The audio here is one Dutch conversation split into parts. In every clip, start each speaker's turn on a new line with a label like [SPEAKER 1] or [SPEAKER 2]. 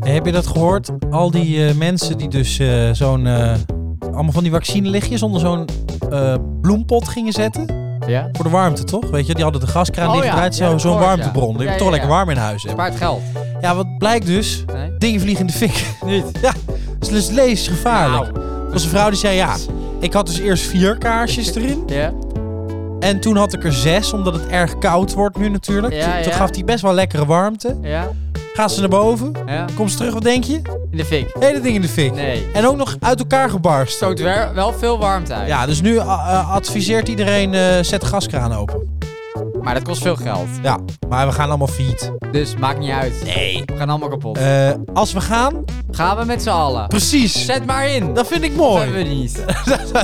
[SPEAKER 1] Eh, heb je dat gehoord? Al die eh, mensen die dus eh, zo'n... eh, allemaal van die vaccinelichtjes onder zo'n eh, bloempot gingen zetten.
[SPEAKER 2] Ja?
[SPEAKER 1] Voor de warmte, toch? Weet je, die hadden de gaskraan
[SPEAKER 2] Oh
[SPEAKER 1] dicht
[SPEAKER 2] ja,
[SPEAKER 1] dichtgedraaid.
[SPEAKER 2] ja,
[SPEAKER 1] zo-
[SPEAKER 2] dat
[SPEAKER 1] zo'n
[SPEAKER 2] hoort, ja.
[SPEAKER 1] warmtebron. Die
[SPEAKER 2] Ja, ja,
[SPEAKER 1] toch lekker
[SPEAKER 2] ja.
[SPEAKER 1] warm in huis. hebben.
[SPEAKER 2] Spaart geld.
[SPEAKER 1] Ja, wat blijkt dus?
[SPEAKER 2] Nee?
[SPEAKER 1] Dingen vliegen in de fik.
[SPEAKER 2] Niet.
[SPEAKER 1] ja, dat is levensgevaarlijk.
[SPEAKER 2] Nou.
[SPEAKER 1] Er was een vrouw die zei, ja, ik had dus eerst vier kaarsjes erin.
[SPEAKER 2] Ja?
[SPEAKER 1] En toen had ik er zes, omdat het erg koud wordt nu natuurlijk.
[SPEAKER 2] Ja,
[SPEAKER 1] Toen- Toen
[SPEAKER 2] ja.
[SPEAKER 1] gaf die best wel lekkere warmte.
[SPEAKER 2] Ja?
[SPEAKER 1] Gaat ze naar boven?
[SPEAKER 2] Ja?
[SPEAKER 1] Komt ze terug, wat denk je?
[SPEAKER 2] In de fik.
[SPEAKER 1] Hele ding in de fik.
[SPEAKER 2] Nee.
[SPEAKER 1] En ook nog uit elkaar gebarst.
[SPEAKER 2] Stoot wel, wel veel warmte uit.
[SPEAKER 1] Ja, dus nu eh, eh, adviseert iedereen, eh, zet de gaskraan open.
[SPEAKER 2] Maar dat kost veel geld.
[SPEAKER 1] Ja, maar we gaan allemaal failliet.
[SPEAKER 2] Dus maakt niet uit.
[SPEAKER 1] Nee.
[SPEAKER 2] We gaan allemaal kapot.
[SPEAKER 1] Eh, als we gaan,
[SPEAKER 2] Gaan we met z'n allen.
[SPEAKER 1] precies.
[SPEAKER 2] Zet maar in.
[SPEAKER 1] Dat vind ik
[SPEAKER 2] Dat hebben
[SPEAKER 1] mooi.
[SPEAKER 2] we niet.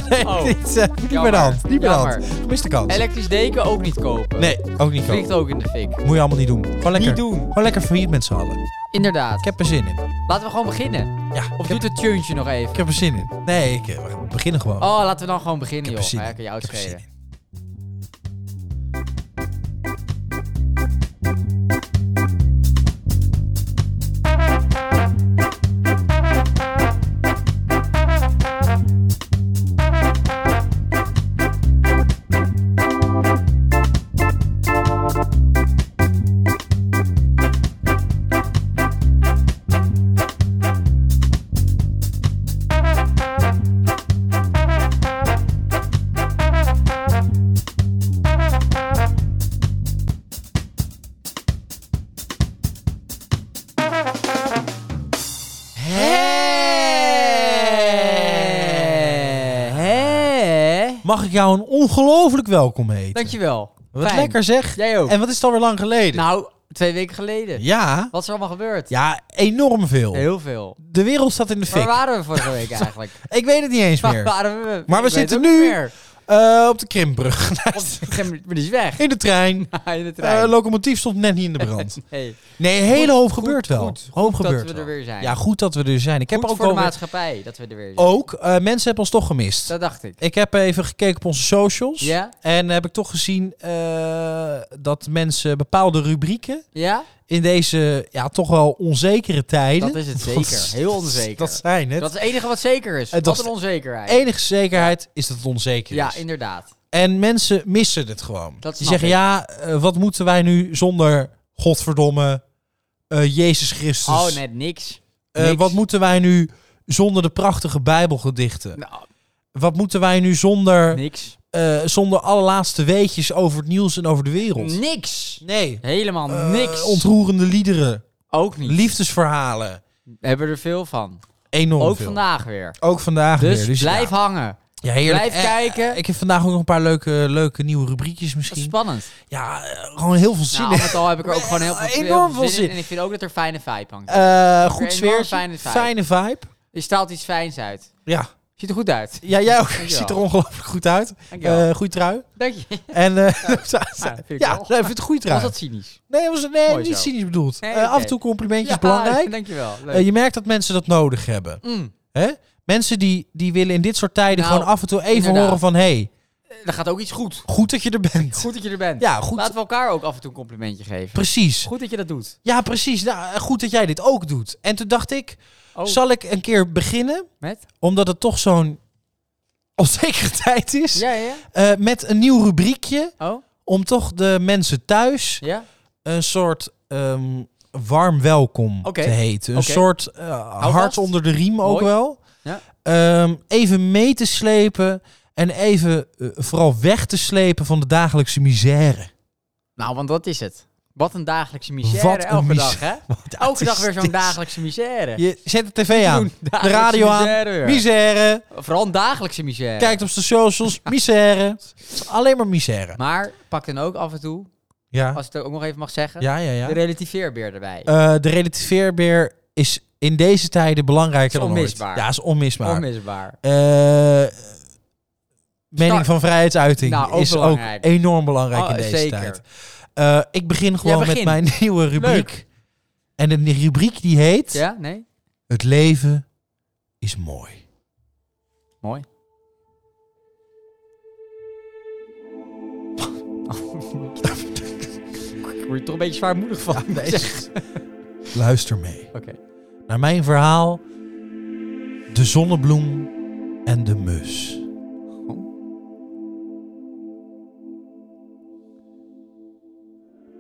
[SPEAKER 1] Nee,
[SPEAKER 2] Oh.
[SPEAKER 1] niet, eh, niet meer
[SPEAKER 2] Jammer.
[SPEAKER 1] de hand. Niet meer de hand.
[SPEAKER 2] Jammer.
[SPEAKER 1] Gemiste kans.
[SPEAKER 2] Elektrisch deken ook niet kopen.
[SPEAKER 1] Nee, ook niet kopen.
[SPEAKER 2] Vliegt ook in de fik.
[SPEAKER 1] Moet je allemaal niet doen. Gewoon lekker.
[SPEAKER 2] Niet doen.
[SPEAKER 1] Gewoon lekker failliet met z'n allen.
[SPEAKER 2] Inderdaad.
[SPEAKER 1] Ik heb er zin in.
[SPEAKER 2] Laten we gewoon beginnen.
[SPEAKER 1] Ja,
[SPEAKER 2] Of
[SPEAKER 1] ik, heb,
[SPEAKER 2] doet het tuntje nog even?
[SPEAKER 1] ik heb er zin in. Nee, ik, eh, we beginnen gewoon.
[SPEAKER 2] Oh, laten we dan gewoon beginnen,
[SPEAKER 1] Ik heb er
[SPEAKER 2] joh.
[SPEAKER 1] zin
[SPEAKER 2] Ja,
[SPEAKER 1] in.
[SPEAKER 2] kan je
[SPEAKER 1] Ik heb er zin
[SPEAKER 2] uitschelen.
[SPEAKER 1] in.
[SPEAKER 2] Hey.
[SPEAKER 1] Mag ik jou een ongelooflijk welkom heten?
[SPEAKER 2] Dankjewel.
[SPEAKER 1] Wat
[SPEAKER 2] Fijn.
[SPEAKER 1] lekker zeg.
[SPEAKER 2] Jij ook.
[SPEAKER 1] En wat is het alweer lang geleden?
[SPEAKER 2] Nou, twee weken geleden.
[SPEAKER 1] Ja,
[SPEAKER 2] Wat is er allemaal gebeurd?
[SPEAKER 1] ja, enorm veel.
[SPEAKER 2] Heel veel.
[SPEAKER 1] De wereld staat in de
[SPEAKER 2] Waar
[SPEAKER 1] fik.
[SPEAKER 2] waren we vorige week eigenlijk?
[SPEAKER 1] Ik weet het niet eens
[SPEAKER 2] Waar
[SPEAKER 1] meer.
[SPEAKER 2] waren we?
[SPEAKER 1] Maar we
[SPEAKER 2] Ik weet
[SPEAKER 1] zitten
[SPEAKER 2] het ook
[SPEAKER 1] nu-
[SPEAKER 2] niet meer.
[SPEAKER 1] Eh, op de Krimbrug.
[SPEAKER 2] Op- Maar die is weg.
[SPEAKER 1] In de trein.
[SPEAKER 2] In de trein.
[SPEAKER 1] Eh locomotief stond net niet in de brand.
[SPEAKER 2] hey,
[SPEAKER 1] Nee, een hele
[SPEAKER 2] Goed,
[SPEAKER 1] hoop
[SPEAKER 2] goed,
[SPEAKER 1] gebeurt wel.
[SPEAKER 2] goed.
[SPEAKER 1] hoop
[SPEAKER 2] dat
[SPEAKER 1] gebeurt
[SPEAKER 2] we er
[SPEAKER 1] wel.
[SPEAKER 2] weer zijn.
[SPEAKER 1] Ja, goed dat we er zijn. Ik heb
[SPEAKER 2] Goed
[SPEAKER 1] ook
[SPEAKER 2] voor de
[SPEAKER 1] wel weer-
[SPEAKER 2] maatschappij dat we er weer zijn.
[SPEAKER 1] Ook, eh, mensen hebben ons toch gemist.
[SPEAKER 2] Dat dacht ik.
[SPEAKER 1] Ik heb even gekeken op onze socials.
[SPEAKER 2] Ja?
[SPEAKER 1] En heb ik toch gezien eh, dat mensen bepaalde rubrieken
[SPEAKER 2] Ja?
[SPEAKER 1] in deze ja, toch wel onzekere tijden.
[SPEAKER 2] Dat is het
[SPEAKER 1] Want
[SPEAKER 2] zeker. Heel onzeker.
[SPEAKER 1] Dat zijn het.
[SPEAKER 2] Dat is het enige wat zeker is.
[SPEAKER 1] Het
[SPEAKER 2] Wat
[SPEAKER 1] was-
[SPEAKER 2] een onzekerheid.
[SPEAKER 1] Enige zekerheid is dat het onzeker
[SPEAKER 2] Ja,
[SPEAKER 1] is.
[SPEAKER 2] inderdaad.
[SPEAKER 1] En mensen missen het gewoon.
[SPEAKER 2] Dat
[SPEAKER 1] Die
[SPEAKER 2] snap
[SPEAKER 1] zeggen,
[SPEAKER 2] ik.
[SPEAKER 1] ja, eh, wat moeten wij nu zonder godverdomme eh, Jezus Christus?
[SPEAKER 2] Oh, net niks.
[SPEAKER 1] Eh,
[SPEAKER 2] niks.
[SPEAKER 1] wat moeten wij nu zonder de prachtige Bijbelgedichten?
[SPEAKER 2] Nou,
[SPEAKER 1] Wat moeten wij nu zonder,
[SPEAKER 2] niks.
[SPEAKER 1] eh, zonder allerlaatste weetjes over het nieuws en over de wereld?
[SPEAKER 2] Niks.
[SPEAKER 1] Nee.
[SPEAKER 2] Helemaal
[SPEAKER 1] Eh,
[SPEAKER 2] niks.
[SPEAKER 1] Ontroerende liederen,
[SPEAKER 2] Ook niet.
[SPEAKER 1] liefdesverhalen.
[SPEAKER 2] We hebben er veel van.
[SPEAKER 1] Enorm
[SPEAKER 2] Ook
[SPEAKER 1] veel.
[SPEAKER 2] vandaag weer.
[SPEAKER 1] Ook vandaag
[SPEAKER 2] Dus
[SPEAKER 1] weer. Dus
[SPEAKER 2] blijf
[SPEAKER 1] ja.
[SPEAKER 2] hangen.
[SPEAKER 1] Ja, heerlijk.
[SPEAKER 2] blijf
[SPEAKER 1] Eh,
[SPEAKER 2] kijken.
[SPEAKER 1] Ik heb vandaag ook nog een paar leuke, leuke nieuwe rubriekjes
[SPEAKER 2] Dat is
[SPEAKER 1] misschien.
[SPEAKER 2] spannend.
[SPEAKER 1] Ja, eh, gewoon heel veel zin
[SPEAKER 2] Nou,
[SPEAKER 1] in.
[SPEAKER 2] al met al heb ik er ook gewoon heel veel, heel
[SPEAKER 1] Enorm veel zin.
[SPEAKER 2] in. En ik vind ook dat er fijne vibe hangt.
[SPEAKER 1] Eh,
[SPEAKER 2] Weer
[SPEAKER 1] goed
[SPEAKER 2] een
[SPEAKER 1] sfeer.
[SPEAKER 2] enorm fijne vibe.
[SPEAKER 1] Fijne vibe.
[SPEAKER 2] Je straalt iets fijns uit.
[SPEAKER 1] Ja.
[SPEAKER 2] Ziet er goed uit.
[SPEAKER 1] ja, jij ook.
[SPEAKER 2] Dankjewel.
[SPEAKER 1] Ziet er ongelooflijk goed uit.
[SPEAKER 2] Dankjewel.
[SPEAKER 1] Eh goede trui.
[SPEAKER 2] Dank je.
[SPEAKER 1] En, eh,
[SPEAKER 2] Ah, vind ik
[SPEAKER 1] ja,
[SPEAKER 2] wel.
[SPEAKER 1] nee, ik vind het een goede trui.
[SPEAKER 2] Was dat cynisch?
[SPEAKER 1] Nee, was, nee
[SPEAKER 2] Mooi
[SPEAKER 1] niet
[SPEAKER 2] zo.
[SPEAKER 1] cynisch bedoeld.
[SPEAKER 2] Nee,
[SPEAKER 1] Eh, Af
[SPEAKER 2] oké.
[SPEAKER 1] en toe complimentjes belangrijk.
[SPEAKER 2] Dankjewel. Leuk.
[SPEAKER 1] Eh, je merkt dat mensen dat nodig hebben.
[SPEAKER 2] Mm.
[SPEAKER 1] Hè? Mensen die, die willen in dit soort tijden
[SPEAKER 2] Nou,
[SPEAKER 1] gewoon af en toe even
[SPEAKER 2] inderdaad.
[SPEAKER 1] horen van... hey,
[SPEAKER 2] Eh, Er gaat ook iets goed.
[SPEAKER 1] goed dat je er bent.
[SPEAKER 2] Goed dat je er bent.
[SPEAKER 1] Ja, goed.
[SPEAKER 2] Laten we elkaar ook af en toe een complimentje geven.
[SPEAKER 1] Precies.
[SPEAKER 2] Goed dat je dat doet.
[SPEAKER 1] Ja, precies. Nou, goed dat jij dit ook doet. En toen dacht ik,
[SPEAKER 2] Oh,
[SPEAKER 1] zal ik een keer beginnen,
[SPEAKER 2] met?
[SPEAKER 1] omdat het toch zo'n onzekere tijd is,
[SPEAKER 2] Ja, ja.
[SPEAKER 1] eh, met een nieuw rubriekje
[SPEAKER 2] Oh,
[SPEAKER 1] om toch de mensen thuis
[SPEAKER 2] ja.
[SPEAKER 1] een soort ehm, warm welkom
[SPEAKER 2] Oké.
[SPEAKER 1] te heten. Een
[SPEAKER 2] Oké.
[SPEAKER 1] soort eh,
[SPEAKER 2] vast.
[SPEAKER 1] hart onder de riem ook
[SPEAKER 2] Mooi.
[SPEAKER 1] wel.
[SPEAKER 2] Ja.
[SPEAKER 1] Ehm, even mee te slepen en even eh, vooral weg te slepen van de dagelijkse misère.
[SPEAKER 2] Nou, want dat is het. Wat een dagelijkse misère
[SPEAKER 1] Wat een
[SPEAKER 2] elke
[SPEAKER 1] mis-
[SPEAKER 2] dag, hè?
[SPEAKER 1] Want dat
[SPEAKER 2] Elke dag
[SPEAKER 1] is
[SPEAKER 2] weer zo'n
[SPEAKER 1] dit.
[SPEAKER 2] dagelijkse misère.
[SPEAKER 1] Je zet de tv aan,
[SPEAKER 2] Doen
[SPEAKER 1] de radio
[SPEAKER 2] dagelijkse
[SPEAKER 1] aan,
[SPEAKER 2] misère weer.
[SPEAKER 1] misère,
[SPEAKER 2] Vooral een dagelijkse misère.
[SPEAKER 1] kijkt op de socials, misère. Het is Alleen maar misère.
[SPEAKER 2] Maar pak dan ook af en toe,
[SPEAKER 1] Ja,
[SPEAKER 2] als ik het ook nog even mag zeggen,
[SPEAKER 1] ja, ja. ja.
[SPEAKER 2] de relativeerbeer erbij.
[SPEAKER 1] Eh, de relativeerbeer is in deze tijden belangrijker
[SPEAKER 2] Is
[SPEAKER 1] dan ooit.
[SPEAKER 2] onmisbaar.
[SPEAKER 1] Ja, is onmisbaar.
[SPEAKER 2] Onmisbaar.
[SPEAKER 1] Eh, mening
[SPEAKER 2] Start.
[SPEAKER 1] van vrijheidsuiting
[SPEAKER 2] Nou, ook
[SPEAKER 1] is
[SPEAKER 2] belangrijk.
[SPEAKER 1] ook enorm belangrijk in
[SPEAKER 2] Oh,
[SPEAKER 1] deze
[SPEAKER 2] zeker.
[SPEAKER 1] tijd. Eh, ik begin gewoon
[SPEAKER 2] begin.
[SPEAKER 1] met mijn nieuwe rubriek. En de rubriek die heet...
[SPEAKER 2] Ja, nee?
[SPEAKER 1] Het leven is mooi.
[SPEAKER 2] Mooi. Ik word je toch een beetje zwaarmoedig van.
[SPEAKER 1] Luister mee
[SPEAKER 2] Oké.
[SPEAKER 1] naar Naar mijn verhaal. De zonnebloem en de mus.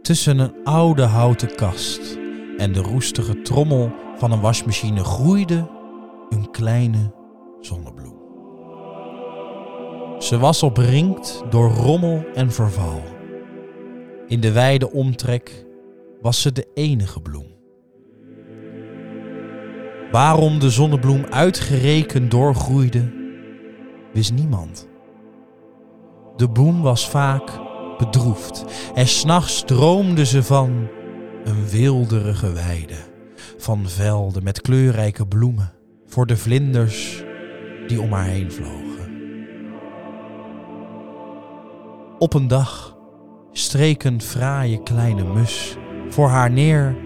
[SPEAKER 1] Tussen een oude houten kast en de roestige trommel van een wasmachine groeide een kleine zonnebloem. Ze was omringd door rommel en verval. In de wijde omtrek was ze de enige bloem. Waarom de zonnebloem uitgerekend doorgroeide, wist niemand. De bloem was vaak bedroefd en s'nachts droomde ze van een wilderige weide, van velden met kleurrijke bloemen voor de vlinders die om haar heen vlogen. Op een dag streek een fraaie kleine mus voor haar neer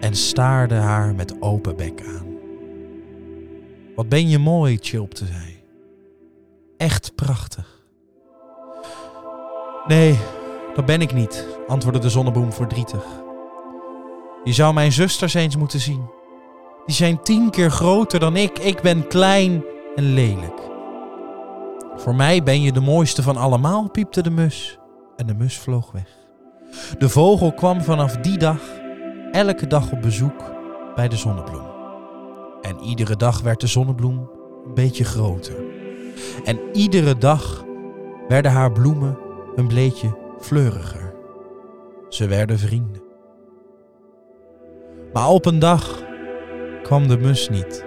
[SPEAKER 1] en staarde haar met open bek aan. Wat ben je mooi, chilpte zij. Echt prachtig. Nee, dat ben ik niet, antwoordde de zonnebloem verdrietig. Je zou mijn zusters eens moeten zien. Die zijn tien keer groter dan ik. Ik ben klein en lelijk. Voor mij ben je de mooiste van allemaal, piepte de mus. En de mus vloog weg. De vogel kwam vanaf die dag elke dag op bezoek bij de zonnebloem. En iedere dag werd de zonnebloem een beetje groter. En iedere dag werden haar bloemen een beetje fleuriger. Ze werden vrienden. Maar op een dag kwam de mus niet.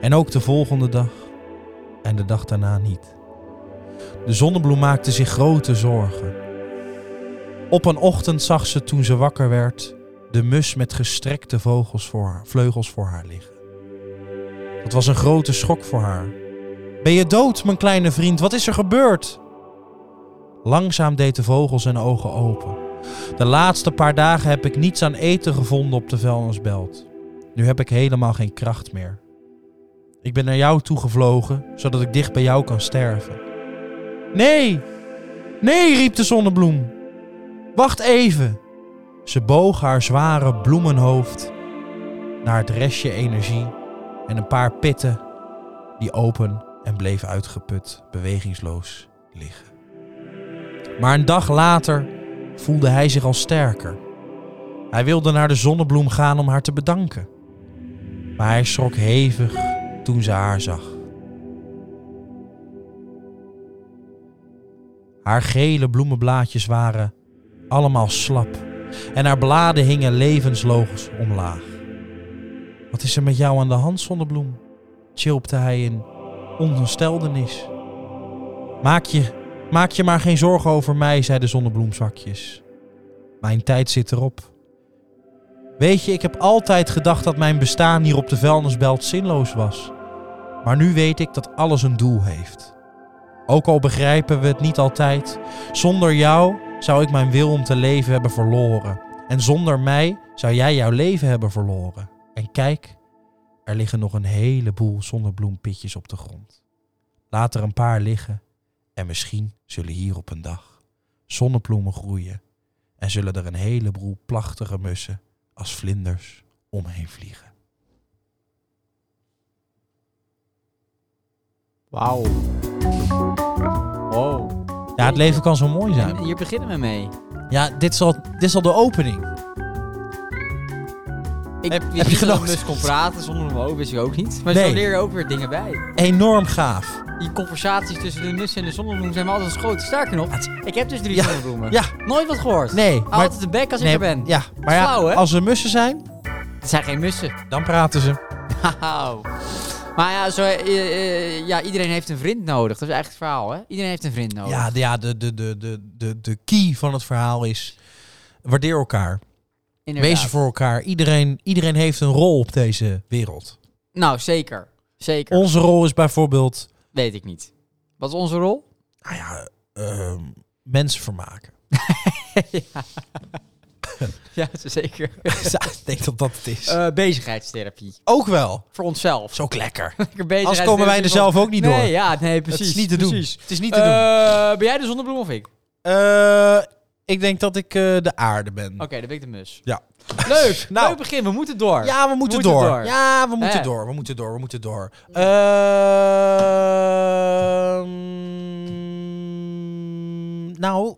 [SPEAKER 1] En ook de volgende dag en de dag daarna niet. De zonnebloem maakte zich grote zorgen. Op een ochtend zag ze toen ze wakker werd de mus met gestrekte vogels voor haar- vleugels voor haar liggen. Dat was een grote schok voor haar. Ben je dood, mijn kleine vriend? Wat is er gebeurd? Langzaam deed de vogel zijn ogen open. De laatste paar dagen heb ik niets aan eten gevonden op de vuilnisbelt. Nu heb ik helemaal geen kracht meer. Ik ben naar jou toegevlogen, zodat ik dicht bij jou kan sterven. Nee! Nee, riep de zonnebloem. Wacht even. Ze boog haar zware bloemenhoofd naar het restje energie en een paar pitten die open en bleef uitgeput, bewegingsloos liggen. Maar een dag later voelde hij zich al sterker. Hij wilde naar de zonnebloem gaan om haar te bedanken. Maar hij schrok hevig toen ze haar zag. Haar gele bloemenblaadjes waren allemaal slap en haar bladen hingen levensloos omlaag. Wat is er met jou aan de hand, zonnebloem? chilpte hij in ontsteldenis. Maak je, maak je maar geen zorgen over mij, zei de zonnebloemzakjes. Mijn tijd zit erop. Weet je, ik heb altijd gedacht dat mijn bestaan hier op de vuilnisbelt zinloos was. Maar nu weet ik dat alles een doel heeft. Ook al begrijpen we het niet altijd, zonder jou zou ik mijn wil om te leven hebben verloren. En zonder mij zou jij jouw leven hebben verloren. En kijk, er liggen nog een heleboel zonnebloempitjes op de grond. Laat er een paar liggen en misschien zullen hier op een dag zonnebloemen groeien en zullen er een heleboel plachtige mussen als vlinders omheen vliegen.
[SPEAKER 2] Wauw. Wow.
[SPEAKER 1] Ja, het leven kan zo mooi
[SPEAKER 2] En
[SPEAKER 1] zijn.
[SPEAKER 2] hier beginnen we mee.
[SPEAKER 1] Ja, dit is al, dit is al de opening.
[SPEAKER 2] Ik
[SPEAKER 1] Heb-
[SPEAKER 2] wist
[SPEAKER 1] heb je
[SPEAKER 2] niet dat een
[SPEAKER 1] genoten?
[SPEAKER 2] mus kon praten zonder hem ook, wist ik ook niet. Maar
[SPEAKER 1] Nee.
[SPEAKER 2] zo leer je ook weer dingen bij.
[SPEAKER 1] Enorm gaaf.
[SPEAKER 2] Die conversaties tussen de mussen en de zonnebloem zijn me altijd schoten. Sterker nog,
[SPEAKER 1] Het is-
[SPEAKER 2] ik heb dus drie
[SPEAKER 1] Ja.
[SPEAKER 2] zonnebloemen.
[SPEAKER 1] Ja,
[SPEAKER 2] Nooit wat gehoord.
[SPEAKER 1] nee. Maar,
[SPEAKER 2] altijd de bek Oh, als ik
[SPEAKER 1] nee,
[SPEAKER 2] er ben.
[SPEAKER 1] Ja, maar ja,
[SPEAKER 2] Flauw, hè?
[SPEAKER 1] als er mussen zijn,
[SPEAKER 2] Het zijn geen mussen.
[SPEAKER 1] dan praten ze.
[SPEAKER 2] Wauw. Maar ja, zo, eh, eh, ja, iedereen heeft een vriend nodig. Dat is eigenlijk het verhaal, hè? Iedereen heeft een vriend nodig.
[SPEAKER 1] Oh. Ja, de, ja de, de, de, de, de, de key van het verhaal is... Waardeer elkaar.
[SPEAKER 2] Inderdaad.
[SPEAKER 1] Wees er voor elkaar. Iedereen, iedereen heeft een rol op deze wereld.
[SPEAKER 2] Nou, zeker. Zeker.
[SPEAKER 1] Onze rol is bijvoorbeeld...
[SPEAKER 2] Weet ik niet. Wat is onze rol?
[SPEAKER 1] Nou ja, ehm, mensen vermaken.
[SPEAKER 2] ja, zeker.
[SPEAKER 1] Dus, ah, Ik denk dat dat het is.
[SPEAKER 2] Eh, bezigheidstherapie.
[SPEAKER 1] Ook wel.
[SPEAKER 2] Voor onszelf.
[SPEAKER 1] Zo lekker.
[SPEAKER 2] Lekker bezigheidstherapie
[SPEAKER 1] Als komen wij er
[SPEAKER 2] voor-
[SPEAKER 1] zelf ook niet door.
[SPEAKER 2] Nee, ja, nee, precies. Eh,
[SPEAKER 1] het is niet te doen.
[SPEAKER 2] precies.
[SPEAKER 1] Het is niet te doen.
[SPEAKER 2] Eh, ben jij de zonnebloem of ik?
[SPEAKER 1] Eh, Ik denk dat ik eh, de aarde ben.
[SPEAKER 2] Oké, dan ben ik de mus.
[SPEAKER 1] Ja.
[SPEAKER 2] Leuk.
[SPEAKER 1] Nou.
[SPEAKER 2] Leuk begin. We moeten door.
[SPEAKER 1] Ja, we moeten, door. Ja, we moeten
[SPEAKER 2] Hè?
[SPEAKER 1] door. We moeten door. We moeten door. Ehm, nou,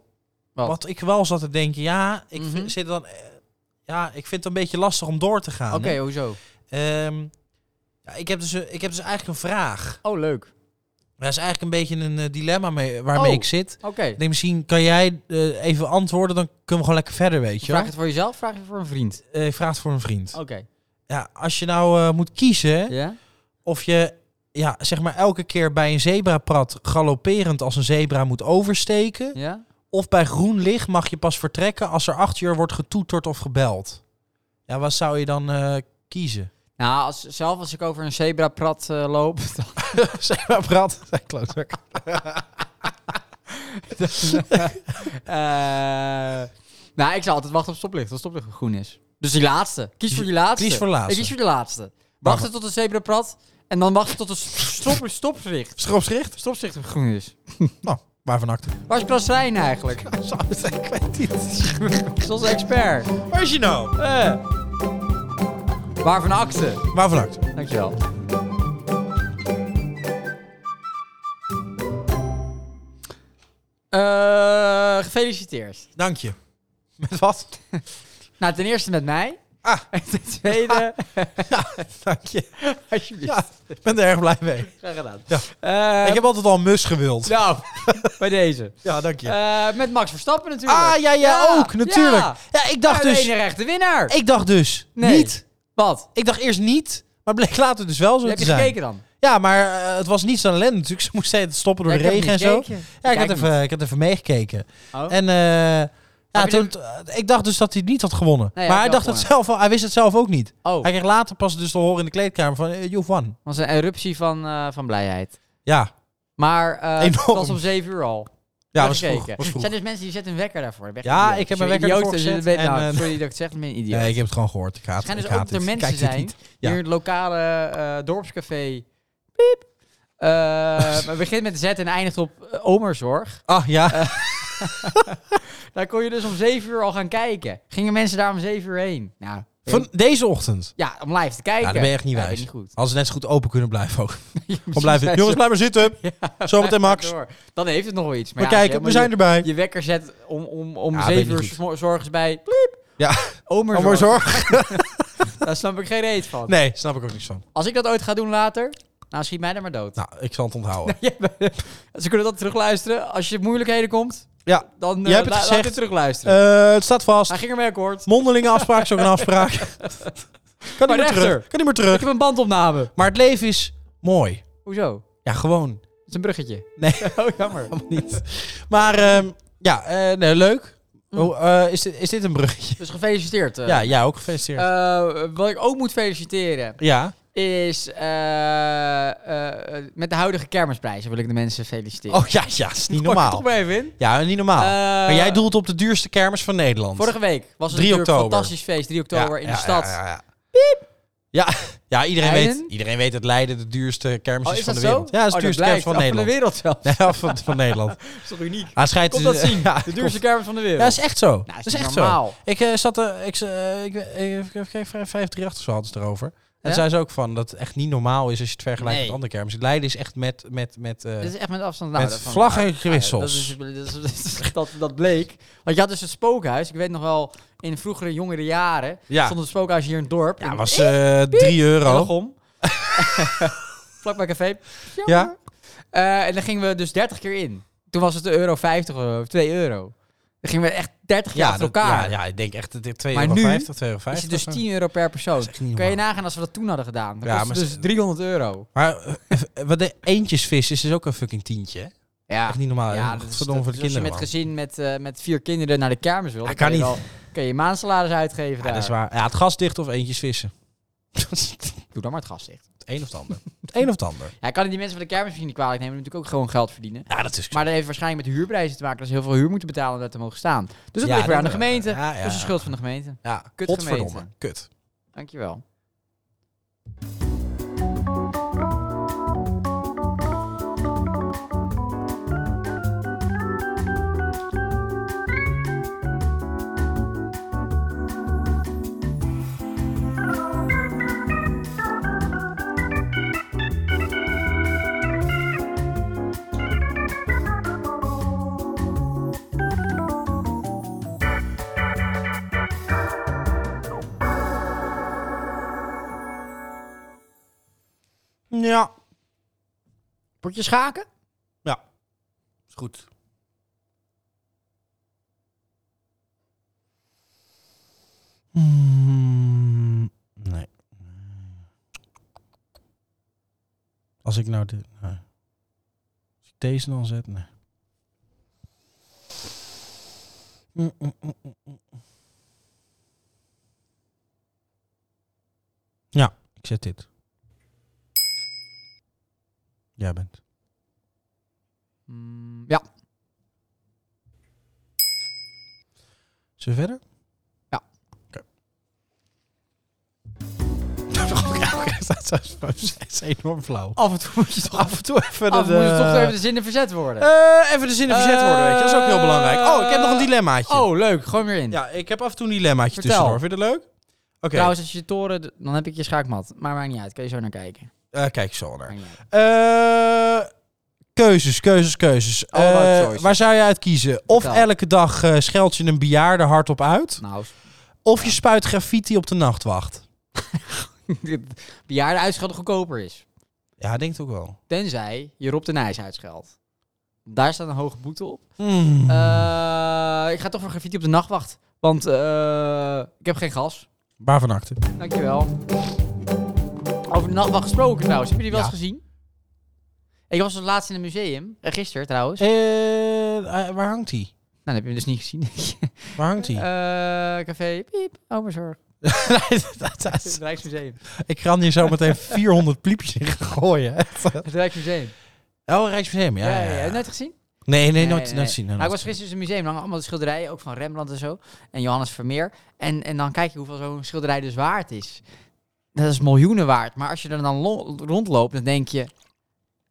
[SPEAKER 2] Wat?
[SPEAKER 1] wat? ik wel zat te denken, ja, ik
[SPEAKER 2] Mhm.
[SPEAKER 1] vind, zit dan, eh, ja, ik vind het een beetje lastig om door te gaan.
[SPEAKER 2] Oké,
[SPEAKER 1] hè.
[SPEAKER 2] hoezo?
[SPEAKER 1] Ehm, ja, ik, heb dus, eh, ik heb dus eigenlijk een vraag.
[SPEAKER 2] Oh, leuk.
[SPEAKER 1] Daar is eigenlijk een beetje een eh, dilemma mee, waarmee
[SPEAKER 2] Oh.
[SPEAKER 1] ik zit.
[SPEAKER 2] Oké.
[SPEAKER 1] Ik denk, misschien kan jij eh, even antwoorden, dan kunnen we gewoon lekker verder, weet je wel.
[SPEAKER 2] Vraag het voor jezelf, vraag het voor een vriend.
[SPEAKER 1] Eh, ik vraag het voor een vriend.
[SPEAKER 2] Oké.
[SPEAKER 1] Ja, als je nou eh, moet kiezen, hè,
[SPEAKER 2] Ja?
[SPEAKER 1] of je ja, zeg maar elke keer bij een zebrapad galopperend als een zebra moet oversteken.
[SPEAKER 2] Ja?
[SPEAKER 1] Of bij groen licht mag je pas vertrekken als er acht uur wordt getoeterd of gebeld. Ja, wat zou je dan eh, kiezen?
[SPEAKER 2] Nou, als, zelf als ik over een zebraprat eh, loop, dan,
[SPEAKER 1] Zebraprat, zei klootzak.
[SPEAKER 2] eh, nou, ik zal altijd wachten op stoplicht, als stoplicht groen is. Dus die laatste. Kies voor die laatste.
[SPEAKER 1] Kies voor de laatste.
[SPEAKER 2] Ik kies voor die laatste. Wachten tot de zebraprat en dan wachten tot de stop, stoplicht,
[SPEAKER 1] Schropsricht?
[SPEAKER 2] stopzicht groen is.
[SPEAKER 1] Nou, waarvan acte?
[SPEAKER 2] Waar is Prasrijn eigenlijk?
[SPEAKER 1] Ik weet niet.
[SPEAKER 2] Zoals expert.
[SPEAKER 1] Waar is je nou?
[SPEAKER 2] Eh. Waarvan akte?
[SPEAKER 1] Waarvan acte?
[SPEAKER 2] Dankjewel. Eh gefeliciteerd.
[SPEAKER 1] Dank je. Met wat?
[SPEAKER 2] Nou, ten eerste met mij.
[SPEAKER 1] Ah.
[SPEAKER 2] En ten tweede,
[SPEAKER 1] Dank je.
[SPEAKER 2] alsjeblieft.
[SPEAKER 1] Ja, ik ben er erg blij mee.
[SPEAKER 2] Graag gedaan.
[SPEAKER 1] Ja.
[SPEAKER 2] Eh,
[SPEAKER 1] ik heb altijd al een mus gewild.
[SPEAKER 2] Nou, bij deze.
[SPEAKER 1] Ja, dank je.
[SPEAKER 2] Eh, met Max Verstappen natuurlijk.
[SPEAKER 1] ah, ja, ja,
[SPEAKER 2] Ja,
[SPEAKER 1] ook, natuurlijk. Ja,
[SPEAKER 2] ja.
[SPEAKER 1] ik dacht
[SPEAKER 2] de
[SPEAKER 1] dus...
[SPEAKER 2] ene rechte winnaar.
[SPEAKER 1] Ik dacht dus
[SPEAKER 2] Nee.
[SPEAKER 1] niet.
[SPEAKER 2] Wat?
[SPEAKER 1] Ik dacht eerst niet, maar bleek later dus wel zo
[SPEAKER 2] Heb
[SPEAKER 1] te
[SPEAKER 2] je
[SPEAKER 1] zijn.
[SPEAKER 2] gekeken dan?
[SPEAKER 1] Ja, maar eh, het was niet zo'n ellende natuurlijk. Ze moesten steeds stoppen door de regen en zo. Ja, ik had, even, ik had even meegekeken.
[SPEAKER 2] Oh.
[SPEAKER 1] En eh, ja,
[SPEAKER 2] Heb je
[SPEAKER 1] toen, eh, ik dacht dus dat hij het niet had gewonnen.
[SPEAKER 2] Nee, hij
[SPEAKER 1] maar
[SPEAKER 2] had
[SPEAKER 1] hij,
[SPEAKER 2] wel
[SPEAKER 1] dacht het zelf, al- hij wist het zelf ook niet.
[SPEAKER 2] oh,
[SPEAKER 1] Hij kreeg later pas dus te horen in de kleedkamer van, eh, you've won.
[SPEAKER 2] was een eruptie van, eh, van blijheid.
[SPEAKER 1] Ja,
[SPEAKER 2] Maar eh het
[SPEAKER 1] Enorm.
[SPEAKER 2] was om 7 uur al.
[SPEAKER 1] ja
[SPEAKER 2] Even
[SPEAKER 1] was vroeg.
[SPEAKER 2] gekeken.
[SPEAKER 1] Was vroeg.
[SPEAKER 2] zijn dus mensen die zetten een wekker daarvoor. Ik ben
[SPEAKER 1] Ja,
[SPEAKER 2] geen idioot.
[SPEAKER 1] ik heb
[SPEAKER 2] Zo'n
[SPEAKER 1] een wekker
[SPEAKER 2] idioot
[SPEAKER 1] ervoor
[SPEAKER 2] als je het
[SPEAKER 1] gezet
[SPEAKER 2] weet. Nou,
[SPEAKER 1] en, eh,
[SPEAKER 2] sorry dat ik het zeg, maar ik ben een idioot.
[SPEAKER 1] Nee, ik heb het gewoon gehoord. Ik haat
[SPEAKER 2] Het
[SPEAKER 1] het.
[SPEAKER 2] schijnen
[SPEAKER 1] Ik
[SPEAKER 2] dus
[SPEAKER 1] haat
[SPEAKER 2] ook er
[SPEAKER 1] het. Ik
[SPEAKER 2] mensen
[SPEAKER 1] kijk dit
[SPEAKER 2] zijn
[SPEAKER 1] niet. Ja.
[SPEAKER 2] hier in het lokale eh, dorpscafé. Piep. Eh, we begint met de Z en eindigt op eh, Omerzorg.
[SPEAKER 1] Ah, ja.
[SPEAKER 2] Eh. Daar kon je dus om 7 uur al gaan kijken. Gingen mensen daar om 7 uur heen? Nou,
[SPEAKER 1] Van deze ochtend.
[SPEAKER 2] ja, om live te kijken.
[SPEAKER 1] Ja, dan ben je echt niet
[SPEAKER 2] Ja,
[SPEAKER 1] wijs.
[SPEAKER 2] dat ben ik niet goed.
[SPEAKER 1] Als ze net zo goed open kunnen blijven ook.
[SPEAKER 2] Ja,
[SPEAKER 1] Gewoon blijven.
[SPEAKER 2] precies.
[SPEAKER 1] Jongens, blijf maar zitten. Zometeen Max.
[SPEAKER 2] Door. Dan heeft het nog wel iets. Maar
[SPEAKER 1] We
[SPEAKER 2] ja, als je
[SPEAKER 1] kijken, we
[SPEAKER 2] helemaal
[SPEAKER 1] zijn erbij.
[SPEAKER 2] je, je wekker zet om, om, om
[SPEAKER 1] Ja, ben
[SPEAKER 2] 7
[SPEAKER 1] ik
[SPEAKER 2] uur
[SPEAKER 1] niet goed.
[SPEAKER 2] smo- 's morgens bij. Pliep.
[SPEAKER 1] Ja.
[SPEAKER 2] Omerzorg.
[SPEAKER 1] Allemaal zorg.
[SPEAKER 2] Daar snap ik geen reet van.
[SPEAKER 1] Nee, snap ik ook niks van.
[SPEAKER 2] Als ik dat ooit ga doen later, nou schiet mij dan maar dood.
[SPEAKER 1] Nou, ik zal het onthouden.
[SPEAKER 2] Ja, maar- Ze kunnen dat terugluisteren. Als je in moeilijkheden komt,
[SPEAKER 1] Ja.
[SPEAKER 2] dan eh,
[SPEAKER 1] Jij hebt het
[SPEAKER 2] la- laat
[SPEAKER 1] gezegd.
[SPEAKER 2] het terugluisteren.
[SPEAKER 1] Eh, het staat vast.
[SPEAKER 2] Hij ging ermee akkoord.
[SPEAKER 1] Mondelinge afspraak is ook een afspraak. kan
[SPEAKER 2] Maar
[SPEAKER 1] niet meer
[SPEAKER 2] rechter.
[SPEAKER 1] terug. Kan niet meer
[SPEAKER 2] Ik
[SPEAKER 1] terug.
[SPEAKER 2] heb een bandopname.
[SPEAKER 1] Maar het leven is mooi.
[SPEAKER 2] Hoezo? Het
[SPEAKER 1] Ja, gewoon.
[SPEAKER 2] is een bruggetje.
[SPEAKER 1] Nee.
[SPEAKER 2] Oh, jammer.
[SPEAKER 1] Niet. Maar ehm, ja, eh, nee, leuk.
[SPEAKER 2] Hm.
[SPEAKER 1] Oh, eh, is, dit, is dit een bruggetje?
[SPEAKER 2] Dus gefeliciteerd. eh.
[SPEAKER 1] Ja, ja, ook gefeliciteerd.
[SPEAKER 2] Eh, wat ik ook moet feliciteren
[SPEAKER 1] ja.
[SPEAKER 2] is eh, eh, met de huidige kermisprijzen wil ik de mensen feliciteren.
[SPEAKER 1] Oh ja, ja, is niet
[SPEAKER 2] Gooi ik er
[SPEAKER 1] normaal.
[SPEAKER 2] toch maar even in.
[SPEAKER 1] Ja, niet normaal.
[SPEAKER 2] Eh,
[SPEAKER 1] maar jij doelt op de duurste kermis van Nederland.
[SPEAKER 2] Vorige week was het
[SPEAKER 1] 3
[SPEAKER 2] natuurlijk een
[SPEAKER 1] oktober.
[SPEAKER 2] fantastisch feest, 3 oktober
[SPEAKER 1] Ja,
[SPEAKER 2] in de
[SPEAKER 1] ja,
[SPEAKER 2] stad. Oh,
[SPEAKER 1] Ja, ja, ja. Ja, ja, iedereen, weet,
[SPEAKER 2] Leiden?
[SPEAKER 1] iedereen weet dat Leiden de duurste kermis
[SPEAKER 2] Oh,
[SPEAKER 1] is
[SPEAKER 2] is
[SPEAKER 1] van
[SPEAKER 2] dat
[SPEAKER 1] de
[SPEAKER 2] zo?
[SPEAKER 1] wereld. Ja, dat is
[SPEAKER 2] Oh,
[SPEAKER 1] de duurste kermis
[SPEAKER 2] blijkt.
[SPEAKER 1] van
[SPEAKER 2] Oh,
[SPEAKER 1] Nederland.
[SPEAKER 2] de wereld zelf.
[SPEAKER 1] Nee, ja, van, van Nederland.
[SPEAKER 2] Dat is toch uniek?
[SPEAKER 1] Hij schijnt
[SPEAKER 2] Komt dat zien?
[SPEAKER 1] Ja,
[SPEAKER 2] De
[SPEAKER 1] klopt.
[SPEAKER 2] duurste kermis van de wereld.
[SPEAKER 1] Ja, is echt zo.
[SPEAKER 2] Nou,
[SPEAKER 1] dat
[SPEAKER 2] is
[SPEAKER 1] is
[SPEAKER 2] niet
[SPEAKER 1] echt
[SPEAKER 2] normaal.
[SPEAKER 1] zo. Ik eh, zat er, ik, eh, ik, eh, ik, ik, ik, 538 of zo hadden ze het erover. En
[SPEAKER 2] Ja?
[SPEAKER 1] zei ze ook van dat het echt niet normaal is als je het vergelijkt
[SPEAKER 2] Nee.
[SPEAKER 1] met andere kermis. Leiden is echt met, met, met eh,
[SPEAKER 2] Dit is echt met afstand. nou,
[SPEAKER 1] met
[SPEAKER 2] dat van-
[SPEAKER 1] vlaggen en
[SPEAKER 2] Ja,
[SPEAKER 1] gewissels.
[SPEAKER 2] dat, is, dat, is- dat, dat bleek. Want je had dus het spookhuis. Ik weet nog wel, in vroegere jongere jaren
[SPEAKER 1] Ja.
[SPEAKER 2] stond het spookhuis hier in het dorp.
[SPEAKER 1] ja,
[SPEAKER 2] in
[SPEAKER 1] was eh 3 euro.
[SPEAKER 2] Hillegom. Vlak bij café.
[SPEAKER 1] Ja.
[SPEAKER 2] Eh, en dan gingen we dus 30 keer in. Toen was het de euro 50 of 2 euro. Dan gingen we echt 30 keer
[SPEAKER 1] Ja,
[SPEAKER 2] achter
[SPEAKER 1] dat-
[SPEAKER 2] elkaar.
[SPEAKER 1] ja, ja, ik denk echt 2,50
[SPEAKER 2] Maar
[SPEAKER 1] euro,
[SPEAKER 2] nu
[SPEAKER 1] 2,50 euro.
[SPEAKER 2] Is het dus 10 euro per persoon.
[SPEAKER 1] Dat is echt niet
[SPEAKER 2] Kan je
[SPEAKER 1] normaal.
[SPEAKER 2] nagaan als we dat toen hadden gedaan. Dan
[SPEAKER 1] Ja,
[SPEAKER 2] kost het
[SPEAKER 1] maar
[SPEAKER 2] dus 300 euro.
[SPEAKER 1] Maar eh, wat de eentjesvis is, is ook een fucking tientje. hè?
[SPEAKER 2] Ja,
[SPEAKER 1] Echt niet normaal.
[SPEAKER 2] ja dus
[SPEAKER 1] Ja,
[SPEAKER 2] dat is-
[SPEAKER 1] Verdomme
[SPEAKER 2] dat-
[SPEAKER 1] voor de
[SPEAKER 2] als je
[SPEAKER 1] kinderen.
[SPEAKER 2] met
[SPEAKER 1] man.
[SPEAKER 2] gezin met, eh, met vier kinderen naar de kermis wil,
[SPEAKER 1] Ja,
[SPEAKER 2] dan
[SPEAKER 1] kan
[SPEAKER 2] kan je,
[SPEAKER 1] niet.
[SPEAKER 2] wel, kan je maandsalaris uitgeven
[SPEAKER 1] Ja,
[SPEAKER 2] daar.
[SPEAKER 1] dat is waar. Ja, het gas dicht of eentjes vissen.
[SPEAKER 2] Doe dan maar het gas dicht.
[SPEAKER 1] Het een of het ander. Het een of het ander.
[SPEAKER 2] Ja, ik kan het die mensen van de kermis misschien niet kwalijk nemen, die natuurlijk ook gewoon geld verdienen.
[SPEAKER 1] Ja, dat is
[SPEAKER 2] Maar dat heeft waarschijnlijk met de huurprijzen te maken, dat ze heel veel huur moeten betalen om daar te mogen staan. Dus dat
[SPEAKER 1] Ja,
[SPEAKER 2] ligt weer aan de
[SPEAKER 1] dat-
[SPEAKER 2] gemeente. Dus
[SPEAKER 1] ja, ja.
[SPEAKER 2] Dat is de schuld van de gemeente.
[SPEAKER 1] Ja,
[SPEAKER 2] Kut
[SPEAKER 1] godverdomme.
[SPEAKER 2] gemeten.
[SPEAKER 1] Kut.
[SPEAKER 2] Dankjewel.
[SPEAKER 1] Ja,
[SPEAKER 2] Potje schaken?
[SPEAKER 1] is goed. Mm, nee. Als ik nou dit... nee. Als ik deze dan zet, nee. Mm, mm, mm, mm, mm. Ja, ik zet dit. Jij bent.
[SPEAKER 2] Mm, ja.
[SPEAKER 1] Zullen we verder?
[SPEAKER 2] Ja.
[SPEAKER 1] Oké. Dat is enorm flauw.
[SPEAKER 2] Af en toe moet je Oh, toch,
[SPEAKER 1] Af en toe even
[SPEAKER 2] af en toe moet je toch even
[SPEAKER 1] de...
[SPEAKER 2] de zinnen verzet worden.
[SPEAKER 1] Eh, even de zinnen verzet worden, weet je. Dat is ook heel belangrijk. Oh, ik heb nog een dilemmaatje.
[SPEAKER 2] oh, leuk. Gooi hem weer in.
[SPEAKER 1] Ja, ik heb af en toe een dilemmaatje
[SPEAKER 2] Vertel. Nou,
[SPEAKER 1] tussendoor. Vind je dat leuk? Oké,
[SPEAKER 2] Trouwens, als je je toren... d- Dan heb ik je schaakmat. Maar maakt niet uit. Kan je zo naar kijken.
[SPEAKER 1] eh, kijk zo naar.
[SPEAKER 2] Maakt niet uit.
[SPEAKER 1] Eh, keuzes, keuzes, keuzes.
[SPEAKER 2] All about
[SPEAKER 1] Eh,
[SPEAKER 2] choices.
[SPEAKER 1] waar zou je uit kiezen? Of
[SPEAKER 2] Vertel.
[SPEAKER 1] elke dag eh, scheld je een bejaarde hardop uit.
[SPEAKER 2] Nou,
[SPEAKER 1] Of je spuit graffiti op de nachtwacht.
[SPEAKER 2] bejaarde uitschelden goedkoper is.
[SPEAKER 1] Ja, ik denk het ook wel.
[SPEAKER 2] Tenzij je Rob de Nijs uitscheldt. Daar staat een hoge boete op.
[SPEAKER 1] Hmm.
[SPEAKER 2] Eh, ik ga toch voor graffiti op de nachtwacht. Want eh, ik heb geen gas.
[SPEAKER 1] Waarvan acte?
[SPEAKER 2] Dankjewel. Over de nachtwacht gesproken trouwens. Heb je die wel eens
[SPEAKER 1] Ja.
[SPEAKER 2] gezien? Ik was als laatst in een museum. Eh, gisteren trouwens.
[SPEAKER 1] Eh, eh, waar hangt hij?
[SPEAKER 2] Nou, dat heb je hem dus niet gezien.
[SPEAKER 1] Waar hangt hij?
[SPEAKER 2] Eh, café, piep, Omerzorg. Het Rijksmuseum.
[SPEAKER 1] ik kan hier zo meteen 400 pliepjes in gaan gooien.
[SPEAKER 2] Het Rijksmuseum.
[SPEAKER 1] Oh, Rijksmuseum, ja. ja,
[SPEAKER 2] Heb
[SPEAKER 1] ja.
[SPEAKER 2] je nooit gezien?
[SPEAKER 1] Nee, nee, nooit,
[SPEAKER 2] nee,
[SPEAKER 1] nooit
[SPEAKER 2] nee.
[SPEAKER 1] zien.
[SPEAKER 2] Nou,
[SPEAKER 1] nooit
[SPEAKER 2] ik was
[SPEAKER 1] zien.
[SPEAKER 2] gisteren in een museum, dan allemaal de schilderijen, ook van Rembrandt en zo. En Johannes Vermeer. En, en dan kijk je hoeveel zo'n schilderij dus waard is. Dat is miljoenen waard. Maar als je er dan lo- rondloopt, dan denk je...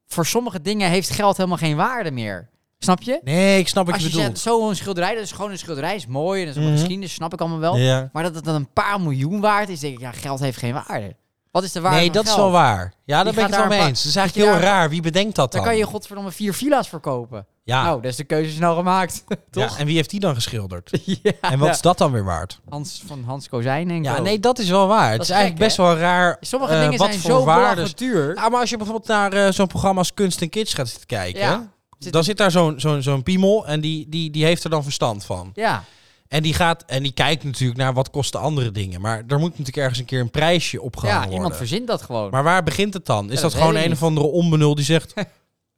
[SPEAKER 2] Voor sommige dingen heeft geld helemaal geen waarde meer. Snap je?
[SPEAKER 1] Nee, ik snap wat
[SPEAKER 2] als
[SPEAKER 1] je
[SPEAKER 2] je
[SPEAKER 1] bedoelt.
[SPEAKER 2] zegt, zo'n schilderij, dat is gewoon een schilderij, is mooi. En dat is
[SPEAKER 1] Mhm.
[SPEAKER 2] een geschiedenis, snap ik allemaal wel.
[SPEAKER 1] Ja.
[SPEAKER 2] Maar dat het dan een paar miljoen waard is, denk ik, ja, geld heeft geen waarde. Wat is de waarde
[SPEAKER 1] Nee,
[SPEAKER 2] van
[SPEAKER 1] dat is
[SPEAKER 2] geld?
[SPEAKER 1] wel waar. Ja, daar
[SPEAKER 2] Die
[SPEAKER 1] ben ik
[SPEAKER 2] gaat
[SPEAKER 1] het wel
[SPEAKER 2] daar
[SPEAKER 1] mee
[SPEAKER 2] een
[SPEAKER 1] eens. Het is
[SPEAKER 2] die
[SPEAKER 1] eigenlijk heel
[SPEAKER 2] daar-
[SPEAKER 1] raar. Wie bedenkt dat dan?
[SPEAKER 2] Dan kan je godverdomme vier villa's verkopen.
[SPEAKER 1] ja.
[SPEAKER 2] Nou, dat is de keuze snel gemaakt.
[SPEAKER 1] Ja,
[SPEAKER 2] toch?
[SPEAKER 1] En wie heeft die dan geschilderd?
[SPEAKER 2] ja.
[SPEAKER 1] En wat is dat dan weer waard?
[SPEAKER 2] Hans van Hans Kozijn, denk ik.
[SPEAKER 1] Ja,
[SPEAKER 2] ook.
[SPEAKER 1] nee, dat is wel waar. Het
[SPEAKER 2] Dat
[SPEAKER 1] is
[SPEAKER 2] is gek,
[SPEAKER 1] eigenlijk best wel raar.
[SPEAKER 2] Sommige
[SPEAKER 1] eh,
[SPEAKER 2] dingen
[SPEAKER 1] wat
[SPEAKER 2] zijn
[SPEAKER 1] voor
[SPEAKER 2] zo
[SPEAKER 1] waardes-
[SPEAKER 2] belachelijk duur.
[SPEAKER 1] Nou, maar als je bijvoorbeeld naar eh, zo'n programma als Kunst en Kids gaat zitten kijken,
[SPEAKER 2] Ja. Zit-
[SPEAKER 1] dan zit daar zo'n zo'n zo'n piemel en die, die, die heeft er dan verstand van.
[SPEAKER 2] Ja,
[SPEAKER 1] En die gaat en die kijkt natuurlijk naar wat kosten andere dingen. Maar er moet natuurlijk ergens een keer een prijsje opgehangen
[SPEAKER 2] ja iemand
[SPEAKER 1] worden.
[SPEAKER 2] verzint dat gewoon.
[SPEAKER 1] Maar waar begint het dan? Is dat,
[SPEAKER 2] dat weet
[SPEAKER 1] gewoon
[SPEAKER 2] ik
[SPEAKER 1] een
[SPEAKER 2] niet.
[SPEAKER 1] of andere onbenul die zegt... Hé,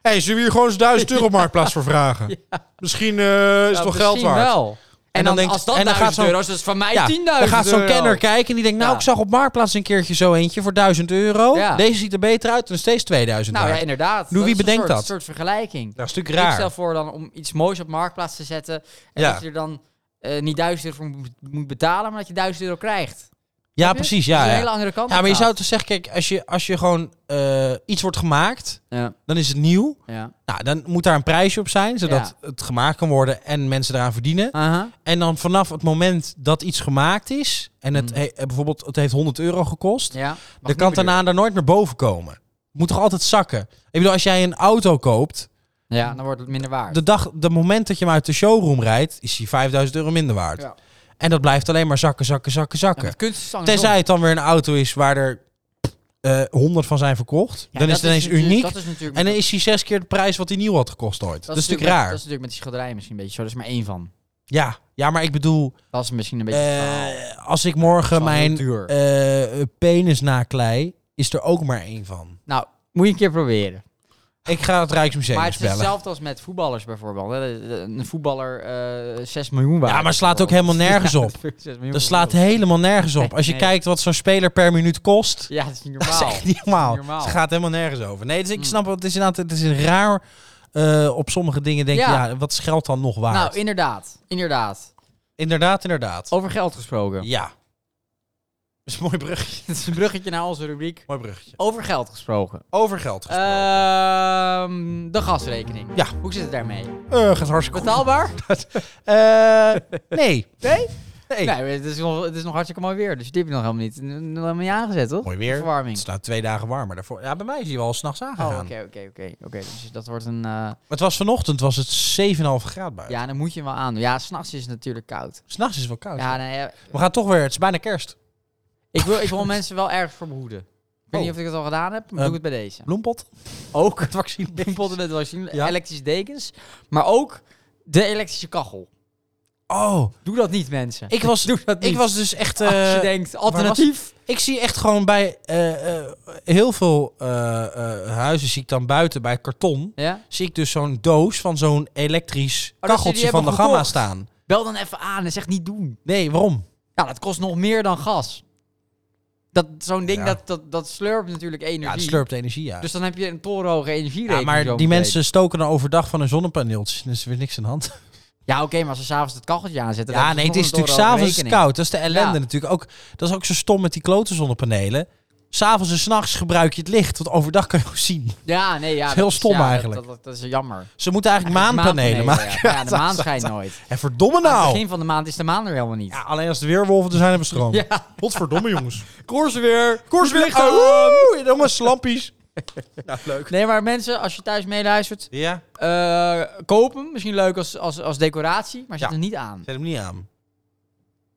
[SPEAKER 1] hey, zullen we hier gewoon eens duizend euro op marktplaats voor vragen? Misschien eh, is
[SPEAKER 2] Ja,
[SPEAKER 1] het toch geld
[SPEAKER 2] Nou, misschien
[SPEAKER 1] waard?
[SPEAKER 2] wel.
[SPEAKER 1] dan
[SPEAKER 2] En, dan,
[SPEAKER 1] denkt-
[SPEAKER 2] als dat
[SPEAKER 1] en dan gaat
[SPEAKER 2] 1000
[SPEAKER 1] zo'n-
[SPEAKER 2] euro is, dat is van mij
[SPEAKER 1] Ja,
[SPEAKER 2] 10.000
[SPEAKER 1] Dan gaat zo'n
[SPEAKER 2] euro.
[SPEAKER 1] kenner kijken en die denkt... Nou,
[SPEAKER 2] Ja.
[SPEAKER 1] ik zag op marktplaats een keertje zo eentje voor 1000 euro.
[SPEAKER 2] Ja.
[SPEAKER 1] Deze ziet er beter uit en is steeds 2000
[SPEAKER 2] Nou ja,
[SPEAKER 1] waard.
[SPEAKER 2] inderdaad.
[SPEAKER 1] Doe,
[SPEAKER 2] Dat
[SPEAKER 1] wie
[SPEAKER 2] is een
[SPEAKER 1] bedenkt
[SPEAKER 2] soort-
[SPEAKER 1] dat?
[SPEAKER 2] soort vergelijking.
[SPEAKER 1] Dat is natuurlijk
[SPEAKER 2] Ik stel
[SPEAKER 1] raar.
[SPEAKER 2] voor dan om iets moois op Marktplaats te zetten. En
[SPEAKER 1] Ja.
[SPEAKER 2] dat je er dan eh, niet 1000 euro voor moet- moet betalen, maar dat je 1000 euro krijgt.
[SPEAKER 1] Ja,
[SPEAKER 2] Snap je?
[SPEAKER 1] precies.
[SPEAKER 2] dat
[SPEAKER 1] Ja,
[SPEAKER 2] is een
[SPEAKER 1] ja.
[SPEAKER 2] hele andere kant.
[SPEAKER 1] ja,
[SPEAKER 2] op
[SPEAKER 1] maar je
[SPEAKER 2] gaat.
[SPEAKER 1] zou toch zeggen... Kijk, als je, als je gewoon eh, iets wordt gemaakt,
[SPEAKER 2] Ja,
[SPEAKER 1] dan is het nieuw.
[SPEAKER 2] ja.
[SPEAKER 1] Nou, dan moet daar een prijsje op zijn, zodat het gemaakt kan worden en mensen eraan verdienen.
[SPEAKER 2] Aha.
[SPEAKER 1] En dan vanaf het moment dat iets gemaakt is, en het
[SPEAKER 2] Mm.
[SPEAKER 1] he- eh, bijvoorbeeld het heeft 100 euro gekost,
[SPEAKER 2] ja.
[SPEAKER 1] dan
[SPEAKER 2] Mag niet
[SPEAKER 1] kan
[SPEAKER 2] meer
[SPEAKER 1] het daarna daar nooit meer boven komen. Het moet toch altijd zakken? Ik bedoel, als jij een auto koopt,
[SPEAKER 2] duur. Ja, dan wordt het minder waard.
[SPEAKER 1] de dag, de moment dat je hem uit de showroom rijdt, is die 5000 euro minder waard.
[SPEAKER 2] Ja.
[SPEAKER 1] En dat blijft alleen maar zakken, zakken, zakken,
[SPEAKER 2] Ja,
[SPEAKER 1] zakken.
[SPEAKER 2] met kunst is het andersom.
[SPEAKER 1] Tenzij het dan weer een auto is waar er eh 100 van zijn verkocht,
[SPEAKER 2] Ja,
[SPEAKER 1] dan is
[SPEAKER 2] dat
[SPEAKER 1] het ineens
[SPEAKER 2] natuurlijk-
[SPEAKER 1] uniek.
[SPEAKER 2] Dat is natuurlijk
[SPEAKER 1] En dan is hij zes keer de prijs wat hij nieuw had gekost ooit. Dat, is natuurlijk
[SPEAKER 2] met-
[SPEAKER 1] raar.
[SPEAKER 2] Dat is natuurlijk met die schilderij misschien een beetje zo. Dat is maar één van.
[SPEAKER 1] Ja. ja, maar ik bedoel,
[SPEAKER 2] Dat is misschien een beetje.
[SPEAKER 1] eh,
[SPEAKER 2] het verhaal.
[SPEAKER 1] als ik
[SPEAKER 2] Dat is
[SPEAKER 1] morgen
[SPEAKER 2] wel heel
[SPEAKER 1] mijn
[SPEAKER 2] duur.
[SPEAKER 1] eh, penis naklei, is er ook maar één van.
[SPEAKER 2] nou, moet je een keer proberen.
[SPEAKER 1] Ik ga het Rijksmuseum
[SPEAKER 2] Maar
[SPEAKER 1] maar
[SPEAKER 2] het is hetzelfde als met voetballers bijvoorbeeld. hè. De- de- Een voetballer eh 6 miljoen waard.
[SPEAKER 1] Ja, maar slaat ook helemaal
[SPEAKER 2] bijvoorbeeld.
[SPEAKER 1] nergens op.
[SPEAKER 2] 6 miljoen
[SPEAKER 1] Dat slaat
[SPEAKER 2] bijvoorbeeld.
[SPEAKER 1] helemaal nergens op. Als je
[SPEAKER 2] Nee.
[SPEAKER 1] kijkt wat zo'n speler per minuut kost,
[SPEAKER 2] Ja, dat is niet
[SPEAKER 1] dat is
[SPEAKER 2] normaal.
[SPEAKER 1] echt niet normaal.
[SPEAKER 2] Normaal.
[SPEAKER 1] Het gaat helemaal nergens over. Nee, dus ik
[SPEAKER 2] Mm.
[SPEAKER 1] snap, het is inderdaad het is een raar... eh, op sommige dingen denk je, ja.
[SPEAKER 2] Ja.
[SPEAKER 1] wat is geld dan nog waard?
[SPEAKER 2] Nou, inderdaad. Inderdaad.
[SPEAKER 1] inderdaad, inderdaad.
[SPEAKER 2] Over geld gesproken.
[SPEAKER 1] Ja. Dat is een mooi brugje.
[SPEAKER 2] Het Oh, is een bruggetje naar onze rubriek.
[SPEAKER 1] Mooi bruggetje.
[SPEAKER 2] Over geld gesproken.
[SPEAKER 1] Over geld gesproken.
[SPEAKER 2] Ehm, de gasrekening.
[SPEAKER 1] Ja.
[SPEAKER 2] Hoe zit het daarmee?
[SPEAKER 1] Eh, gaat hartstikke goed.
[SPEAKER 2] Betaalbaar?
[SPEAKER 1] Eh, nee. Nee? Nee.
[SPEAKER 2] Nee, het is, nog, het is nog hartstikke mooi weer. Dus die heb je nog helemaal niet, nog helemaal niet aangezet, toch?
[SPEAKER 1] Mooi weer. Het
[SPEAKER 2] Verwarming.
[SPEAKER 1] staat twee dagen warmer. Daarvoor. Ja, bij mij is hij wel al s'nachts
[SPEAKER 2] Oh,
[SPEAKER 1] aangegaan.
[SPEAKER 2] oké, oké, oké. Oké, dus dat wordt een... eh,
[SPEAKER 1] Maar het was vanochtend was het 7,5 graden buiten.
[SPEAKER 2] ja, dan moet je hem wel aandoen. Ja, s'nachts is het natuurlijk koud.
[SPEAKER 1] S'nachts is het wel koud.
[SPEAKER 2] Ja, nee, eh,
[SPEAKER 1] We gaan toch weer. Het is bijna kerst.
[SPEAKER 2] ik, wil, ik wil mensen wel ergens voor behoeden. weet
[SPEAKER 1] Oh.
[SPEAKER 2] niet of ik het al gedaan heb, maar
[SPEAKER 1] Eh,
[SPEAKER 2] doe het bij deze.
[SPEAKER 1] Bloempot?
[SPEAKER 2] Ook het vaccin. Bloempotten met vaccin,
[SPEAKER 1] Ja.
[SPEAKER 2] elektrische dekens, maar ook de elektrische kachel.
[SPEAKER 1] Oh,
[SPEAKER 2] Doe dat niet, mensen.
[SPEAKER 1] ik was,
[SPEAKER 2] Doe dat niet.
[SPEAKER 1] ik was dus echt...
[SPEAKER 2] Als je
[SPEAKER 1] eh,
[SPEAKER 2] denkt, alternatief.
[SPEAKER 1] Ik zie echt gewoon bij eh, eh, heel veel eh, eh, huizen zie ik dan buiten bij karton.
[SPEAKER 2] Ja?
[SPEAKER 1] Zie ik dus zo'n doos van zo'n elektrisch
[SPEAKER 2] Oh, die
[SPEAKER 1] kacheltje van de
[SPEAKER 2] hebben
[SPEAKER 1] gamma
[SPEAKER 2] gekocht.
[SPEAKER 1] staan.
[SPEAKER 2] Bel dan even aan en zeg niet doen.
[SPEAKER 1] Nee, waarom?
[SPEAKER 2] Ja, dat kost nog meer dan gas. Dat, zo'n ding,
[SPEAKER 1] Ja.
[SPEAKER 2] dat, dat, dat slurpt natuurlijk energie.
[SPEAKER 1] Ja, het slurpt energie uit.
[SPEAKER 2] Dus dan heb je een torenhoge energierekening.
[SPEAKER 1] ja, maar die
[SPEAKER 2] zometeen.
[SPEAKER 1] mensen stoken dan overdag van hun zonnepaneeltjes. Dus er is niks aan de hand.
[SPEAKER 2] Ja, oké, maar als ze s'avonds het kacheltje aanzetten...
[SPEAKER 1] Ja,
[SPEAKER 2] dan
[SPEAKER 1] nee, het
[SPEAKER 2] nog
[SPEAKER 1] is
[SPEAKER 2] een
[SPEAKER 1] natuurlijk s'avonds
[SPEAKER 2] torenhoge
[SPEAKER 1] koud. Dat is de ellende
[SPEAKER 2] Ja.
[SPEAKER 1] natuurlijk. Ook, dat is ook zo stom met die klote zonnepanelen. S'avonds en s'nachts gebruik je het licht. Want overdag kan je ook zien.
[SPEAKER 2] rekening. Ja, nee, ja.
[SPEAKER 1] is heel
[SPEAKER 2] is-
[SPEAKER 1] stom
[SPEAKER 2] ja, dat-
[SPEAKER 1] eigenlijk.
[SPEAKER 2] Dat, dat, dat is jammer.
[SPEAKER 1] Ze moeten eigenlijk maanpanelen maken.
[SPEAKER 2] ja. Ja, de maan schijnt nooit.
[SPEAKER 1] En verdomme
[SPEAKER 2] Aan het
[SPEAKER 1] nou!
[SPEAKER 2] begin van de maand is de maan er helemaal niet.
[SPEAKER 1] Ja, alleen als de weerwolven er zijn, hebben we stroom.
[SPEAKER 2] Ja.
[SPEAKER 1] Godverdomme, jongens.
[SPEAKER 2] Koers weer!
[SPEAKER 1] Koers weer
[SPEAKER 2] aan!
[SPEAKER 1] Oeh, Helemaal slampies. nou, leuk.
[SPEAKER 2] Nee, maar mensen, als je thuis meeluistert,
[SPEAKER 1] Ja,
[SPEAKER 2] eh koop hem. Misschien leuk als, als, als decoratie, maar zet
[SPEAKER 1] Ja.
[SPEAKER 2] hem niet aan.
[SPEAKER 1] zet hem niet aan.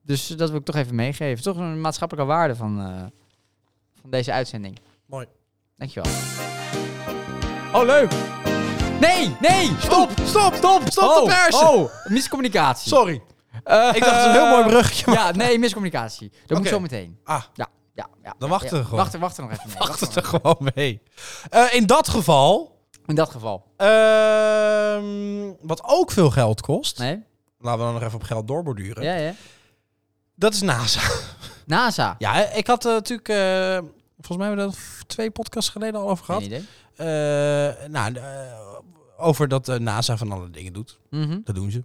[SPEAKER 2] Dus eh, dat wil ik toch even meegeven. Toch een maatschappelijke waarde van, eh, van deze uitzending.
[SPEAKER 1] Mooi.
[SPEAKER 2] Dankjewel. Oh, leuk! Nee, nee! Stop!
[SPEAKER 1] stop, stop, stop
[SPEAKER 2] oh,
[SPEAKER 1] de persen.
[SPEAKER 2] Oh, miscommunicatie.
[SPEAKER 1] Sorry.
[SPEAKER 2] Eh,
[SPEAKER 1] Ik dacht, het is een heel mooi bruggetje. maar-
[SPEAKER 2] Ja, nee, miscommunicatie. Dat moet
[SPEAKER 1] Oké.
[SPEAKER 2] zo meteen.
[SPEAKER 1] Ah,
[SPEAKER 2] Ja, ja, ja.
[SPEAKER 1] Dan wachten we gewoon.
[SPEAKER 2] Wachten, wachten nog even. mee.
[SPEAKER 1] wacht
[SPEAKER 2] Wachten
[SPEAKER 1] het
[SPEAKER 2] nog
[SPEAKER 1] er gewoon mee. Eh, in dat geval,
[SPEAKER 2] even. In dat geval.
[SPEAKER 1] ehm, wat ook veel geld kost.
[SPEAKER 2] Nee?
[SPEAKER 1] Laten we dan nog even op geld doorborduren.
[SPEAKER 2] Ja, ja.
[SPEAKER 1] Dat is NASA.
[SPEAKER 2] NASA.
[SPEAKER 1] Ja, hè, ik had eh, natuurlijk... eh, volgens mij hebben we dat twee podcasts geleden al over gehad.
[SPEAKER 2] Geen idee.
[SPEAKER 1] Eh, nou, eh, over dat eh, NASA van alle dingen doet.
[SPEAKER 2] Mhm.
[SPEAKER 1] Dat doen ze.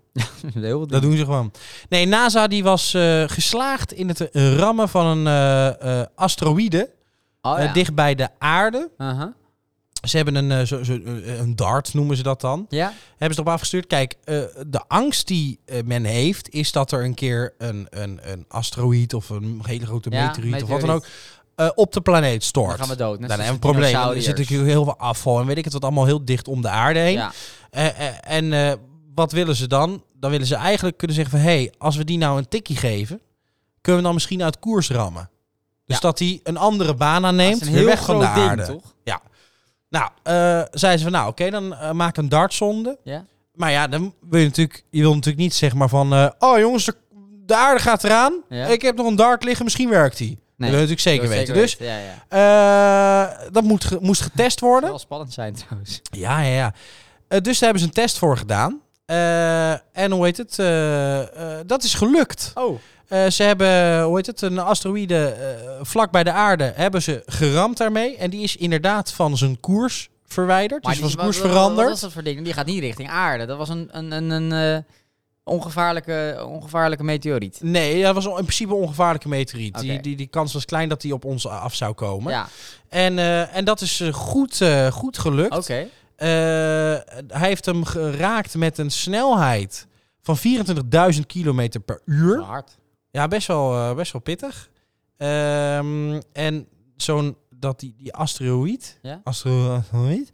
[SPEAKER 2] Heel wat
[SPEAKER 1] Dat doen ze gewoon. Nee, NASA die was eh, geslaagd in het rammen van een eh, eh, asteroïde
[SPEAKER 2] Oh,
[SPEAKER 1] eh,
[SPEAKER 2] ja.
[SPEAKER 1] dicht bij de aarde.
[SPEAKER 2] Aha.
[SPEAKER 1] Ze hebben een, eh, zo, zo, eh, een DART, noemen ze dat dan.
[SPEAKER 2] Ja?
[SPEAKER 1] Hebben ze erop afgestuurd. Kijk, eh, de angst die eh, men heeft is dat er een keer een, een, een asteroïde of een hele grote
[SPEAKER 2] Ja,
[SPEAKER 1] meteoriet of wat dan ook
[SPEAKER 2] meteoriet.
[SPEAKER 1] eh, op de planeet stort.
[SPEAKER 2] Dan gaan we dood. Net
[SPEAKER 1] Dan hebben we
[SPEAKER 2] zoals
[SPEAKER 1] een
[SPEAKER 2] de
[SPEAKER 1] probleem. Dan
[SPEAKER 2] dinosauriërs.
[SPEAKER 1] zit natuurlijk heel veel afval en weet ik het wat allemaal heel dicht om de aarde heen.
[SPEAKER 2] Ja.
[SPEAKER 1] Eh, eh, en eh, wat willen ze dan? Dan willen ze eigenlijk kunnen zeggen van... hé, hey, als we die nou een tikkie geven... kunnen we dan misschien uit koers rammen. Dus
[SPEAKER 2] Ja.
[SPEAKER 1] dat hij een andere baan aanneemt,
[SPEAKER 2] Dat is
[SPEAKER 1] weer weg van de
[SPEAKER 2] groot ding,
[SPEAKER 1] aarde.
[SPEAKER 2] toch?
[SPEAKER 1] Nou, eh zeiden ze van... nou, oké, dan eh, maak een dartzonde.
[SPEAKER 2] Ja.
[SPEAKER 1] Maar ja, dan wil je natuurlijk... je wil natuurlijk niet zeg maar van... eh, oh jongens, de, de aarde gaat eraan.
[SPEAKER 2] Ja.
[SPEAKER 1] Ik heb nog een dart liggen, misschien werkt die. dat wil je natuurlijk zeker
[SPEAKER 2] dat wil
[SPEAKER 1] weten.
[SPEAKER 2] ik
[SPEAKER 1] dus
[SPEAKER 2] weten. Ja, ja.
[SPEAKER 1] eh, dat moet ge- moest getest
[SPEAKER 2] Het
[SPEAKER 1] worden.
[SPEAKER 2] zal spannend zijn trouwens.
[SPEAKER 1] Ja, ja, ja. Eh, dus daar hebben ze een test voor gedaan. Eh, en hoe heet het? eh, eh, dat is gelukt.
[SPEAKER 2] Oh.
[SPEAKER 1] Eh, ze hebben, hoe heet het, een asteroïde eh, vlak bij de aarde hebben ze geramd daarmee. En die is inderdaad van zijn koers verwijderd. dus van zijn koers
[SPEAKER 2] Wat
[SPEAKER 1] veranderd.
[SPEAKER 2] was dat voor ding? Die gaat niet richting aarde. Dat was een, een, een, een eh, ongevaarlijke, ongevaarlijke meteoriet.
[SPEAKER 1] Nee, dat was in principe een ongevaarlijke meteoriet. Die,
[SPEAKER 2] Oké.
[SPEAKER 1] die, die kans was klein dat die op ons af zou komen.
[SPEAKER 2] Ja,
[SPEAKER 1] En, eh, en dat is eh, goed, eh, goed gelukt.
[SPEAKER 2] oké.
[SPEAKER 1] Eh, hij heeft hem geraakt met een snelheid van 24.000 kilometer per uur.
[SPEAKER 2] Maar Hard.
[SPEAKER 1] Ja, best wel, eh, best wel pittig. Ehm, en zo'n dat die, die asteroïd,
[SPEAKER 2] Ja.
[SPEAKER 1] astero- asteroïd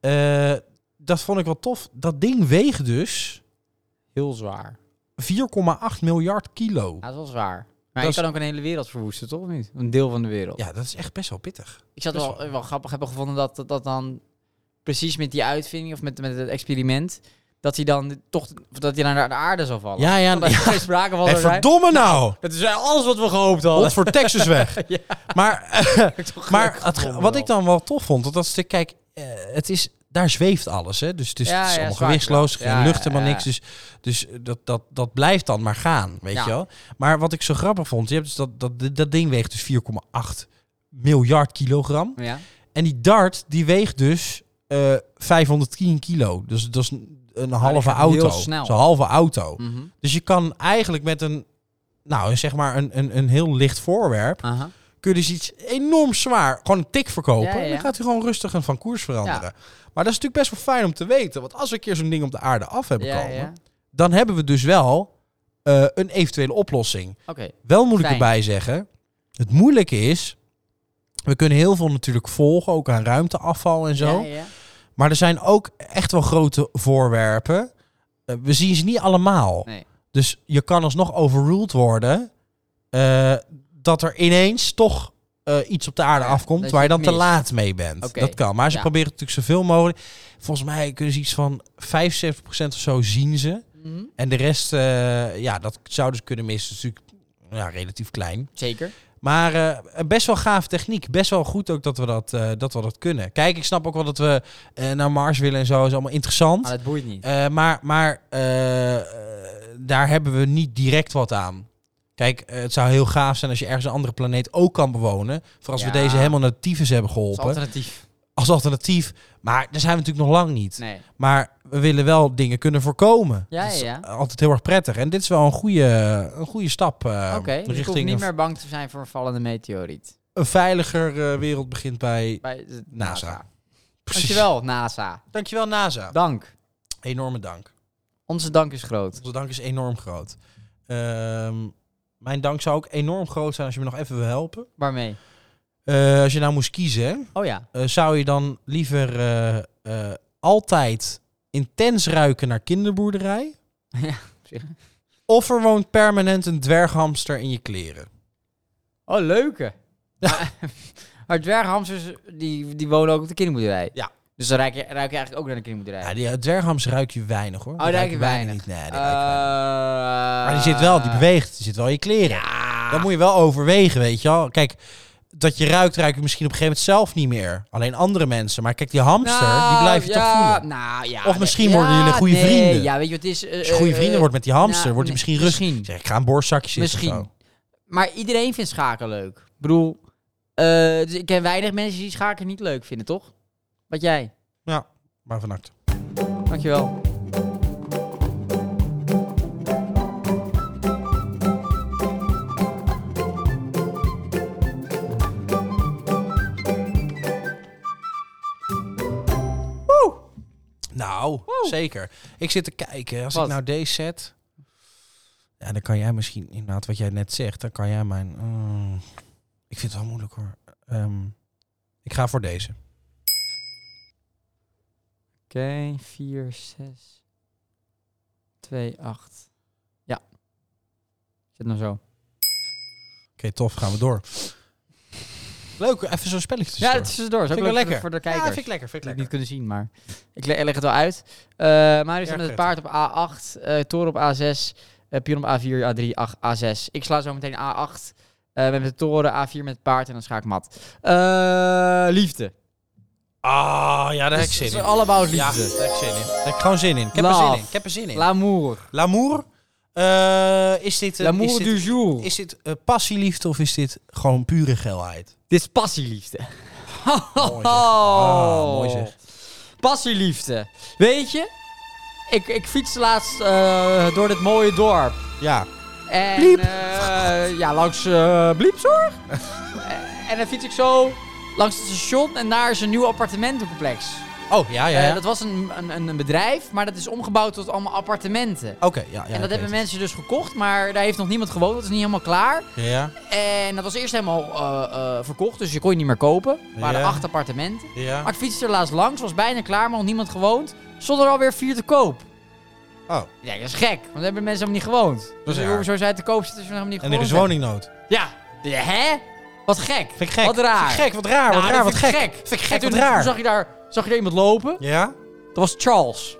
[SPEAKER 1] eh, dat vond ik wel tof. Dat ding weegt dus
[SPEAKER 2] Heel zwaar.
[SPEAKER 1] 4,8 miljard kilo.
[SPEAKER 2] Ja, dat is wel zwaar. Maar
[SPEAKER 1] Dat
[SPEAKER 2] je
[SPEAKER 1] is-
[SPEAKER 2] kan ook een hele wereld verwoesten, toch? Of niet? Een deel van de wereld.
[SPEAKER 1] Ja, dat is echt best wel pittig.
[SPEAKER 2] Ik zou het
[SPEAKER 1] best
[SPEAKER 2] wel, eh, wel grappig hebben gevonden dat, dat dat dan precies met die uitvinding of met, met het experiment, dat hij dan toch dat hij naar de aarde zou vallen.
[SPEAKER 1] Ja, ja.
[SPEAKER 2] Dat er
[SPEAKER 1] ja.
[SPEAKER 2] geen sprake van
[SPEAKER 1] Hey,
[SPEAKER 2] zou zijn.
[SPEAKER 1] verdomme nou!
[SPEAKER 2] Dat is alles wat we gehoopt hadden.
[SPEAKER 1] Hond voor Texas weg.
[SPEAKER 2] Ja.
[SPEAKER 1] Maar,
[SPEAKER 2] Toch
[SPEAKER 1] maar
[SPEAKER 2] gelukkig
[SPEAKER 1] het-
[SPEAKER 2] gevonden
[SPEAKER 1] wat
[SPEAKER 2] wel.
[SPEAKER 1] ik dan wel tof vond, dat dat stuk, kijk, eh, het is, daar zweeft alles. Hè? Dus het is,
[SPEAKER 2] Ja,
[SPEAKER 1] het is
[SPEAKER 2] ja,
[SPEAKER 1] allemaal
[SPEAKER 2] zwaar,
[SPEAKER 1] gewichtsloos,
[SPEAKER 2] ja.
[SPEAKER 1] geen
[SPEAKER 2] Ja,
[SPEAKER 1] lucht helemaal
[SPEAKER 2] ja, ja.
[SPEAKER 1] niks. Dus, dus dat, dat, dat blijft dan maar gaan, weet
[SPEAKER 2] Ja.
[SPEAKER 1] je wel. Maar wat ik zo grappig vond, je hebt dus dat, dat, dat ding weegt dus 4,8 miljard kilogram.
[SPEAKER 2] Ja.
[SPEAKER 1] En die dart, die weegt dus eh 510 kilo. Dus dat is een, een halve
[SPEAKER 2] Ah, gaat heel
[SPEAKER 1] auto.
[SPEAKER 2] snel.
[SPEAKER 1] Dat is een halve auto.
[SPEAKER 2] Mhm.
[SPEAKER 1] Dus je kan eigenlijk met een, nou zeg maar een, een, een heel licht voorwerp
[SPEAKER 2] Aha.
[SPEAKER 1] kun je dus iets enorm zwaar, gewoon een tik verkopen.
[SPEAKER 2] Ja, ja.
[SPEAKER 1] En dan gaat hij gewoon rustig en van koers veranderen. Maar dat is natuurlijk best wel fijn om te weten. Want als we een keer zo'n ding op de aarde af hebben
[SPEAKER 2] Ja,
[SPEAKER 1] komen,
[SPEAKER 2] ja.
[SPEAKER 1] dan hebben we dus wel eh, een eventuele oplossing.
[SPEAKER 2] Oké.
[SPEAKER 1] Wel moet ik
[SPEAKER 2] Fijn.
[SPEAKER 1] erbij zeggen, het moeilijke is, we kunnen heel veel natuurlijk volgen, ook aan ruimteafval en zo.
[SPEAKER 2] Ja, ja.
[SPEAKER 1] Maar er zijn ook echt wel grote voorwerpen. Eh, we zien ze niet allemaal.
[SPEAKER 2] Nee.
[SPEAKER 1] Dus je kan alsnog overruled worden eh, dat er ineens toch eh, iets op de aarde
[SPEAKER 2] Ja, dat
[SPEAKER 1] afkomt
[SPEAKER 2] je
[SPEAKER 1] waar je dan
[SPEAKER 2] het
[SPEAKER 1] te
[SPEAKER 2] mist.
[SPEAKER 1] laat mee bent.
[SPEAKER 2] Oké,
[SPEAKER 1] Dat kan. Maar ze
[SPEAKER 2] ja.
[SPEAKER 1] proberen het natuurlijk zoveel mogelijk. Volgens mij kunnen ze iets van 75% of zo zien ze.
[SPEAKER 2] Mhm.
[SPEAKER 1] En de rest, eh, ja, dat zouden ze kunnen missen. Dat is natuurlijk ja, relatief klein.
[SPEAKER 2] Zeker.
[SPEAKER 1] Maar eh, best wel gaaf techniek. Best wel goed ook dat we dat, eh, dat, we dat kunnen. Kijk, ik snap ook wel dat we eh, naar Mars willen en zo. is allemaal interessant.
[SPEAKER 2] Maar dat boeit niet.
[SPEAKER 1] Eh, maar maar eh, eh, daar hebben we niet direct wat aan. Kijk, eh, het zou heel gaaf zijn als je ergens een andere planeet ook kan bewonen. Voor als
[SPEAKER 2] Ja.
[SPEAKER 1] we deze helemaal naar tyfus hebben
[SPEAKER 2] Het is
[SPEAKER 1] geholpen.
[SPEAKER 2] alternatief.
[SPEAKER 1] Als alternatief. Maar daar zijn we natuurlijk nog lang niet.
[SPEAKER 2] Nee.
[SPEAKER 1] Maar we willen wel dingen kunnen voorkomen.
[SPEAKER 2] Ja,
[SPEAKER 1] dat is
[SPEAKER 2] ja, ja.
[SPEAKER 1] altijd heel erg prettig. En dit is wel een goede, een goede stap eh,
[SPEAKER 2] Oké, dus ik hoef
[SPEAKER 1] richting
[SPEAKER 2] niet
[SPEAKER 1] een,
[SPEAKER 2] meer bang te zijn voor een vallende meteoriet.
[SPEAKER 1] een veiliger eh, wereld begint bij...
[SPEAKER 2] Bij de
[SPEAKER 1] NASA. Precies.
[SPEAKER 2] Dankjewel, NASA.
[SPEAKER 1] Dankjewel NASA.
[SPEAKER 2] Dank.
[SPEAKER 1] Enorme dank.
[SPEAKER 2] Onze dank is groot.
[SPEAKER 1] Onze dank is enorm groot. Ehm, mijn dank zou ook enorm groot zijn als je me nog even wil helpen.
[SPEAKER 2] Waarmee?
[SPEAKER 1] Eh, als je nou moest kiezen, hè,
[SPEAKER 2] Oh ja.
[SPEAKER 1] eh, zou je dan liever eh, eh, altijd intens ruiken naar kinderboerderij?
[SPEAKER 2] Ja, op zich.
[SPEAKER 1] Of er woont permanent een dwerghamster in je kleren?
[SPEAKER 2] Oh, leuke. Maar- maar dwerghamsters, die, die wonen ook op de kinderboerderij.
[SPEAKER 1] Ja.
[SPEAKER 2] Dus dan ruik je, ruik je eigenlijk ook naar de kinderboerderij.
[SPEAKER 1] Ja, die eh, dwerghamster ruik je weinig hoor. Oh, Die
[SPEAKER 2] ruik
[SPEAKER 1] ruiken
[SPEAKER 2] je
[SPEAKER 1] bijna
[SPEAKER 2] weinig.
[SPEAKER 1] Niet. Nee, die ruiken weinig.
[SPEAKER 2] Eh,
[SPEAKER 1] Maar die zit wel, die beweegt. Die zit wel in je kleren.
[SPEAKER 2] Ja.
[SPEAKER 1] Dat moet je wel overwegen, weet je wel. Kijk, dat je ruikt, ruik je misschien op een gegeven moment zelf niet meer. Alleen andere mensen. Maar kijk, die hamster, die
[SPEAKER 2] Nou,
[SPEAKER 1] blijf je toch
[SPEAKER 2] ja,
[SPEAKER 1] voelen.
[SPEAKER 2] Nou, ja,
[SPEAKER 1] Of
[SPEAKER 2] nee.
[SPEAKER 1] misschien worden jullie goede
[SPEAKER 2] nee,
[SPEAKER 1] vrienden.
[SPEAKER 2] Ja, weet je wat het is? eh,
[SPEAKER 1] Als je goede
[SPEAKER 2] eh,
[SPEAKER 1] vrienden wordt met die hamster,
[SPEAKER 2] nou,
[SPEAKER 1] wordt je
[SPEAKER 2] nee,
[SPEAKER 1] misschien rustig.
[SPEAKER 2] misschien.
[SPEAKER 1] Zeg, ik ga een borstzakje zitten
[SPEAKER 2] Misschien.
[SPEAKER 1] of zo.
[SPEAKER 2] Maar iedereen vindt schaken leuk. Ik bedoel, eh, dus ik ken weinig mensen die schaken niet leuk vinden, toch? Wat jij.
[SPEAKER 1] Ja, maar vannacht.
[SPEAKER 2] Dankjewel.
[SPEAKER 1] Nou, zeker. Ik zit te kijken. Als
[SPEAKER 2] Wat?
[SPEAKER 1] ik nou deze zet... Ja, dan kan jij misschien inderdaad wat jij net zegt. Dan kan jij mijn... Mm, ik vind het wel moeilijk hoor. Ehm, ik ga voor deze.
[SPEAKER 2] Oké, 4, 6, 2, 8. Ja. Zit nou zo.
[SPEAKER 1] Oké, tof. Gaan we door. Leuk, even zo'n spelletje
[SPEAKER 2] Ja,
[SPEAKER 1] tussendoor.
[SPEAKER 2] het is tussendoor. Is ook
[SPEAKER 1] Vind ik wel
[SPEAKER 2] leuk
[SPEAKER 1] lekker.
[SPEAKER 2] voor de
[SPEAKER 1] Ja,
[SPEAKER 2] kijkers.
[SPEAKER 1] vind ik lekker. Vind
[SPEAKER 2] Die
[SPEAKER 1] ik lekker.
[SPEAKER 2] het niet kunnen zien, maar ik le- leg het wel uit. Eh Marius
[SPEAKER 1] Erg
[SPEAKER 2] met het paard op A8, eh toren op A6, eh pion op A4, A3, ach- A6. Ik sla zo meteen A8 eh, met de toren, A4 met het paard en dan schaak ik mat. Eh, liefde.
[SPEAKER 1] Ah, ja, daar heb ik
[SPEAKER 2] Dus
[SPEAKER 1] zin
[SPEAKER 2] het
[SPEAKER 1] in.
[SPEAKER 2] is allemaal
[SPEAKER 1] Ja,
[SPEAKER 2] liefde.
[SPEAKER 1] daar heb ik zin in. Daar heb ik gewoon zin in. Ik heb er zin
[SPEAKER 2] Love.
[SPEAKER 1] in. Ik heb er zin in.
[SPEAKER 2] L'amour.
[SPEAKER 1] L'amour. Eh, is dit... een- is
[SPEAKER 2] L'amour
[SPEAKER 1] dit-
[SPEAKER 2] du jour.
[SPEAKER 1] Is dit eh, passieliefde of is dit gewoon pure geilheid?
[SPEAKER 2] Dit is passieliefde.
[SPEAKER 1] Mooi zeg. Ah, mooi zeg.
[SPEAKER 2] Oh. Passieliefde. Weet je, ik, ik fietste laatst eh, door dit mooie dorp.
[SPEAKER 1] Ja.
[SPEAKER 2] En,
[SPEAKER 1] Bliep.
[SPEAKER 2] eh, ja, langs eh Bliepzorg. Eh, en dan fiets ik zo langs het station en daar is een nieuw appartementencomplex.
[SPEAKER 1] Oh, ja, ja.
[SPEAKER 2] Eh,
[SPEAKER 1] ja.
[SPEAKER 2] dat was een, een, een een bedrijf, maar dat is omgebouwd tot allemaal appartementen.
[SPEAKER 1] Oké, ja, ja.
[SPEAKER 2] en dat
[SPEAKER 1] ik
[SPEAKER 2] hebben
[SPEAKER 1] weet
[SPEAKER 2] mensen dus gekocht, maar daar heeft nog niemand gewoond. Dat is niet helemaal klaar.
[SPEAKER 1] het. Ja,
[SPEAKER 2] En dat was eerst helemaal eh, eh, verkocht, dus je kon je niet meer kopen. Er waren
[SPEAKER 1] Ja.
[SPEAKER 2] acht appartementen.
[SPEAKER 1] ja.
[SPEAKER 2] Maar ik fietste er laatst langs, was bijna klaar, maar nog niemand gewoond. Stond er alweer vier te koop.
[SPEAKER 1] Oh,
[SPEAKER 2] Ja, dat is gek, want daar hebben mensen helemaal niet gewoond. Dus
[SPEAKER 1] raar.
[SPEAKER 2] hoe zo zij te koop zitten als je helemaal niet
[SPEAKER 1] en er
[SPEAKER 2] gewoond
[SPEAKER 1] is woningnood.
[SPEAKER 2] hebt. Ja. De- Hè? Wat gek.
[SPEAKER 1] Vind ik gek.
[SPEAKER 2] Wat raar.
[SPEAKER 1] Vind ik gek, wat raar,
[SPEAKER 2] Nou,
[SPEAKER 1] wat
[SPEAKER 2] dat
[SPEAKER 1] raar, wat
[SPEAKER 2] vind ik
[SPEAKER 1] gek. Vind ik
[SPEAKER 2] En
[SPEAKER 1] gek,
[SPEAKER 2] toen
[SPEAKER 1] wat raar.
[SPEAKER 2] zag je, daar, zag je daar iemand lopen.
[SPEAKER 1] Ja?
[SPEAKER 2] Dat was Charles.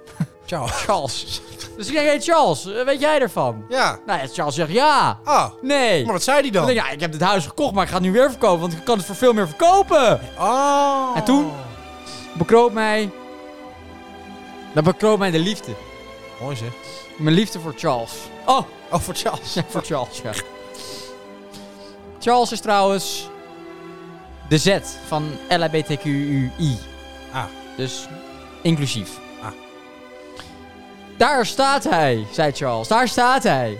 [SPEAKER 1] Ciao.
[SPEAKER 2] Charles. dus ik denk, hey Charles, eh, weet jij ervan?
[SPEAKER 1] Ja.
[SPEAKER 2] Nou ja, Charles zegt ja.
[SPEAKER 1] Ah,
[SPEAKER 2] Nee.
[SPEAKER 1] maar wat zei die
[SPEAKER 2] Ik
[SPEAKER 1] dan?
[SPEAKER 2] denk, ja, ik heb dit huis gekocht, maar ik ga het nu weer verkopen, want ik kan het voor veel meer verkopen.
[SPEAKER 1] Oh.
[SPEAKER 2] En toen? Bekroopt mij... Dat bekroopt mij de liefde.
[SPEAKER 1] Mooi zeg.
[SPEAKER 2] Mijn liefde voor Charles. Oh,
[SPEAKER 1] Oh, voor Charles.
[SPEAKER 2] ja, voor Charles, ja. Charles is trouwens de Z van LHBTQI.
[SPEAKER 1] Ah.
[SPEAKER 2] Dus inclusief.
[SPEAKER 1] Ah.
[SPEAKER 2] Daar staat hij, zei Charles. Daar staat hij.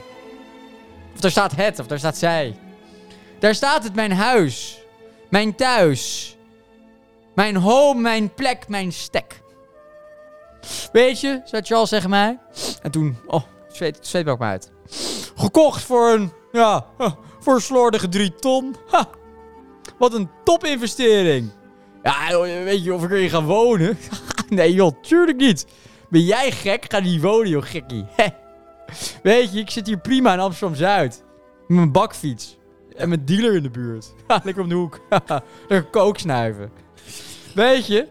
[SPEAKER 2] Of daar staat het, of daar staat zij. Daar staat het, mijn huis. Mijn thuis. Mijn home, mijn plek, mijn stek. Weet je, zei Charles tegen mij. En toen, oh, zweet, zweet brak me uit. Gekocht voor een, ja, voor een slordige drie ton. Ha, wat een topinvestering. Ja, joh, weet je of ik erin ga wonen? nee joh, tuurlijk niet. Ben jij gek? Ga niet wonen joh, gekkie. Heh. weet je, ik zit hier prima in Amsterdam-Zuid. Met mijn bakfiets. En met dealer in de buurt. Ja, lekker om de hoek. lekker kook snuiven. Weet je,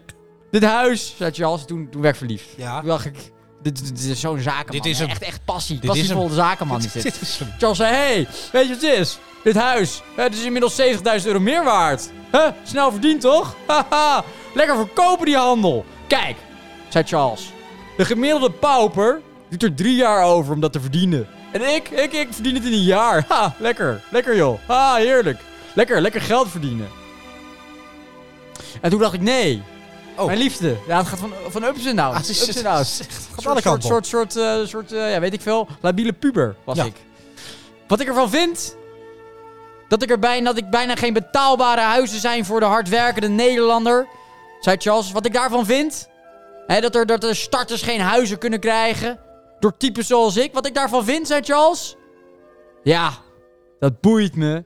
[SPEAKER 2] dit huis, zei Charles, toen, toen werd ik verliefd.
[SPEAKER 1] Ja.
[SPEAKER 2] Toen dacht ik, dit, dit- dit is zo'n zakenman.
[SPEAKER 1] Dit is
[SPEAKER 2] hè.
[SPEAKER 1] hem.
[SPEAKER 2] Echt, echt passie.
[SPEAKER 1] Dit is hem.
[SPEAKER 2] Passievolle zakenman is dit.
[SPEAKER 1] Dit is hem.
[SPEAKER 2] Charles zei, hey, weet je wat het is? Dit huis, hè, het is inmiddels 70.000 euro meer waard. Huh? Snel verdiend, toch? Haha, lekker verkopen die handel. Kijk, zei Charles. De gemiddelde pauper doet er drie jaar over om dat te verdienen. En ik, ik, ik verdien het in een jaar. Ha, lekker, lekker joh. Ha, heerlijk. Lekker, lekker geld verdienen. En toen dacht ik, nee.
[SPEAKER 1] Oh.
[SPEAKER 2] Mijn liefde. Ja, het gaat van, van ups en downs.
[SPEAKER 1] Ah, het is-
[SPEAKER 2] ups en downs.
[SPEAKER 1] het is echt-
[SPEAKER 2] Een
[SPEAKER 1] gaat alle
[SPEAKER 2] soort, soort,
[SPEAKER 1] kanten op.
[SPEAKER 2] soort, soort, eh, soort eh, ja, weet ik veel, labiele puber was
[SPEAKER 1] Ja.
[SPEAKER 2] ik. Wat ik ervan vind, dat, ik er bijna, dat ik bijna geen betaalbare huizen zijn voor de hardwerkende Nederlander, zei Charles. Wat ik daarvan vind, hè, dat, er, dat er starters geen huizen kunnen krijgen door typen zoals ik. Wat ik daarvan vind, zei Charles. Ja, dat boeit me.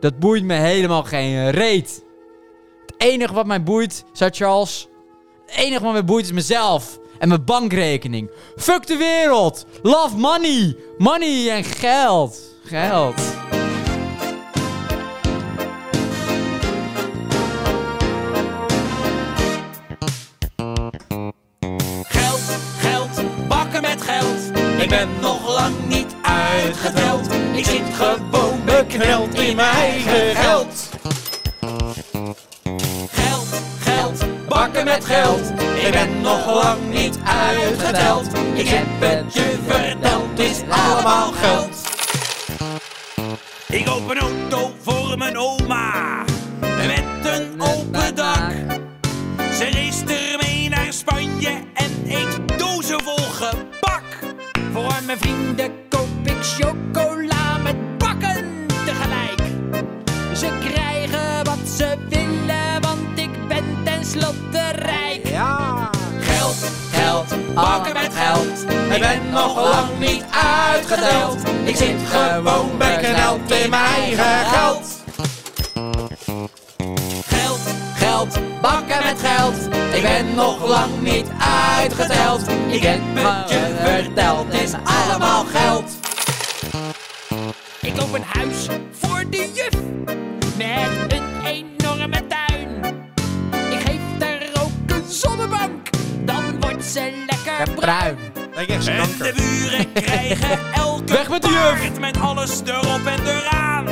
[SPEAKER 2] Dat boeit me helemaal geen reet. Het enige wat mij boeit, zei Charles, het enige wat me boeit is mezelf en mijn bankrekening. Fuck de wereld! Love money! Money en geld. Geld.
[SPEAKER 3] Geld, geld, bakken met geld. Ik ben nog lang niet uitgeteld. Ik zit gewoon bekneld in mijn eigen geld. Geld, geld, bakken met geld. Ik ben nog lang niet uitgeteld. Ik heb het je verteld, het is allemaal geld. Ik koop een auto voor mijn oma. Met een open dak. Ze reist ermee naar Spanje en eet dozen vol gebak. Voor aan mijn vrienden koop ik chocola met bakken tegelijk. Ze krijgen wat ze willen, want ik ben tenslotte rijk. Ja. Geld, geld, bakken met geld. Ik ben nog lang niet uitgeteld. Ik zit gewoon bekneld in mijn eigen geld. Geld, geld, bakken met geld. Ik ben nog lang niet uitgeteld. Ik heb het je verteld, het is allemaal geld. Ik koop een huis voor de juf. Met een enorme tuin. Ik geef daar ook een zonnebank. Dan wordt ze lekker
[SPEAKER 2] Bruin.
[SPEAKER 1] Lijkt echt zo'n
[SPEAKER 3] en de
[SPEAKER 1] kanker.
[SPEAKER 3] buren krijgen elke
[SPEAKER 2] Weg met die juf!
[SPEAKER 3] paard met alles erop en eraan.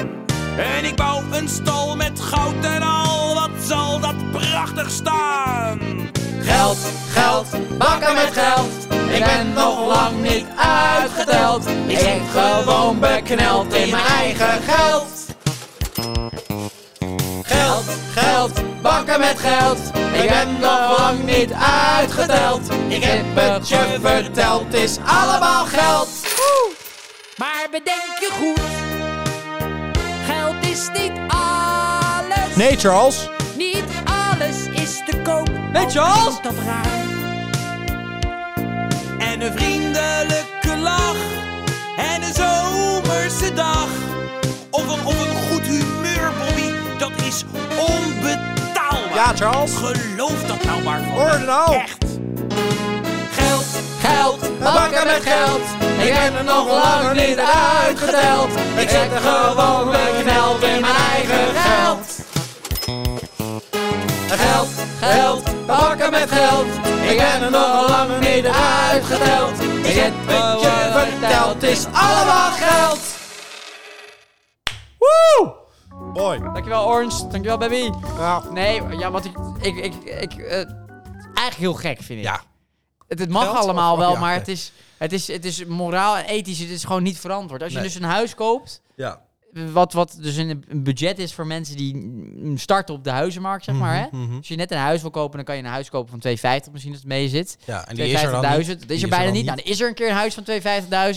[SPEAKER 3] En ik bouw een stal met goud en al, wat zal dat prachtig staan.
[SPEAKER 2] Geld, geld, bakken met geld. Ik ben nog lang niet uitgeteld. Ik zit gewoon bekneld in mijn eigen geld. Geld, geld, bakken met geld. Ik ben nog lang niet uitgeteld. Ik heb het je verteld, het is allemaal geld.
[SPEAKER 3] Maar bedenk je goed, geld is niet alles.
[SPEAKER 1] Nee, Charles.
[SPEAKER 3] Niet alles is te koop.
[SPEAKER 2] Nee, Charles!
[SPEAKER 3] Ook is dat raar? En een vriendelijke lach. En een zomerse dag. Of een, of een goed humeur, Bobby. Dat is onbetaalbaar.
[SPEAKER 1] Ja, Charles.
[SPEAKER 3] Geloof dat nou maar van
[SPEAKER 1] Hoor
[SPEAKER 3] me.
[SPEAKER 1] nou.
[SPEAKER 3] Echt. Geld,
[SPEAKER 2] Geld, bakken met geld. Ik ben er nog lang niet uitgeteld. Ik zit er gewoon bekneld in mijn eigen geld. Geld, geld, bakken met geld. Ik ben er nog lang niet uitgeteld. Ik zit het je verteld, het is allemaal geld. Woe!
[SPEAKER 1] Mooi.
[SPEAKER 2] Dankjewel Orange, dankjewel baby.
[SPEAKER 1] Ja.
[SPEAKER 2] Nee, ja, want ik, ik, ik, ik eh, eigenlijk heel gek vind ik.
[SPEAKER 1] Ja.
[SPEAKER 2] Het, het mag
[SPEAKER 1] Geld
[SPEAKER 2] allemaal
[SPEAKER 1] of-
[SPEAKER 2] wel,
[SPEAKER 1] ja,
[SPEAKER 2] maar
[SPEAKER 1] nee.
[SPEAKER 2] het is, het, is, het is moraal en ethisch, het is gewoon niet verantwoord. Als je
[SPEAKER 1] Nee.
[SPEAKER 2] dus een huis koopt,
[SPEAKER 1] Ja.
[SPEAKER 2] wat, wat dus een, een budget is voor mensen die mm, starten op de huizenmarkt, zeg maar.
[SPEAKER 1] Mhm,
[SPEAKER 2] Hè?
[SPEAKER 1] mhm.
[SPEAKER 2] Als je net een huis wil kopen, dan kan je een huis kopen van 250 misschien als het mee zit.
[SPEAKER 1] Ja, en
[SPEAKER 2] 250.000,
[SPEAKER 1] die is er dan
[SPEAKER 2] dat
[SPEAKER 1] niet.
[SPEAKER 2] is er
[SPEAKER 1] Die
[SPEAKER 2] bijna
[SPEAKER 1] dan
[SPEAKER 2] niet. Nou, er is er een keer een huis van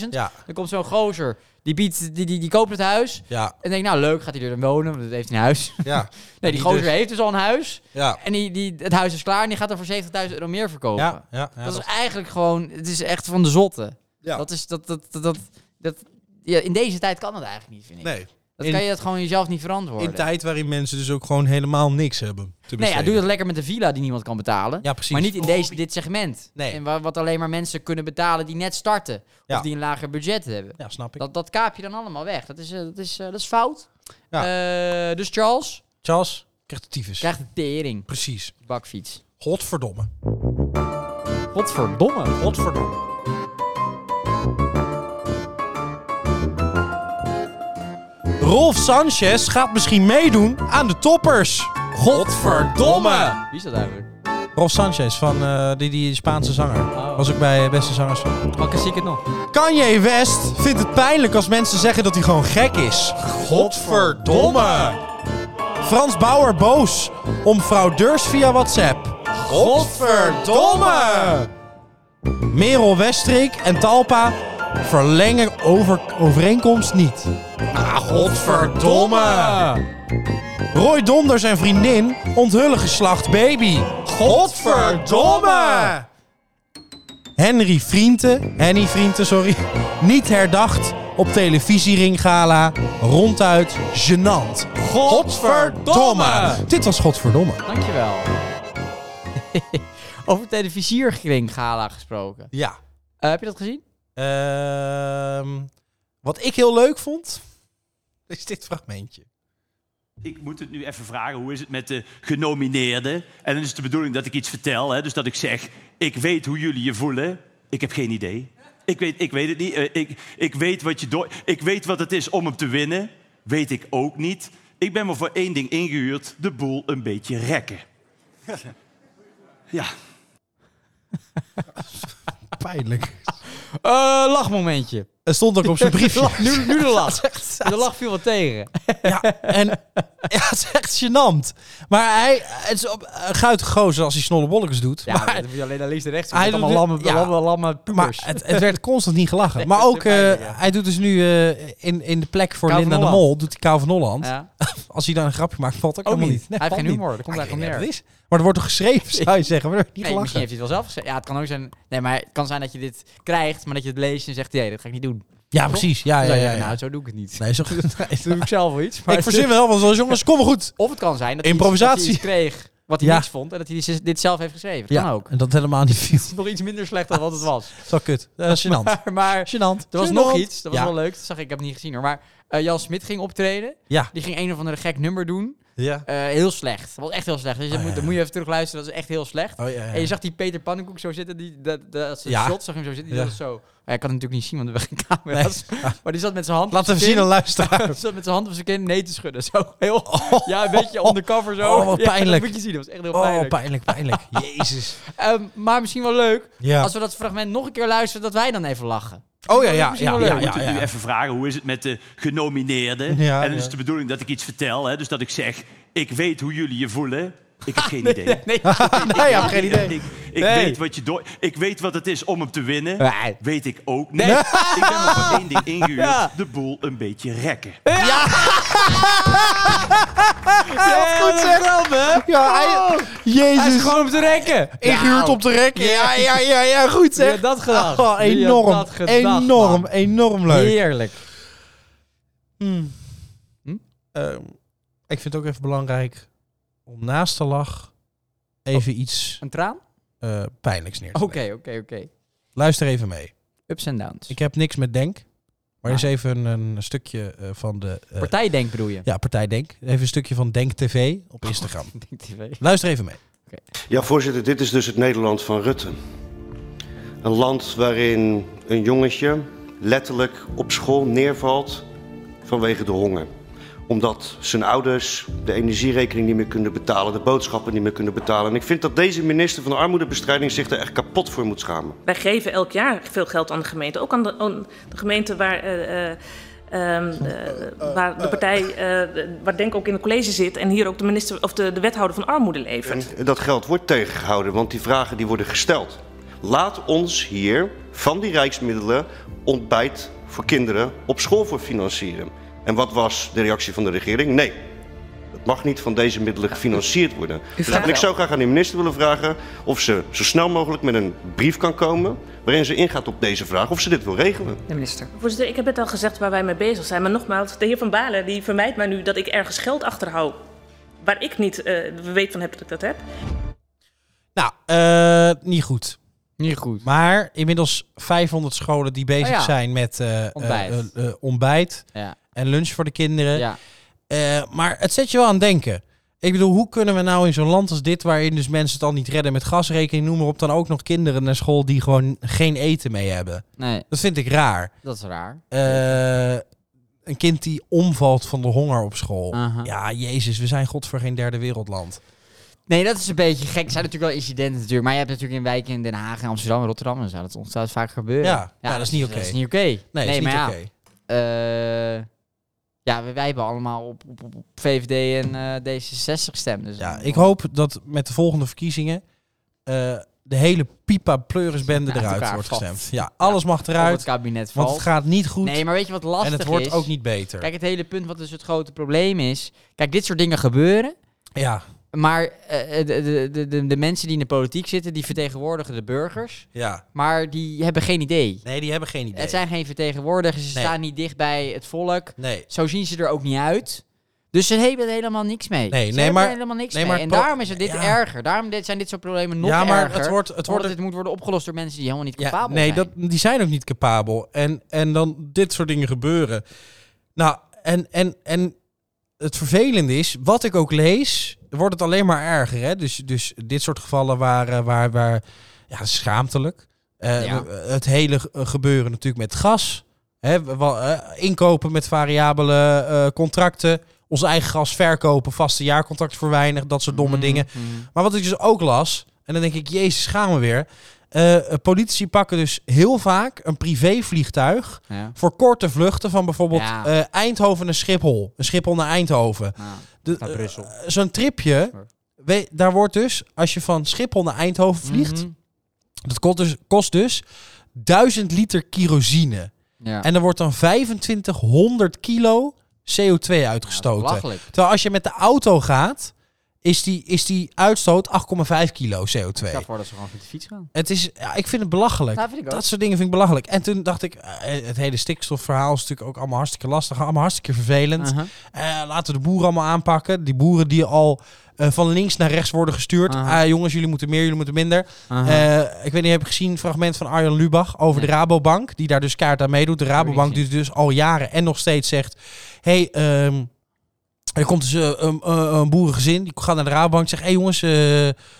[SPEAKER 2] 250.000.
[SPEAKER 1] Ja.
[SPEAKER 2] Dan komt zo'n gozer, die, biedt, die, die, die koopt het huis.
[SPEAKER 1] Ja.
[SPEAKER 2] En denkt, nou leuk, gaat hij er dan wonen, want dat heeft hij een huis.
[SPEAKER 1] Ja.
[SPEAKER 2] Nee, die
[SPEAKER 1] Die
[SPEAKER 2] gozer
[SPEAKER 1] dus.
[SPEAKER 2] heeft dus al een huis.
[SPEAKER 1] Ja.
[SPEAKER 2] En die, die, het huis is klaar en die gaat er voor 70.000 euro meer verkopen.
[SPEAKER 1] Ja. Ja. ja,
[SPEAKER 2] dat,
[SPEAKER 1] dat-
[SPEAKER 2] is eigenlijk gewoon... Het is echt van de zotte.
[SPEAKER 1] Ja.
[SPEAKER 2] Dat is... Dat, dat, dat, dat, dat- ja, in deze tijd kan dat eigenlijk niet, vind ik.
[SPEAKER 1] Nee.
[SPEAKER 2] dat
[SPEAKER 1] in-
[SPEAKER 2] kan je dat gewoon jezelf niet verantwoorden.
[SPEAKER 1] In tijd waarin mensen dus ook gewoon helemaal niks hebben. Te
[SPEAKER 2] nee, ja,
[SPEAKER 1] besteden.
[SPEAKER 2] doe dat lekker met een villa die niemand kan betalen.
[SPEAKER 1] Ja, precies. Oh,
[SPEAKER 2] Maar niet in deze, dit segment.
[SPEAKER 1] Nee.
[SPEAKER 2] En wa- wat alleen maar mensen kunnen betalen die net starten.
[SPEAKER 1] Ja.
[SPEAKER 2] Of die een lager budget hebben.
[SPEAKER 1] Ja, snap ik.
[SPEAKER 2] Dat, dat kaap je dan allemaal weg. Dat is, eh, dat is, eh, dat is fout. Eh, dus Charles
[SPEAKER 1] Charles krijgt de tyfus.
[SPEAKER 2] krijgt de tering.
[SPEAKER 1] Precies.
[SPEAKER 2] Bakfiets.
[SPEAKER 1] Godverdomme.
[SPEAKER 2] Godverdomme.
[SPEAKER 1] Godverdomme. Rolf Sanchez gaat misschien meedoen aan de toppers. Godverdomme.
[SPEAKER 2] Wie is dat eigenlijk?
[SPEAKER 1] Rolf Sanchez van eh, die, die Spaanse zanger.
[SPEAKER 2] Oh.
[SPEAKER 1] Was ook bij eh, Beste Zangers van.
[SPEAKER 2] Pakken zie ik het nog.
[SPEAKER 1] Kanye West vindt het pijnlijk als mensen zeggen dat hij gewoon gek is. Godverdomme. Frans Bauer boos om fraudeurs via WhatsApp. Godverdomme. Merel Westrik en Talpa verlengen over overeenkomst niet. Ah, godverdomme. Roy Donder zijn vriendin onthullen geslacht baby. Godverdomme! Henry Vrienten, Henny Vrienten, sorry, niet herdacht op televisieringgala. Ronduit gênant. Godverdomme! Dit was Godverdomme.
[SPEAKER 2] Dankjewel. Over televisierkring gala gesproken.
[SPEAKER 1] Ja.
[SPEAKER 2] Eh, heb je dat gezien?
[SPEAKER 1] Ehm, wat ik heel leuk vond, is dit fragmentje.
[SPEAKER 4] Ik moet het nu even vragen, hoe is het met de genomineerden? En dan is het de bedoeling dat ik iets vertel, hè? dus dat ik zeg... ik weet hoe jullie je voelen, ik heb geen idee. Ik weet, ik weet het niet, Eh, ik, ik, weet wat je door- ik weet wat het is om hem te winnen, weet ik ook niet. Ik ben maar voor één ding ingehuurd, de boel een beetje rekken. Ja,
[SPEAKER 1] Pijnlijk.
[SPEAKER 2] Eh lachmomentje.
[SPEAKER 1] Het stond ook op zijn briefje.
[SPEAKER 2] Lach- nu, nu de lach. De lach viel wat tegen.
[SPEAKER 1] Ja, en ja, het is echt gênant. Maar hij het is op, een guitige gozer als hij snolle bolletjes doet.
[SPEAKER 2] Ja,
[SPEAKER 1] maar
[SPEAKER 2] maar dat moet je alleen naar links en rechts. doen.
[SPEAKER 1] Hij
[SPEAKER 2] Met allemaal
[SPEAKER 1] doet het-
[SPEAKER 2] lamme,
[SPEAKER 1] ja.
[SPEAKER 2] lamme, lamme
[SPEAKER 1] Maar
[SPEAKER 2] pubers.
[SPEAKER 1] het, het werd constant niet gelachen. maar
[SPEAKER 2] dat is
[SPEAKER 1] ook,
[SPEAKER 2] heel pijnlijk,
[SPEAKER 1] eh,
[SPEAKER 2] ja.
[SPEAKER 1] hij doet dus nu eh, in, in de plek voor
[SPEAKER 2] Kou van
[SPEAKER 1] Linda de
[SPEAKER 2] Holland.
[SPEAKER 1] Mol, doet hij Kou van Holland.
[SPEAKER 2] ja.
[SPEAKER 1] Als hij dan een grapje maakt, valt ook,
[SPEAKER 2] Ook
[SPEAKER 1] helemaal
[SPEAKER 2] niet.
[SPEAKER 1] niet. Nee,
[SPEAKER 2] Hij heeft
[SPEAKER 1] valt
[SPEAKER 2] geen
[SPEAKER 1] niet.
[SPEAKER 2] humor, daar komt
[SPEAKER 1] Ah,
[SPEAKER 2] het
[SPEAKER 1] ik weet
[SPEAKER 2] eigenlijk
[SPEAKER 1] niet wat het is. Maar er wordt toch geschreven, zou je zeggen. Maar er wordt niet
[SPEAKER 2] Nee,
[SPEAKER 1] gelachen.
[SPEAKER 2] misschien heeft hij het wel zelf gezegd. Ja, het kan ook zijn. Nee, maar het kan zijn dat je dit krijgt, maar dat je het leest en zegt: nee, dat ga ik niet doen.
[SPEAKER 1] Ja, precies. Ja, ja,
[SPEAKER 2] Dan zou je
[SPEAKER 1] ja.
[SPEAKER 2] zeggen,
[SPEAKER 1] ja.
[SPEAKER 2] Nou, zo doe ik het niet.
[SPEAKER 1] Nee, zo goed.
[SPEAKER 2] Dan doe ik zelf wel iets.
[SPEAKER 1] Ik verzin wel van zo'n jongens, kom maar goed.
[SPEAKER 2] Of het kan zijn dat hij, iets-
[SPEAKER 1] Improvisatie.
[SPEAKER 2] dat hij iets kreeg wat hij
[SPEAKER 1] Ja.
[SPEAKER 2] niks vond en dat hij dit- dit zelf heeft geschreven. Dat
[SPEAKER 1] Ja,
[SPEAKER 2] Kan ook.
[SPEAKER 1] en dat helemaal niet viel.
[SPEAKER 2] Het is nog iets minder slecht dan wat het was.
[SPEAKER 1] Zo kut. Dat is gênant.
[SPEAKER 2] Maar, maar
[SPEAKER 1] Gênant.
[SPEAKER 2] er was
[SPEAKER 1] Gênant.
[SPEAKER 2] nog iets, dat was
[SPEAKER 1] ja.
[SPEAKER 2] wel leuk. Dat zag ik, ik heb het niet gezien hoor. Maar eh, Jan Smit ging optreden.
[SPEAKER 1] Ja.
[SPEAKER 2] Die ging een of andere gek nummer doen.
[SPEAKER 1] Ja.
[SPEAKER 2] Eh, heel slecht. Dat was echt heel slecht. Dus dat
[SPEAKER 1] Oh,
[SPEAKER 2] moet,
[SPEAKER 1] ja.
[SPEAKER 2] dat moet je even terugluisteren. Dat is echt heel slecht.
[SPEAKER 1] Oh, ja, ja.
[SPEAKER 2] En je zag die Peter Pannenkoek zo zitten. Die, dat, dat, dat
[SPEAKER 1] Ja.
[SPEAKER 2] shot zag hem zo zitten. Die
[SPEAKER 1] Ja.
[SPEAKER 2] was zo. Hij kan het natuurlijk niet zien, want we hebben geen camera's.
[SPEAKER 1] Nee.
[SPEAKER 2] Maar die zat met zijn hand.
[SPEAKER 1] Laat
[SPEAKER 2] op zijn
[SPEAKER 1] even zien
[SPEAKER 2] kin.
[SPEAKER 1] aan luisteraar.
[SPEAKER 2] Hij zat met zijn hand op zijn kin nee te schudden. Zo heel. Ja, een beetje undercover zo.
[SPEAKER 1] Oh, wat
[SPEAKER 2] Ja, dat
[SPEAKER 1] pijnlijk.
[SPEAKER 2] moet je zien. Dat was echt heel
[SPEAKER 1] Oh,
[SPEAKER 2] pijnlijk.
[SPEAKER 1] pijnlijk, pijnlijk. Jezus.
[SPEAKER 2] Ehm, maar misschien wel leuk.
[SPEAKER 1] Ja.
[SPEAKER 2] Als we dat fragment nog een keer luisteren, dat wij dan even lachen.
[SPEAKER 1] Oh ja, ja,
[SPEAKER 2] misschien
[SPEAKER 1] ja,
[SPEAKER 2] wel
[SPEAKER 1] ja,
[SPEAKER 2] leuk.
[SPEAKER 4] ik moet
[SPEAKER 1] ja,
[SPEAKER 4] het nu
[SPEAKER 1] ja.
[SPEAKER 4] even vragen, hoe is het met de genomineerden?
[SPEAKER 1] Ja,
[SPEAKER 4] en dan
[SPEAKER 1] ja.
[SPEAKER 4] is het de bedoeling dat ik iets vertel, hè? dus dat ik zeg... ik weet hoe jullie je voelen, ik
[SPEAKER 1] Ah,
[SPEAKER 4] heb geen idee.
[SPEAKER 2] Nee.
[SPEAKER 1] Nee, ja, geen idee.
[SPEAKER 4] Ik, ik
[SPEAKER 1] Nee.
[SPEAKER 4] weet wat je door. Ik weet wat het is om hem te winnen.
[SPEAKER 2] Nee.
[SPEAKER 4] Weet ik ook niet. Ik ben maar voor één ding ingehuurd:
[SPEAKER 2] Ja.
[SPEAKER 4] de boel een beetje rekken.
[SPEAKER 2] goed zeg.
[SPEAKER 1] Ja, hij-
[SPEAKER 2] Hij is
[SPEAKER 1] Jezus.
[SPEAKER 2] gewoon op de rekken.
[SPEAKER 1] Ingehuurd op de rek. Nou. Ja, ja, ja, ja, goed
[SPEAKER 2] Wie
[SPEAKER 1] zeg.
[SPEAKER 2] had dat gedacht?
[SPEAKER 1] Oh,
[SPEAKER 2] Wie had
[SPEAKER 1] enorm,
[SPEAKER 2] dat gedacht,
[SPEAKER 1] enorm,
[SPEAKER 2] man?
[SPEAKER 1] enorm leuk.
[SPEAKER 2] Heerlijk.
[SPEAKER 1] Ehm, ik vind het ook even belangrijk om naast de lach even iets
[SPEAKER 2] Een traan?
[SPEAKER 1] eh, pijnlijks neer te
[SPEAKER 2] Oké,
[SPEAKER 1] leggen.
[SPEAKER 2] oké, oké.
[SPEAKER 1] Luister even mee.
[SPEAKER 2] Ups en downs.
[SPEAKER 1] Ik heb niks met Denk, maar
[SPEAKER 2] Ja.
[SPEAKER 1] is even een, een stukje eh, van de eh,
[SPEAKER 2] Partijdenk bedoel je?
[SPEAKER 1] ja, partij Denk. Even een stukje van Denk TV op Instagram.
[SPEAKER 2] Denk TV.
[SPEAKER 1] Luister even mee.
[SPEAKER 5] Ja, voorzitter, dit is dus het Nederland van Rutte. Een land waarin een jongetje letterlijk op school neervalt vanwege de honger. Omdat zijn ouders de energierekening niet meer kunnen betalen, de boodschappen niet meer kunnen betalen. En ik vind dat deze minister van de Armoedebestrijding zich er echt kapot voor moet schamen.
[SPEAKER 6] Wij geven elk jaar veel geld aan de gemeente. Ook aan de, aan de gemeente waar, eh, eh, ehm, eh, waar de partij, eh, waar Denk ook in het college zit. En hier ook de, minister, of de, de wethouder van armoede levert.
[SPEAKER 5] En dat geld wordt tegengehouden, want die vragen die worden gesteld. Laat ons hier van die rijksmiddelen ontbijt voor kinderen op school voor financieren. En wat was de reactie van de regering? Nee, het mag niet van deze middelen gefinancierd worden. Dus
[SPEAKER 6] vraagt
[SPEAKER 5] en ik
[SPEAKER 6] wel.
[SPEAKER 5] zou graag aan de minister willen vragen of ze zo snel mogelijk met een brief kan komen... waarin ze ingaat op deze vraag of ze dit wil regelen.
[SPEAKER 7] De minister.
[SPEAKER 6] Voorzitter, ik heb het al gezegd waar wij mee bezig zijn. Maar nogmaals, de heer Van Balen die vermijdt mij nu dat ik ergens geld achterhoud. Waar ik niet eh, weet van heb dat ik dat heb.
[SPEAKER 1] Nou, eh, niet goed.
[SPEAKER 2] Niet goed.
[SPEAKER 1] Maar inmiddels 500 scholen die bezig
[SPEAKER 2] Oh ja.
[SPEAKER 1] zijn met eh, eh,
[SPEAKER 2] Ontbijt.
[SPEAKER 1] eh, eh, ontbijt
[SPEAKER 2] Ja.
[SPEAKER 1] en lunch voor de kinderen.
[SPEAKER 2] ja.
[SPEAKER 1] Eh, maar het zet je wel aan het denken. Ik bedoel, hoe kunnen we nou in zo'n land als dit, waarin dus mensen het al niet redden met gasrekening, noem maar op, dan ook nog kinderen naar school die gewoon geen eten mee hebben?
[SPEAKER 2] Nee,
[SPEAKER 1] Dat vind ik raar.
[SPEAKER 2] dat is raar.
[SPEAKER 1] Eh, een kind die omvalt van de honger op school.
[SPEAKER 2] Aha.
[SPEAKER 1] Ja, Jezus, we zijn God voor geen derde wereldland.
[SPEAKER 2] Nee, dat is een beetje gek. Er zijn natuurlijk wel incidenten natuurlijk. Maar je hebt natuurlijk in wijken in Den Haag en Amsterdam en Rotterdam en zo. Dat ontstaat vaak gebeuren.
[SPEAKER 1] Ja, ja, dat is niet oké.
[SPEAKER 2] Dat is niet oké.
[SPEAKER 1] Nee, is niet
[SPEAKER 2] maar
[SPEAKER 1] oké.
[SPEAKER 2] ja. eh, ja, wij, wij hebben allemaal op, op, op- op VVD en eh, D66 gestemd. Dus
[SPEAKER 1] Ja, ik hoop dat met de volgende verkiezingen eh, de hele pipa pleurisbende
[SPEAKER 2] Ja, uit
[SPEAKER 1] eruit
[SPEAKER 2] elkaar
[SPEAKER 1] wordt
[SPEAKER 2] valt.
[SPEAKER 1] gestemd. Ja, alles mag
[SPEAKER 2] Of het
[SPEAKER 1] eruit,
[SPEAKER 2] kabinet valt.
[SPEAKER 1] want het gaat niet goed
[SPEAKER 2] nee, maar weet je wat lastig
[SPEAKER 1] en het wordt
[SPEAKER 2] is?
[SPEAKER 1] ook niet beter.
[SPEAKER 2] Kijk, het hele punt wat dus het grote probleem is. Kijk, dit soort dingen gebeuren.
[SPEAKER 1] ja,
[SPEAKER 2] Maar eh, de, de, de, de, de mensen die in de politiek zitten, die vertegenwoordigen de burgers.
[SPEAKER 1] ja.
[SPEAKER 2] Maar die hebben geen idee.
[SPEAKER 1] Nee, die hebben geen idee.
[SPEAKER 2] Het zijn geen vertegenwoordigers. Ze
[SPEAKER 1] Nee.
[SPEAKER 2] staan niet dicht bij het volk.
[SPEAKER 1] Nee.
[SPEAKER 2] Zo zien ze er ook niet uit. Dus ze hebben er helemaal niks
[SPEAKER 1] Nee,
[SPEAKER 2] mee. ze
[SPEAKER 1] nee,
[SPEAKER 2] hebben er
[SPEAKER 1] maar-
[SPEAKER 2] helemaal niks
[SPEAKER 1] nee,
[SPEAKER 2] mee.
[SPEAKER 1] maar
[SPEAKER 2] En
[SPEAKER 1] het pro-
[SPEAKER 2] daarom is het dit
[SPEAKER 1] ja.
[SPEAKER 2] erger. Daarom dit- zijn dit soort problemen nog
[SPEAKER 1] ja, maar
[SPEAKER 2] erger.
[SPEAKER 1] het wordt, het
[SPEAKER 2] omdat
[SPEAKER 1] wordt
[SPEAKER 2] dit moet worden opgelost door mensen die helemaal niet
[SPEAKER 1] Ja,
[SPEAKER 2] capabel
[SPEAKER 1] nee,
[SPEAKER 2] zijn.
[SPEAKER 1] dat, die zijn ook niet capabel. En, en dan dit soort dingen gebeuren. Nou, en, en, en het vervelende is, wat ik ook lees, wordt het alleen maar erger. Hè? Dus, dus dit soort gevallen waren waar, waar ja, schaamtelijk. Eh,
[SPEAKER 2] Ja.
[SPEAKER 1] Het hele ge- gebeuren natuurlijk met gas. Hè, we- wa- eh, inkopen met variabele eh, contracten. Ons eigen gas verkopen, vaste jaarcontract voor weinig. Dat soort domme dingen.
[SPEAKER 2] Mm.
[SPEAKER 1] Maar wat ik dus ook las, en dan denk ik, jezus, gaan we weer. Eh, politici pakken dus heel vaak een privévliegtuig
[SPEAKER 2] Ja.
[SPEAKER 1] voor korte vluchten van bijvoorbeeld
[SPEAKER 2] Ja.
[SPEAKER 1] eh, Eindhoven naar Schiphol. Een Schiphol naar Eindhoven.
[SPEAKER 2] Nou,
[SPEAKER 1] De-
[SPEAKER 2] naar
[SPEAKER 1] eh,
[SPEAKER 2] Brussel.
[SPEAKER 1] Zo'n tripje, we- daar wordt dus, als je van Schiphol naar Eindhoven vliegt,
[SPEAKER 2] Mhm.
[SPEAKER 1] dat kost dus, kost dus 1000 liter kerosine.
[SPEAKER 2] Ja.
[SPEAKER 1] En er wordt dan 2500 kilo CO2
[SPEAKER 2] Ja,
[SPEAKER 1] uitgestoten.
[SPEAKER 2] belachelijk.
[SPEAKER 1] Terwijl als je met de auto gaat, is die, is die uitstoot 8,5 kilo
[SPEAKER 2] Ik stel
[SPEAKER 1] CO2.
[SPEAKER 2] voor dat ze gewoon met de fiets gaan.
[SPEAKER 1] Het is, ja, ik vind het belachelijk.
[SPEAKER 2] Nou, vind ik ook.
[SPEAKER 1] Dat soort dingen vind ik belachelijk. En toen dacht ik, eh, het hele stikstofverhaal is natuurlijk ook allemaal hartstikke lastig, allemaal hartstikke vervelend.
[SPEAKER 2] Aha.
[SPEAKER 1] Eh, laten we de boeren allemaal aanpakken. Die boeren die al eh, van links naar rechts worden gestuurd.
[SPEAKER 2] Aha.
[SPEAKER 1] Ah, jongens, jullie moeten meer, jullie moeten minder.
[SPEAKER 2] Aha.
[SPEAKER 1] Eh, ik weet niet, heb je gezien een fragment van Arjan Lubach over de
[SPEAKER 2] Nee.
[SPEAKER 1] Rabobank, die daar dus kaart aan meedoet. De Rabobank
[SPEAKER 2] niet
[SPEAKER 1] die dus al jaren en nog steeds zegt, hey, ehm, er komt dus eh, een, eh, een boerengezin, die gaat naar de Rabobank en zegt, hé hey jongens, eh,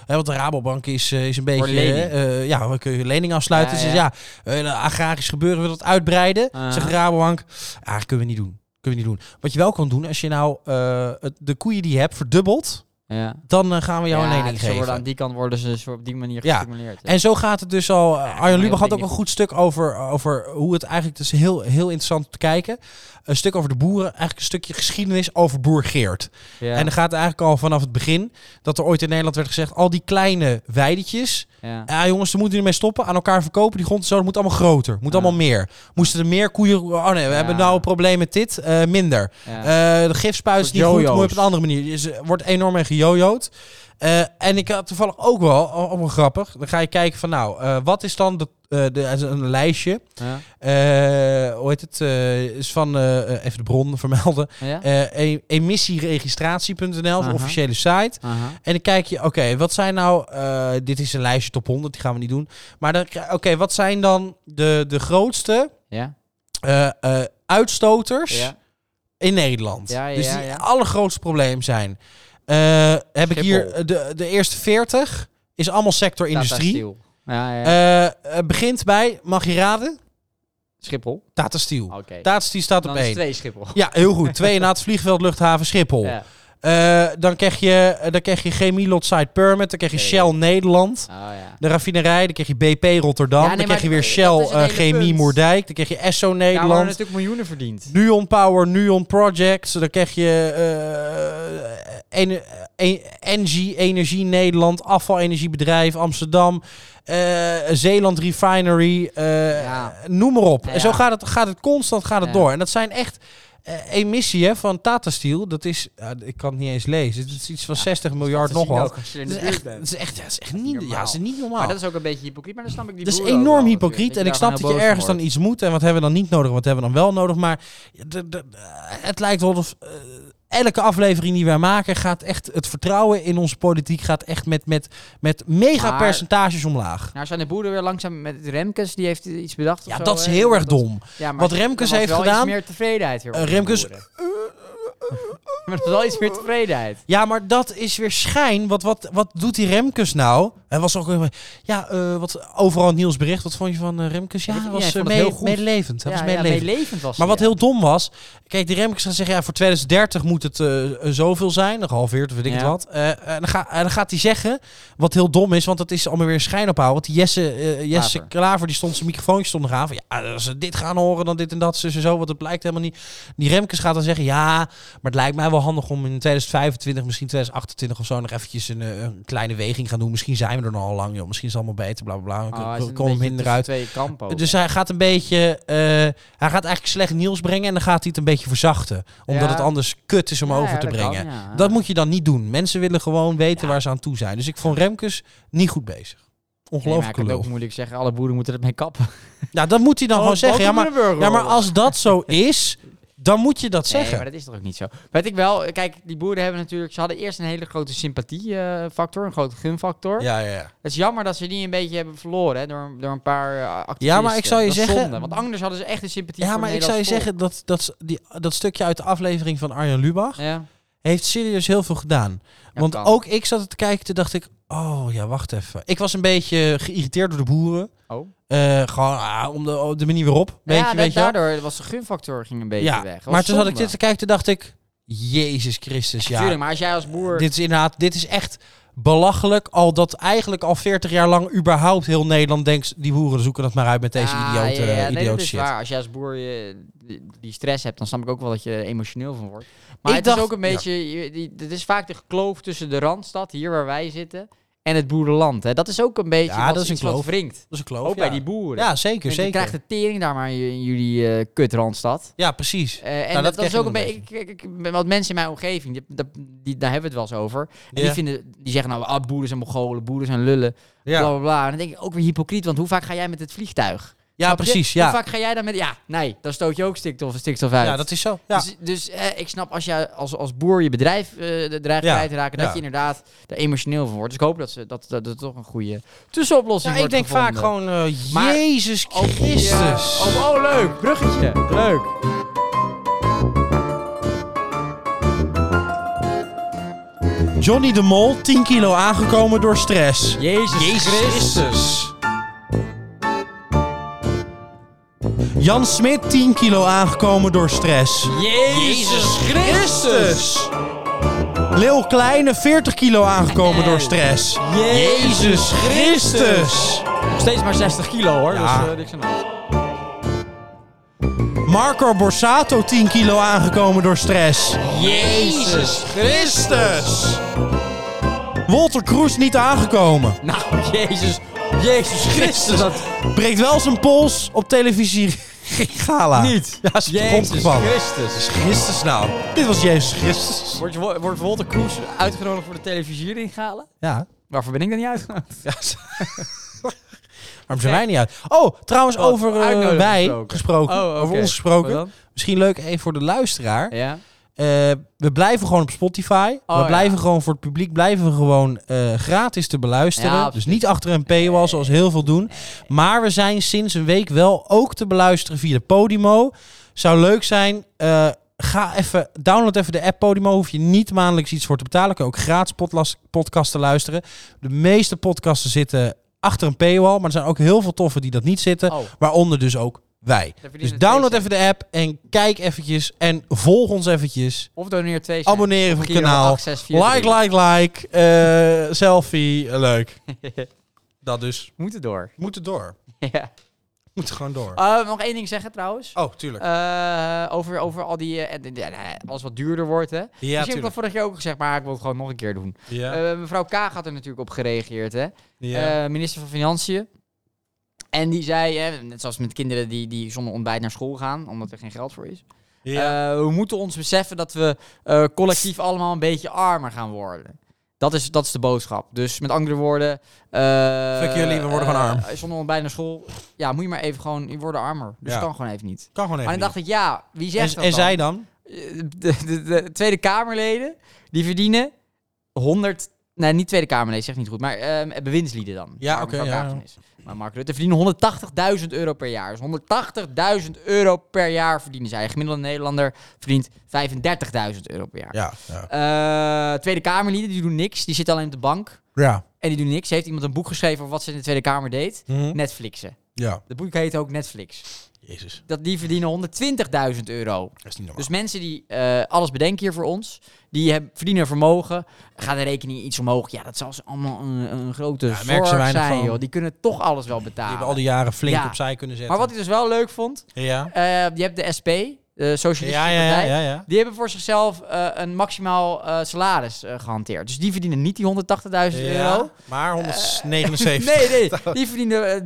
[SPEAKER 1] hè, want de Rabobank is, eh, is een beetje...
[SPEAKER 2] lening.
[SPEAKER 1] eh, ja, we kunnen lening afsluiten.
[SPEAKER 2] Ja,
[SPEAKER 1] Ze zegt,
[SPEAKER 2] ja.
[SPEAKER 1] ja, eh, agrarisch gebeuren we dat uitbreiden.
[SPEAKER 2] Aha.
[SPEAKER 1] Zegt de Rabobank, ah, kunnen we niet doen. Kunnen we niet doen. Wat je wel kan doen, als je nou eh, het- de koeien die je hebt verdubbelt,
[SPEAKER 2] Ja.
[SPEAKER 1] dan eh, gaan we jou
[SPEAKER 2] Ja,
[SPEAKER 1] een lening
[SPEAKER 2] dus ze worden
[SPEAKER 1] geven.
[SPEAKER 2] aan die kant worden ze zo op die manier
[SPEAKER 1] Ja.
[SPEAKER 2] gestimuleerd.
[SPEAKER 1] En zo gaat het dus al.
[SPEAKER 2] dat
[SPEAKER 1] eh,
[SPEAKER 2] kan
[SPEAKER 1] Arjen Lubach
[SPEAKER 2] heel
[SPEAKER 1] had ook een
[SPEAKER 2] dingen.
[SPEAKER 1] goed stuk over, over hoe het eigenlijk... Het is heel, heel interessant om te kijken. Een stuk over de boeren. Eigenlijk een stukje geschiedenis over boer Geert.
[SPEAKER 2] ja.
[SPEAKER 1] En dan gaat eigenlijk al vanaf het begin... dat er ooit in Nederland werd gezegd... al die kleine weidetjes...
[SPEAKER 2] ja.
[SPEAKER 1] Ja, jongens, daar moeten jullie mee stoppen. Aan elkaar verkopen. Die grond en zo, dat moet allemaal groter. Moet allemaal meer. Moesten er meer koeien... Oh nee, we hebben nou een probleem met dit. eh, minder.
[SPEAKER 2] Ja.
[SPEAKER 1] Eh, de gifspuit is
[SPEAKER 2] Soort
[SPEAKER 1] niet goed. Moet je op
[SPEAKER 2] jojo's.
[SPEAKER 1] een andere manier. Dus er wordt enorm mee gejojoed. Eh, en ik had toevallig ook wel, oh, oh, wel grappig. Dan ga je kijken van nou, eh, wat is dan de, eh, de, er is een lijstje.
[SPEAKER 2] Ja.
[SPEAKER 1] Eh, hoe heet het? Eh, is van, eh, eh, even de bron vermelden.
[SPEAKER 2] Ja.
[SPEAKER 1] Eh, e- emissieregistratie.nl, de
[SPEAKER 2] Aha.
[SPEAKER 1] officiële site.
[SPEAKER 2] Aha.
[SPEAKER 1] En dan kijk je, oké, wat zijn nou... eh, dit is een lijstje top 100, die gaan we niet doen. Maar dan, oké, wat zijn dan de, de grootste
[SPEAKER 2] Ja.
[SPEAKER 1] eh, eh, uitstoters
[SPEAKER 2] Ja.
[SPEAKER 1] in Nederland?
[SPEAKER 2] Ja, ja,
[SPEAKER 1] dus die
[SPEAKER 2] ja.
[SPEAKER 1] het allergrootste probleem zijn. Eh, heb ik
[SPEAKER 2] Schiphol.
[SPEAKER 1] hier eh, de, de eerste 40, is allemaal sector industrie.
[SPEAKER 2] Tata Steel. Ja, ja.
[SPEAKER 1] Eh, eh, begint bij, mag je raden?
[SPEAKER 2] Schiphol.
[SPEAKER 1] Tata Steel.
[SPEAKER 2] Oké. Okay.
[SPEAKER 1] Tata Steel staat op
[SPEAKER 2] Dan is
[SPEAKER 1] 1.
[SPEAKER 2] het twee Schiphol.
[SPEAKER 1] Ja, heel goed. Twee na het vliegveld, luchthaven, Schiphol.
[SPEAKER 2] Ja.
[SPEAKER 1] Eh, dan, krijg je, dan krijg je chemie lot site permit. Dan krijg je
[SPEAKER 2] Nee.
[SPEAKER 1] Shell Nederland.
[SPEAKER 2] Oh ja.
[SPEAKER 1] De raffinerij, dan kreeg je BP Rotterdam,
[SPEAKER 2] Ja, nee,
[SPEAKER 1] dan
[SPEAKER 2] maar
[SPEAKER 1] kreeg je weer
[SPEAKER 2] dat
[SPEAKER 1] Shell
[SPEAKER 2] is het
[SPEAKER 1] eh,
[SPEAKER 2] hele
[SPEAKER 1] Chemie
[SPEAKER 2] punt.
[SPEAKER 1] Moerdijk, dan kreeg je Esso
[SPEAKER 2] Ja, maar
[SPEAKER 1] Nederland,
[SPEAKER 2] natuurlijk miljoenen verdiend.
[SPEAKER 1] Nuon Power, Nuon Projects, dan kreeg je eh Ener- eh, Engie, Energie Nederland, Afvalenergiebedrijf Amsterdam, eh, Zeeland Refinery, eh,
[SPEAKER 2] Ja.
[SPEAKER 1] noem maar op.
[SPEAKER 2] Ja,
[SPEAKER 1] En zo
[SPEAKER 2] ja.
[SPEAKER 1] gaat het, gaat het constant gaat het
[SPEAKER 2] Ja.
[SPEAKER 1] door. En dat zijn echt eh, emissie hè, van Tata Steel, dat is, ja, ik kan het niet eens lezen, het is iets van 60 miljard nog wat.
[SPEAKER 2] Als je er in
[SPEAKER 1] Het
[SPEAKER 2] de
[SPEAKER 1] is
[SPEAKER 2] buurt
[SPEAKER 1] echt,
[SPEAKER 2] bent.
[SPEAKER 1] het is echt, ja, het is echt
[SPEAKER 2] Dat is
[SPEAKER 1] niet,
[SPEAKER 2] niet
[SPEAKER 1] ja, het is niet normaal.
[SPEAKER 2] Maar dat is ook een beetje hypocriet, maar dan snap ik die
[SPEAKER 1] Dat is
[SPEAKER 2] boeren ook
[SPEAKER 1] Dus enorm
[SPEAKER 2] wel
[SPEAKER 1] hypocriet.
[SPEAKER 2] natuurlijk,
[SPEAKER 1] En ik
[SPEAKER 2] je daar
[SPEAKER 1] snap dat
[SPEAKER 2] gewoon
[SPEAKER 1] je
[SPEAKER 2] heel
[SPEAKER 1] ergens
[SPEAKER 2] boos
[SPEAKER 1] dan iets moet. En wat hebben we dan niet nodig? Wat hebben we dan wel nodig? Maar de- de- het lijkt wel of eh, elke aflevering die wij maken... gaat echt het vertrouwen in onze politiek... gaat echt met, met, met mega
[SPEAKER 2] Maar-
[SPEAKER 1] percentages omlaag.
[SPEAKER 2] van wordt. Nou zijn de boeren weer langzaam met Remkes, die heeft iets bedacht of
[SPEAKER 1] Ja,
[SPEAKER 2] zo,
[SPEAKER 1] dat is
[SPEAKER 2] hè?
[SPEAKER 1] heel erg dom.
[SPEAKER 2] Ja, maar
[SPEAKER 1] Wat
[SPEAKER 2] er
[SPEAKER 1] Remkes
[SPEAKER 2] was
[SPEAKER 1] heeft
[SPEAKER 2] wel iets
[SPEAKER 1] gedaan-
[SPEAKER 2] meer tevredenheid hier
[SPEAKER 1] Eh,
[SPEAKER 2] onder de
[SPEAKER 1] Remkes-
[SPEAKER 2] boeren. Maar dat is wel iets meer tevredenheid.
[SPEAKER 1] Ja, maar dat is weer schijn. Wat, wat, wat doet die Remkes nou? Hij was ook... weer- Ja, eh, wat, overal het nieuwsbericht. Wat vond je van eh, Remkes? Ja,
[SPEAKER 2] Ja,
[SPEAKER 1] hij
[SPEAKER 2] ik
[SPEAKER 1] was
[SPEAKER 2] vond
[SPEAKER 1] eh,
[SPEAKER 2] het
[SPEAKER 1] mee-
[SPEAKER 2] heel goed.
[SPEAKER 1] meelevend. Hij
[SPEAKER 2] ja,
[SPEAKER 1] was
[SPEAKER 2] ja,
[SPEAKER 1] meelevend.
[SPEAKER 2] meelevend was
[SPEAKER 1] Maar
[SPEAKER 2] hij,
[SPEAKER 1] wat
[SPEAKER 2] ja.
[SPEAKER 1] heel dom was... Kijk, die Remkes gaat zeggen... Ja, voor 2030 moet het eh, zoveel zijn. Dan gehalveerd of weet ik
[SPEAKER 2] Ja.
[SPEAKER 1] het wat. Eh, en, dan ga- en dan gaat hij zeggen... Wat heel dom is, want dat is allemaal weer een schijn ophouden. Want die Jesse, eh, Jesse
[SPEAKER 2] Klaver.
[SPEAKER 1] Klaver, die stond zijn microfoontje stond nog aan. Van, ja, als ze dit gaan horen, dan dit en dat. Zus en zo. Want het blijkt helemaal niet. Die Remkes gaat dan zeggen... Ja, maar het lijkt mij wel handig om in 2025, misschien 2028 of zo, nog eventjes een, eh, een kleine weging gaan doen. Misschien zijn we er nog al lang, joh. Misschien is het allemaal beter, bla bla
[SPEAKER 2] Oh,
[SPEAKER 1] bla.
[SPEAKER 2] hij
[SPEAKER 1] Ik
[SPEAKER 2] zit een
[SPEAKER 1] kom
[SPEAKER 2] beetje
[SPEAKER 1] minder
[SPEAKER 2] tussen
[SPEAKER 1] uit.
[SPEAKER 2] twee kampen ook.
[SPEAKER 1] Dus hij gaat een beetje, eh, hij gaat eigenlijk slecht nieuws brengen en dan gaat hij het een beetje verzachten. Omdat
[SPEAKER 2] Ja.
[SPEAKER 1] het anders kut is om
[SPEAKER 2] Ja,
[SPEAKER 1] over
[SPEAKER 2] ja,
[SPEAKER 1] te
[SPEAKER 2] dat
[SPEAKER 1] brengen.
[SPEAKER 2] kan, ja.
[SPEAKER 1] Dat moet je dan niet doen. Mensen willen gewoon weten waar ze aan toe zijn. Dus ik vond Remkes niet goed bezig.
[SPEAKER 2] Nee, maar ik
[SPEAKER 1] Ongelooflijk.
[SPEAKER 2] kan het
[SPEAKER 1] lul.
[SPEAKER 2] ook moeilijk zeggen. Alle boeren moeten ermee kappen.
[SPEAKER 1] ja, dat moet hij
[SPEAKER 2] Oh,
[SPEAKER 1] dan gewoon zeggen. Ja maar, ja, maar als dat zo is, dan moet je dat
[SPEAKER 2] Nee,
[SPEAKER 1] zeggen.
[SPEAKER 2] maar dat is toch ook niet zo. Weet ik wel, kijk, die boeren hebben natuurlijk... Ze hadden eerst een hele grote sympathiefactor, een grote gunfactor.
[SPEAKER 1] Ja, ja, ja.
[SPEAKER 2] Het is jammer dat ze die een beetje hebben verloren hè, door, door een paar eh, activisten.
[SPEAKER 1] Ja, maar ik zou je
[SPEAKER 2] Dat is
[SPEAKER 1] zeggen-
[SPEAKER 2] zonde, want anders hadden ze echt een sympathie
[SPEAKER 1] Ja,
[SPEAKER 2] voor
[SPEAKER 1] maar
[SPEAKER 2] het
[SPEAKER 1] ik zou je
[SPEAKER 2] Nederlands
[SPEAKER 1] zeggen dat, dat, die, dat stukje uit de aflevering van Arjan Lubach
[SPEAKER 2] volk. Ja.
[SPEAKER 1] heeft serieus heel veel gedaan.
[SPEAKER 2] Ja,
[SPEAKER 1] Want
[SPEAKER 2] kan.
[SPEAKER 1] ook ik zat het te kijken, toen dacht ik, oh ja, wacht even. Ik was een beetje geïrriteerd door de boeren.
[SPEAKER 2] Oh.
[SPEAKER 1] Eh, gewoon ah, om de, op de manier weer op. Beetje,
[SPEAKER 2] ja, da-
[SPEAKER 1] weet je wel.
[SPEAKER 2] daardoor was de gunfactor ging een beetje
[SPEAKER 1] ja,
[SPEAKER 2] weg. Dat
[SPEAKER 1] maar
[SPEAKER 2] was
[SPEAKER 1] toen zat ik
[SPEAKER 2] zonde.
[SPEAKER 1] dit te kijken, toen dacht ik, Jezus Christus, ja.
[SPEAKER 2] Tuurlijk, maar als jij als boer...
[SPEAKER 1] Dit is inderdaad, dit is echt belachelijk. Al dat eigenlijk al 40 jaar lang überhaupt heel Nederland denkt, die boeren zoeken dat maar uit met deze
[SPEAKER 2] Ah,
[SPEAKER 1] idiote,
[SPEAKER 2] ja, ja, nee,
[SPEAKER 1] idiote
[SPEAKER 2] dat is
[SPEAKER 1] shit.
[SPEAKER 2] waar. Als jij als boer je, die, die stress hebt, dan snap ik ook wel dat je er emotioneel van wordt. Maar
[SPEAKER 1] Ik
[SPEAKER 2] het
[SPEAKER 1] dacht-
[SPEAKER 2] is ook een beetje... je- die- Het is vaak de kloof tussen de Randstad, hier waar wij zitten, en het boerenland. Hè. Dat is ook een beetje
[SPEAKER 1] Ja,
[SPEAKER 2] wat,
[SPEAKER 1] dat is een
[SPEAKER 2] iets wat
[SPEAKER 1] kloof.
[SPEAKER 2] wringt.
[SPEAKER 1] Dat is een kloof,
[SPEAKER 2] Ook bij
[SPEAKER 1] ja.
[SPEAKER 2] die boeren.
[SPEAKER 1] Ja, zeker,
[SPEAKER 2] Want
[SPEAKER 1] zeker.
[SPEAKER 2] Je krijgt de tering daar maar in j- in jullie eh kut Randstad.
[SPEAKER 1] Ja, precies.
[SPEAKER 2] Eh, en
[SPEAKER 1] Nou,
[SPEAKER 2] dat,
[SPEAKER 1] dat
[SPEAKER 2] is
[SPEAKER 1] krijg
[SPEAKER 2] ook
[SPEAKER 1] je
[SPEAKER 2] een
[SPEAKER 1] dan
[SPEAKER 2] beetje. Ik, ik, ik ben- want mensen in mijn omgeving, die, dat- die, daar hebben we het wel eens over. En
[SPEAKER 1] Ja.
[SPEAKER 2] die, vinden, die zeggen nou, ah, boeren zijn Mongolen, boeren zijn lullen,
[SPEAKER 1] Ja.
[SPEAKER 2] bla bla bla. En dan denk ik ook weer hypocriet, want hoe vaak ga jij met het vliegtuig?
[SPEAKER 1] Ja,
[SPEAKER 2] Snap je?
[SPEAKER 1] precies. Ja.
[SPEAKER 2] Hoe vaak ga jij dan met. Ja, nee, dan stoot je ook stikstof, stikstof uit.
[SPEAKER 1] ja, dat is zo. Ja.
[SPEAKER 2] Dus, dus eh, ik snap als jij als, als boer je bedrijf eh, de dreigt
[SPEAKER 1] Ja,
[SPEAKER 2] kwijt te raken, dat
[SPEAKER 1] ja.
[SPEAKER 2] je inderdaad er emotioneel van wordt. Dus ik hoop dat ze dat, dat, dat toch een goede tussenoplossing
[SPEAKER 1] Ja, ik
[SPEAKER 2] wordt
[SPEAKER 1] denk
[SPEAKER 2] gevonden.
[SPEAKER 1] vaak gewoon, eh,
[SPEAKER 2] Maar-
[SPEAKER 1] Jezus
[SPEAKER 2] Oh,
[SPEAKER 1] Christus.
[SPEAKER 2] ja. Oh, oh, leuk. Bruggetje. Leuk. oh.
[SPEAKER 1] Johnny de Mol, 10 kilo aangekomen door stress.
[SPEAKER 2] Jezus,
[SPEAKER 1] Christus. Jan Smit, 10 kilo aangekomen door stress.
[SPEAKER 2] Jezus Christus.
[SPEAKER 1] Leeuw Kleine, 40 kilo aangekomen door stress. Jezus Christus.
[SPEAKER 2] Nog steeds maar 60 kilo hoor.
[SPEAKER 1] Ja.
[SPEAKER 2] Dus, eh, niks aan de hand.
[SPEAKER 1] Marco Borsato, 10 kilo aangekomen door stress.
[SPEAKER 2] Jezus
[SPEAKER 1] Christus. Walter Kroes niet aangekomen.
[SPEAKER 2] Nou, Jezus. Jezus Christus. Dat
[SPEAKER 1] Breekt wel zijn pols op televisie Gala.
[SPEAKER 2] niet.
[SPEAKER 1] Ja, is op de grond
[SPEAKER 2] Jezus
[SPEAKER 1] gevallen.
[SPEAKER 2] Christus.
[SPEAKER 1] Christus nou. Dit was Jezus Christus.
[SPEAKER 2] Wordt, Wo- wordt Walter Kroes uitgenodigd voor de televisiering halen?
[SPEAKER 1] Ja.
[SPEAKER 2] Waarvoor ben ik dan niet uitgenodigd?
[SPEAKER 1] ja. s- Waarom zijn wij niet uit? Oh, trouwens
[SPEAKER 2] Wat?
[SPEAKER 1] over eh,
[SPEAKER 2] Uitnodigen
[SPEAKER 1] wij gesproken.
[SPEAKER 2] gesproken. Oh, oké.
[SPEAKER 1] Over ons
[SPEAKER 2] Wat
[SPEAKER 1] gesproken.
[SPEAKER 2] dan?
[SPEAKER 1] Misschien leuk even voor de luisteraar.
[SPEAKER 2] Ja.
[SPEAKER 1] Eh, we blijven gewoon op Spotify.
[SPEAKER 2] Oh,
[SPEAKER 1] we
[SPEAKER 2] ja.
[SPEAKER 1] blijven gewoon voor het publiek blijven we gewoon eh, gratis te beluisteren.
[SPEAKER 2] Ja,
[SPEAKER 1] dus
[SPEAKER 2] precies.
[SPEAKER 1] niet achter een paywall zoals heel veel doen. Maar we zijn sinds een week wel ook te beluisteren via de Podimo. Zou leuk zijn. eh, ga even, download even de app Podimo. Hoef je niet maandelijks iets voor te betalen. Kun je ook gratis podlas- podcasts te luisteren. De meeste podcasten zitten achter een paywall. Maar er zijn ook heel veel toffe die dat niet zitten.
[SPEAKER 2] Oh.
[SPEAKER 1] Waaronder dus ook wij.
[SPEAKER 2] verdienen
[SPEAKER 1] Dus
[SPEAKER 2] het
[SPEAKER 1] download
[SPEAKER 2] feest,
[SPEAKER 1] even de app en kijk eventjes. En volg ons eventjes.
[SPEAKER 2] Of doneer twee cent.
[SPEAKER 1] Abonneren op het
[SPEAKER 2] Giro
[SPEAKER 1] kanaal. Like,
[SPEAKER 2] 8643.
[SPEAKER 1] like, like. Eh, selfie. Eh, leuk. Dat dus.
[SPEAKER 2] We moeten door.
[SPEAKER 1] We moeten door.
[SPEAKER 2] Ja.
[SPEAKER 1] We moeten gewoon door.
[SPEAKER 2] Eh, nog één ding zeggen trouwens.
[SPEAKER 1] Oh, tuurlijk.
[SPEAKER 2] Eh, over, over al die... eh, en- en- en- alles wat duurder wordt, hè?
[SPEAKER 1] ja,
[SPEAKER 2] Misschien heb ik dat
[SPEAKER 1] tuurlijk.
[SPEAKER 2] vorig jaar ook gezegd, maar ik wil het gewoon nog een keer doen.
[SPEAKER 1] Ja,
[SPEAKER 2] Eh, mevrouw K had er natuurlijk op gereageerd, hè?
[SPEAKER 1] ja.
[SPEAKER 2] Eh, minister van Financiën. En die zei, hè, net zoals met kinderen die, die zonder ontbijt naar school gaan, omdat er geen geld voor is.
[SPEAKER 1] ja.
[SPEAKER 2] Eh, we moeten ons beseffen dat we eh, collectief allemaal een beetje armer gaan worden. Dat is, dat is de boodschap. Dus met andere woorden... eh,
[SPEAKER 1] Fuck jullie, we worden
[SPEAKER 2] eh,
[SPEAKER 1] gewoon arm.
[SPEAKER 2] Zonder ontbijt naar school. Ja, moet je maar even gewoon... Je wordt armer. Dus
[SPEAKER 1] Ja.
[SPEAKER 2] kan gewoon even niet.
[SPEAKER 1] kan gewoon even.
[SPEAKER 2] maar dan dacht ik, ja, wie
[SPEAKER 1] niet.
[SPEAKER 2] zegt
[SPEAKER 1] en,
[SPEAKER 2] dat
[SPEAKER 1] en
[SPEAKER 2] dan?
[SPEAKER 1] zij dan?
[SPEAKER 2] de, de- de Tweede Kamerleden, die verdienen 100 Nee, niet Tweede Kamerleden, zeg ik niet goed. Maar ehm, bewindslieden dan.
[SPEAKER 1] Ja,
[SPEAKER 2] Waar
[SPEAKER 1] oké,
[SPEAKER 2] mevrouw
[SPEAKER 1] ja,
[SPEAKER 2] Kaagden is. Maar Mark Rutte verdienen 180.000 euro per jaar. Dus 180.000 euro per jaar verdienen zij. Een gemiddelde Nederlander verdient 35.000 euro per jaar.
[SPEAKER 1] Ja, ja.
[SPEAKER 2] Eh, Tweede Kamerleden, die doen niks. Die zitten alleen op de bank.
[SPEAKER 1] Ja.
[SPEAKER 2] En die doen niks. Heeft iemand een boek geschreven over wat ze in de Tweede Kamer deed?
[SPEAKER 1] Hm?
[SPEAKER 2] Netflixen.
[SPEAKER 1] ja.
[SPEAKER 2] Dat boek heet ook Netflix.
[SPEAKER 1] Jezus,
[SPEAKER 2] Dat, die verdienen 120.000 euro.
[SPEAKER 1] dat is niet normaal.
[SPEAKER 2] Dus mensen die eh, alles bedenken hier voor ons, die hebben, verdienen vermogen, gaat de rekening iets omhoog. Ja, dat zal ze allemaal een, een grote
[SPEAKER 1] merken ze
[SPEAKER 2] zorg
[SPEAKER 1] weinig
[SPEAKER 2] zijn,
[SPEAKER 1] van.
[SPEAKER 2] joh. Die kunnen toch alles wel
[SPEAKER 1] die
[SPEAKER 2] betalen.
[SPEAKER 1] hebben al die jaren flink
[SPEAKER 2] Ja.
[SPEAKER 1] opzij kunnen zetten.
[SPEAKER 2] Maar wat ik dus wel leuk vond,
[SPEAKER 1] Ja,
[SPEAKER 2] eh, je hebt de SP, de Socialistische
[SPEAKER 1] ja, ja, ja.
[SPEAKER 2] Partij.
[SPEAKER 1] ja, ja.
[SPEAKER 2] Die hebben voor zichzelf eh, een maximaal eh, salaris eh, gehanteerd. Dus die verdienen niet die 180.000 euro.
[SPEAKER 1] Ja, maar 179.
[SPEAKER 2] Eh, Nee, nee. Die verdienen eh,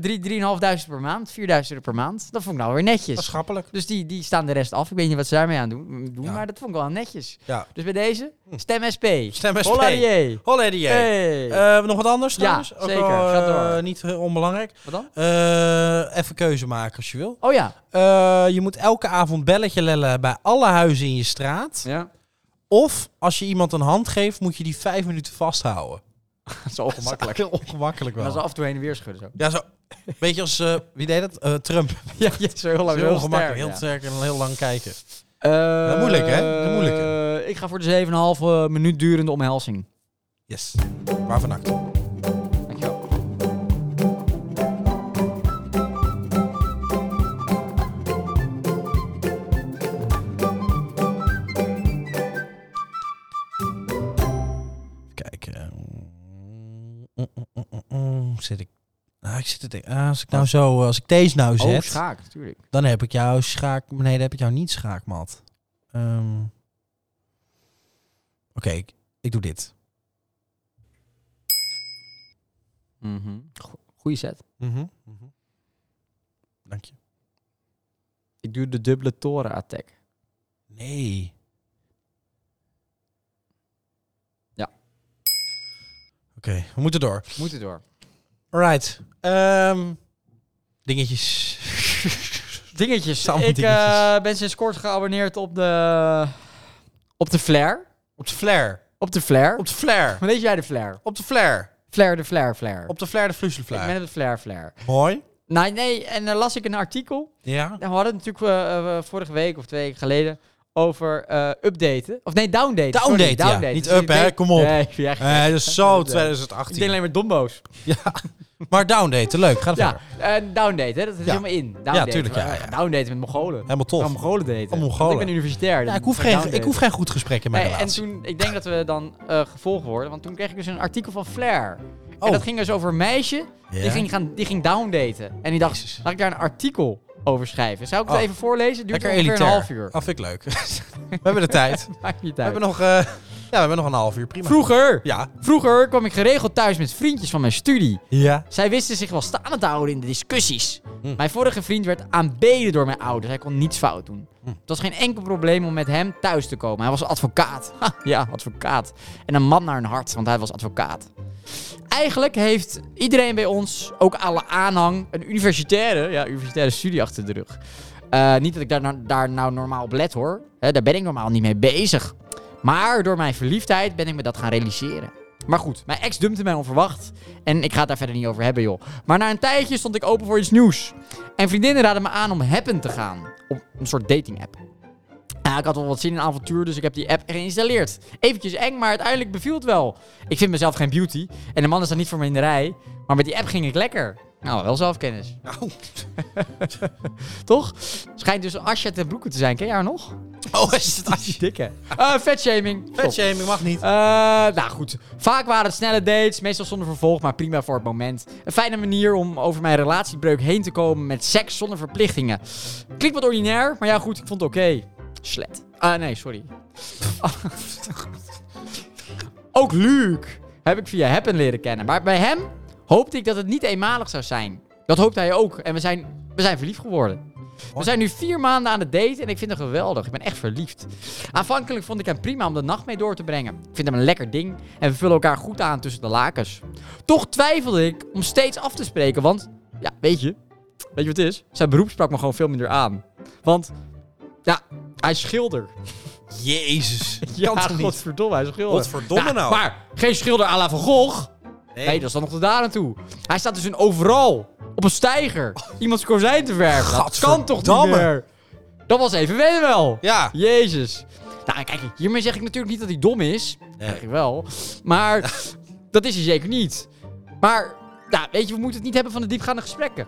[SPEAKER 2] 3 3.500 per maand, 4.000 euro per maand. Dat vond ik nou weer netjes.
[SPEAKER 1] Maatschappelijk.
[SPEAKER 2] Dus die, die staan de rest af. Ik weet niet wat ze daarmee aan doen, doen
[SPEAKER 1] Ja.
[SPEAKER 2] maar dat vond ik wel netjes.
[SPEAKER 1] Ja.
[SPEAKER 2] Dus bij deze, stem SP.
[SPEAKER 1] Stem SP.
[SPEAKER 2] Holla die.
[SPEAKER 1] Holle die.
[SPEAKER 2] Hey.
[SPEAKER 1] Eh, nog wat anders
[SPEAKER 2] Ja,
[SPEAKER 1] trouwens? Ook
[SPEAKER 2] zeker.
[SPEAKER 1] wel,
[SPEAKER 2] Ga
[SPEAKER 1] eh,
[SPEAKER 2] door.
[SPEAKER 1] niet heel onbelangrijk.
[SPEAKER 2] Wat dan?
[SPEAKER 1] Eh, even keuze maken als je wil.
[SPEAKER 2] Oh ja.
[SPEAKER 1] Eh, je moet elke avond belletje lellen bij alle huizen in je straat.
[SPEAKER 2] Ja.
[SPEAKER 1] Of als je iemand een hand geeft, moet je die vijf minuten vasthouden.
[SPEAKER 2] Dat is wel ongemakkelijk.
[SPEAKER 1] Heel ongemakkelijk
[SPEAKER 2] Dat is
[SPEAKER 1] wel.
[SPEAKER 2] af en toe heen en weer schudden zo.
[SPEAKER 1] Ja, zo. Beetje als, eh, wie deed dat? Eh, Trump.
[SPEAKER 2] Ja, ja zo heel
[SPEAKER 1] Dat
[SPEAKER 2] lang.
[SPEAKER 1] is
[SPEAKER 2] Heel
[SPEAKER 1] heel ongemakkelijk.
[SPEAKER 2] sterk,
[SPEAKER 1] Heel
[SPEAKER 2] ja.
[SPEAKER 1] sterk en heel lang kijken.
[SPEAKER 2] Eh,
[SPEAKER 1] Dat is moeilijk, hè? Dat is moeilijk,
[SPEAKER 2] eh, ik ga voor de 7,5 eh, minuut durende omhelzing.
[SPEAKER 1] Yes. Waarvan act?
[SPEAKER 2] Dankjewel.
[SPEAKER 1] Kijken. Mm, mm, mm, mm, mm. Zit ik... Ah, ik zit te denken. Ah, als ik nou zo, als ik deze nou
[SPEAKER 2] Oh,
[SPEAKER 1] zet,
[SPEAKER 2] schaak, natuurlijk.
[SPEAKER 1] dan heb ik jou schaak. Nee, dan heb ik jou niet schaakmat. Ehm. Oké, ik, ik doe dit.
[SPEAKER 2] Mhm. Go- Goeie set.
[SPEAKER 1] Mhm. Dank je.
[SPEAKER 2] Ik doe de dubbele toren attack.
[SPEAKER 1] Nee.
[SPEAKER 2] Ja.
[SPEAKER 1] Oké, we moeten door.
[SPEAKER 2] Moet het door.
[SPEAKER 1] Alright. Ehm, dingetjes.
[SPEAKER 2] Dingetjes.
[SPEAKER 1] Allemaal
[SPEAKER 2] Ik
[SPEAKER 1] dingetjes.
[SPEAKER 2] eh, ben sinds kort geabonneerd op de... Op de Flair.
[SPEAKER 1] Op de flare.
[SPEAKER 2] Op de Flair.
[SPEAKER 1] Op de flare.
[SPEAKER 2] Weet jij de Flair?
[SPEAKER 1] Op de flare.
[SPEAKER 2] Flair, de Flair, Flair.
[SPEAKER 1] Op de flare de
[SPEAKER 2] Ik
[SPEAKER 1] vloeiselflare.
[SPEAKER 2] ben op de Flair, Flair.
[SPEAKER 1] Mooi.
[SPEAKER 2] Nee, Nou, nee, en dan las ik een artikel.
[SPEAKER 1] Ja.
[SPEAKER 2] En we hadden het natuurlijk eh, eh, vorige week of twee weken geleden over eh, updaten. Of nee, downdaten. Sorry,
[SPEAKER 1] Downdaten, ja. Niet up,
[SPEAKER 2] ik
[SPEAKER 1] hè,
[SPEAKER 2] denk-
[SPEAKER 1] kom op.
[SPEAKER 2] Nee, ik vind echt-
[SPEAKER 1] Eh, dat is zo
[SPEAKER 2] ik denk
[SPEAKER 1] 2018.
[SPEAKER 2] alleen maar dombo's.
[SPEAKER 1] Maar downdaten, leuk. Ga
[SPEAKER 2] Ja,
[SPEAKER 1] verder.
[SPEAKER 2] eh, downdaten, hè, dat is
[SPEAKER 1] Ja.
[SPEAKER 2] helemaal in. Downdaten.
[SPEAKER 1] tuurlijk, ja,
[SPEAKER 2] We gaan
[SPEAKER 1] ja.
[SPEAKER 2] Downdaten met Mongolen.
[SPEAKER 1] Helemaal tof. Oh,
[SPEAKER 2] We gaan Mongolen daten.
[SPEAKER 1] Mongolen.
[SPEAKER 2] Want Ik ben universitair.
[SPEAKER 1] Ja,
[SPEAKER 2] dus
[SPEAKER 1] ik, hoef
[SPEAKER 2] we gaan
[SPEAKER 1] geen,
[SPEAKER 2] downdaten.
[SPEAKER 1] ik hoef geen goed gesprek in mijn
[SPEAKER 2] Nee, en
[SPEAKER 1] relatie.
[SPEAKER 2] toen, ik denk dat we dan eh gevolgd worden, want toen kreeg ik dus een artikel van Flair.
[SPEAKER 1] Oh.
[SPEAKER 2] En dat ging dus over een meisje, die,
[SPEAKER 1] Ja.
[SPEAKER 2] ging gaan, die ging downdaten. En die dacht,
[SPEAKER 1] Jezus.
[SPEAKER 2] laat ik daar een artikel over schrijven. Zou ik het
[SPEAKER 1] Oh.
[SPEAKER 2] even voorlezen? Duurt
[SPEAKER 1] Lekker
[SPEAKER 2] ongeveer
[SPEAKER 1] elitair.
[SPEAKER 2] een half uur.
[SPEAKER 1] Ah, vind ik leuk. we hebben de tijd.
[SPEAKER 2] Maakt niet
[SPEAKER 1] We
[SPEAKER 2] uit.
[SPEAKER 1] hebben, nog, eh, ja, we hebben nog een half uur. Prima.
[SPEAKER 2] Vroeger,
[SPEAKER 1] Ja.
[SPEAKER 2] vroeger kwam ik geregeld thuis met vriendjes van mijn studie.
[SPEAKER 1] Ja.
[SPEAKER 2] Zij wisten zich wel staande te houden in de discussies. Mijn vorige vriend werd aanbeden door mijn ouders. Hij kon niets fout doen. Het was geen enkel probleem om met hem thuis te komen. Hij was advocaat. Ha, ja, advocaat. En een man naar een hart, want hij was advocaat. Eigenlijk heeft iedereen bij ons, ook alle aanhang, een universitaire, ja, universitaire studie achter de rug. Eh, niet dat ik daar, nou- daar nou normaal op let hoor. Hè, daar ben ik normaal niet mee bezig. Maar door mijn verliefdheid ben ik me dat gaan realiseren. Maar goed, mijn ex dumpte mij onverwacht. En ik ga het daar verder niet over hebben, joh. Maar na een tijdje stond ik open voor iets nieuws. En vriendinnen raadden me aan om Happen te gaan. Op een soort dating app. Ja, Nou, ik had wel wat zin in avontuur, dus ik heb die app geïnstalleerd. Eventjes eng, maar uiteindelijk beviel het wel. Ik vind mezelf geen beauty. En de man is dan niet voor me in de rij. Maar met die app ging ik lekker. Nou, wel zelfkennis.
[SPEAKER 1] Nou.
[SPEAKER 2] Toch? Schijnt dus Asja ten broeken te zijn. Ken jij haar nog?
[SPEAKER 1] Oh, is het als je
[SPEAKER 2] Dikke. Eh vetshaming. Stop.
[SPEAKER 1] Vetshaming mag niet.
[SPEAKER 2] Eh, nou goed, vaak waren het snelle dates, meestal zonder vervolg, maar prima voor het moment. Een fijne manier om over mijn relatiebreuk heen te komen met seks zonder verplichtingen. Klinkt wat ordinair, maar ja goed, ik vond het oké. Slet. Ah nee, sorry. Ook Luc heb ik via Happen leren kennen, maar bij hem hoopte ik dat het niet eenmalig zou zijn. Dat hoopte hij ook en we zijn, we zijn verliefd geworden. We zijn nu vier maanden aan het daten en ik vind hem geweldig. Ik ben echt verliefd. Aanvankelijk vond ik hem prima om de nacht mee door te brengen. Ik vind hem een lekker ding en we vullen elkaar goed aan tussen de lakens. Toch twijfelde ik om steeds af te spreken, want ja, weet je, weet je wat het is? Zijn beroep sprak me gewoon veel minder aan. Want ja, hij is schilder.
[SPEAKER 1] Jezus.
[SPEAKER 2] Ja,
[SPEAKER 1] kan toch niet?
[SPEAKER 2] godverdomme, hij is een schilder.
[SPEAKER 1] Godverdomme
[SPEAKER 2] Ja,
[SPEAKER 1] nou.
[SPEAKER 2] Maar geen schilder à la Van Gogh.
[SPEAKER 1] Nee.
[SPEAKER 2] Nee, dat is dan nog tot daar aan toe. Hij staat dus in overal. Op een stijger. Iemands kozijn te verven. Dat kan toch niet
[SPEAKER 1] Gadverdamme.
[SPEAKER 2] meer? Dat was even wennen wel.
[SPEAKER 1] Ja.
[SPEAKER 2] Jezus. Nou, kijk, hiermee zeg ik natuurlijk niet dat hij dom is.
[SPEAKER 1] Nee.
[SPEAKER 2] Zeg ik wel. Maar dat is hij zeker niet. Maar, nou, weet je, we moeten het niet hebben van de diepgaande gesprekken.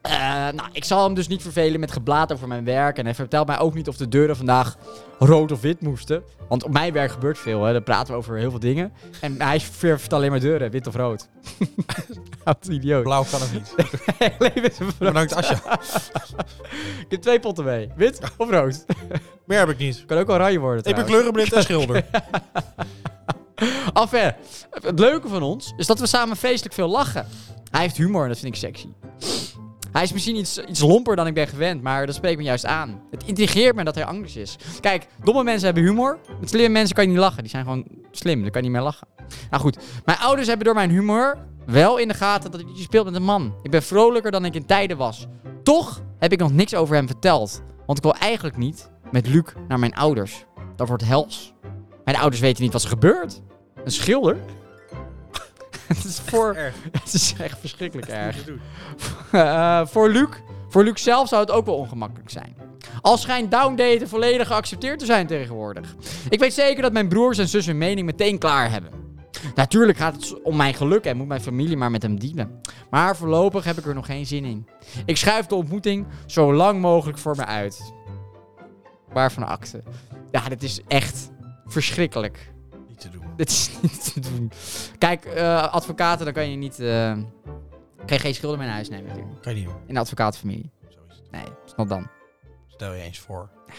[SPEAKER 2] Eh, nou, ik zal hem dus niet vervelen met geblaat over mijn werk. En hij vertelt mij ook niet of de deuren vandaag rood of wit moesten. Want op mijn werk gebeurt veel, hè. Daar praten we over heel veel dingen. En hij verft alleen maar deuren, wit of rood. Oud idioot.
[SPEAKER 1] Blauw kan het niet.
[SPEAKER 2] Alleen wit of rood.
[SPEAKER 1] Bedankt Asja.
[SPEAKER 2] Ik heb twee potten mee. Wit of rood.
[SPEAKER 1] Meer heb ik niet.
[SPEAKER 2] Kan ook oranje worden
[SPEAKER 1] Ik ben
[SPEAKER 2] trouwens.
[SPEAKER 1] kleurenblind en schilder.
[SPEAKER 2] Enfin, het leuke van ons is dat we samen feestelijk veel lachen. Hij heeft humor en dat vind ik sexy. Hij is misschien iets, iets lomper dan ik ben gewend, maar dat spreekt me juist aan. Het intrigeert me dat hij anders is. Kijk, domme mensen hebben humor. Met slimme mensen kan je niet lachen. Die zijn gewoon slim, dan kan je niet meer lachen. Nou goed, mijn ouders hebben door mijn humor wel in de gaten dat je speelt met een man. Ik ben vrolijker dan ik in tijden was. Toch heb ik nog niks over hem verteld. Want ik wil eigenlijk niet met Luc naar mijn ouders. Dat wordt hels. Mijn ouders weten niet wat er gebeurt. Een schilder? het is voor... Het is echt verschrikkelijk erg. Eh, voor Luc... Voor Luc zelf zou het ook wel ongemakkelijk zijn. Al schijnt downdaten volledig geaccepteerd te zijn tegenwoordig. Ik weet zeker dat mijn broers en zus hun mening meteen klaar hebben. Natuurlijk gaat het om mijn geluk en moet mijn familie maar met hem dealen. Maar voorlopig heb ik er nog geen zin in. Ik schuif de ontmoeting zo lang mogelijk voor me uit. Waarvan acte. Ja, dit is echt verschrikkelijk.
[SPEAKER 1] Niet te doen.
[SPEAKER 2] Dit is niet te doen. Kijk, eh, advocaten, dan kan je niet. eh kan je geen schulden meer naar huis nemen, natuurlijk.
[SPEAKER 1] Kan je niet doen.
[SPEAKER 2] In de advocatenfamilie.
[SPEAKER 1] Zo is het.
[SPEAKER 2] Nee, snap dan.
[SPEAKER 1] Stel je eens voor.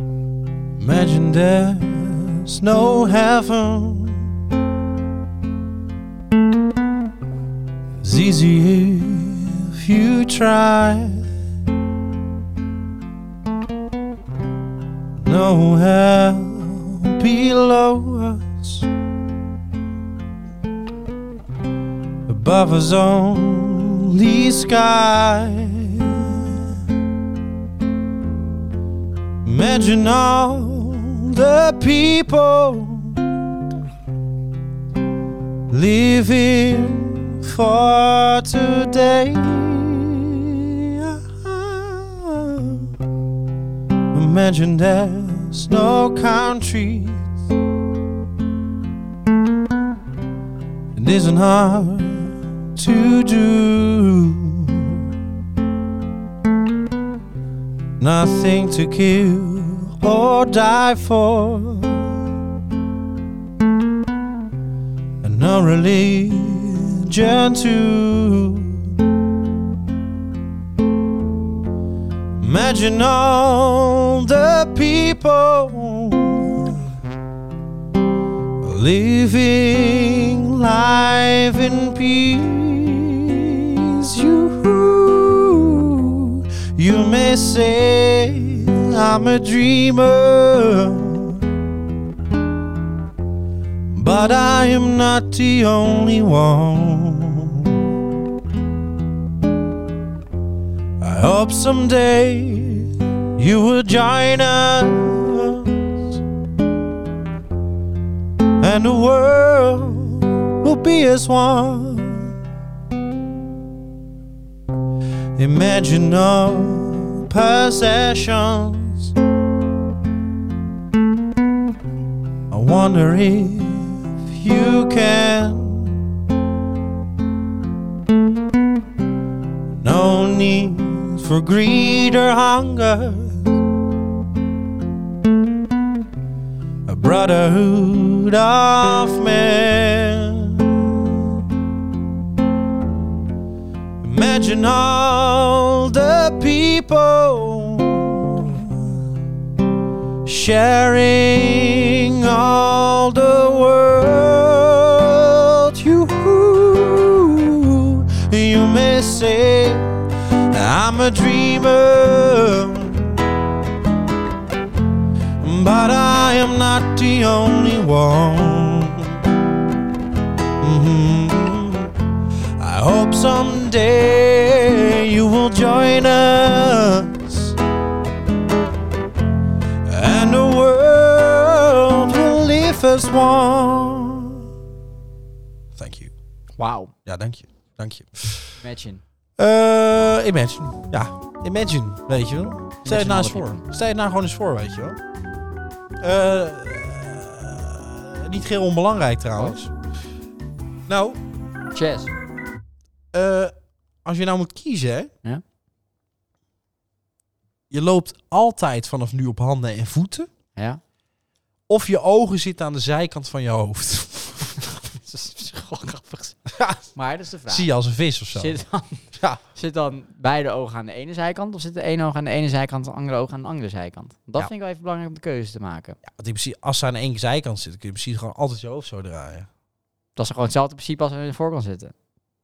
[SPEAKER 1] Imagine there's no heaven. It's easy if you try. No hell below us. Above us only sky. Imagine all the people living for today. Imagine there's no countries. It isn't hard to do. Nothing to kill or die for and no religion too. Imagine all the people living life in peace. You, you may say I'm a dreamer. But I am not the only one. I hope someday you will join us and the world will be as one. Imagine our possessions. I wonder if you can. No need for greed or hunger. A brotherhood of men. Imagine all the people sharing all the world. You, you may say I'm a not the only one. Mhm. I hope someday you will join us and the world will live as one. Thank you.
[SPEAKER 2] Wauw,
[SPEAKER 1] Ja, dank je. Dank je.
[SPEAKER 2] imagine.
[SPEAKER 1] Eh, imagine. Ja, imagine, weet je wel. Stel je het nou eens
[SPEAKER 2] alle
[SPEAKER 1] voor. Stel je het nou gewoon eens voor, weet je wel. Eh, eh, niet geheel onbelangrijk trouwens. Nou,
[SPEAKER 2] Chess.
[SPEAKER 1] eh, als je nou moet kiezen, hè.
[SPEAKER 2] Ja.
[SPEAKER 1] Je loopt altijd vanaf nu op handen en voeten.
[SPEAKER 2] Ja.
[SPEAKER 1] Of je ogen zitten aan de zijkant van je hoofd.
[SPEAKER 2] Dat is gewoon grappig. Maar dat is de vraag.
[SPEAKER 1] Zie je als een vis of zo.
[SPEAKER 2] Zit dan,
[SPEAKER 1] Ja.
[SPEAKER 2] zit dan beide ogen aan de ene zijkant? Of zit de ene oog aan de ene zijkant en de andere oog aan de andere zijkant? Dat
[SPEAKER 1] Ja.
[SPEAKER 2] vind ik wel even belangrijk om de keuze te maken.
[SPEAKER 1] Ja, want in principe, als ze aan één zijkant zitten, kun je precies gewoon altijd je hoofd zo draaien.
[SPEAKER 2] Dat is gewoon hetzelfde principe als we in de voorkant zitten.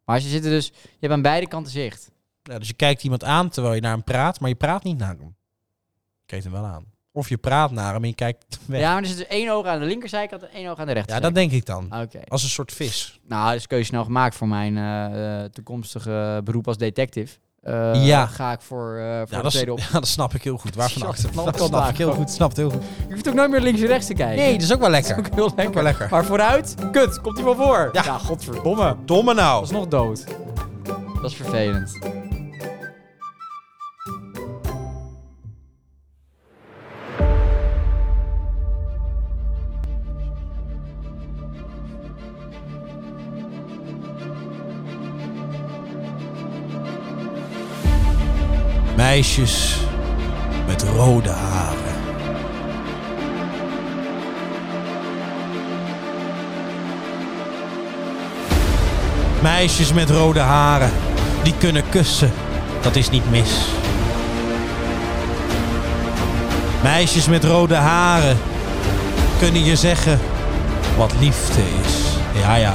[SPEAKER 2] Maar als je zit er dus, je hebt aan beide kanten zicht.
[SPEAKER 1] Ja, dus je kijkt iemand aan terwijl je naar hem praat, maar je praat niet naar hem. Je kijkt hem wel aan. Of je praat naar hem en je kijkt weg. Ja,
[SPEAKER 2] Ja, maar er zit dus één oog aan de linkerzijkant en één oog aan de
[SPEAKER 1] dat
[SPEAKER 2] rechterzijkant.
[SPEAKER 1] denk ik dan.
[SPEAKER 2] Oké.
[SPEAKER 1] Als een soort vis.
[SPEAKER 2] Nou, dus keuze snel gemaakt voor mijn eh, eh, toekomstige beroep als detective. Eh,
[SPEAKER 1] Ja.
[SPEAKER 2] Ga ik voor, eh, voor
[SPEAKER 1] Ja
[SPEAKER 2] de
[SPEAKER 1] dat, is-
[SPEAKER 2] tweede op.
[SPEAKER 1] ja, dat snap ik heel goed. Waarvan
[SPEAKER 2] Ja,
[SPEAKER 1] achter?
[SPEAKER 2] dat
[SPEAKER 1] Dat
[SPEAKER 2] kan
[SPEAKER 1] snap
[SPEAKER 2] daar.
[SPEAKER 1] ik heel goed. Snap het heel goed.
[SPEAKER 2] Je hoeft ook nooit meer links en rechts te kijken.
[SPEAKER 1] Nee, dat is ook wel lekker.
[SPEAKER 2] ook heel lekker.
[SPEAKER 1] wel lekker.
[SPEAKER 2] Maar vooruit, kut, komt hij wel voor.
[SPEAKER 1] Ja.
[SPEAKER 2] godverdomme.
[SPEAKER 1] Domme
[SPEAKER 2] Dat
[SPEAKER 1] nou.
[SPEAKER 2] is nog dood. Dat is vervelend.
[SPEAKER 1] Meisjes met rode haren. Meisjes met rode haren, die kunnen kussen, dat is niet mis. Meisjes met rode haren kunnen je zeggen wat liefde is. Ja, ja.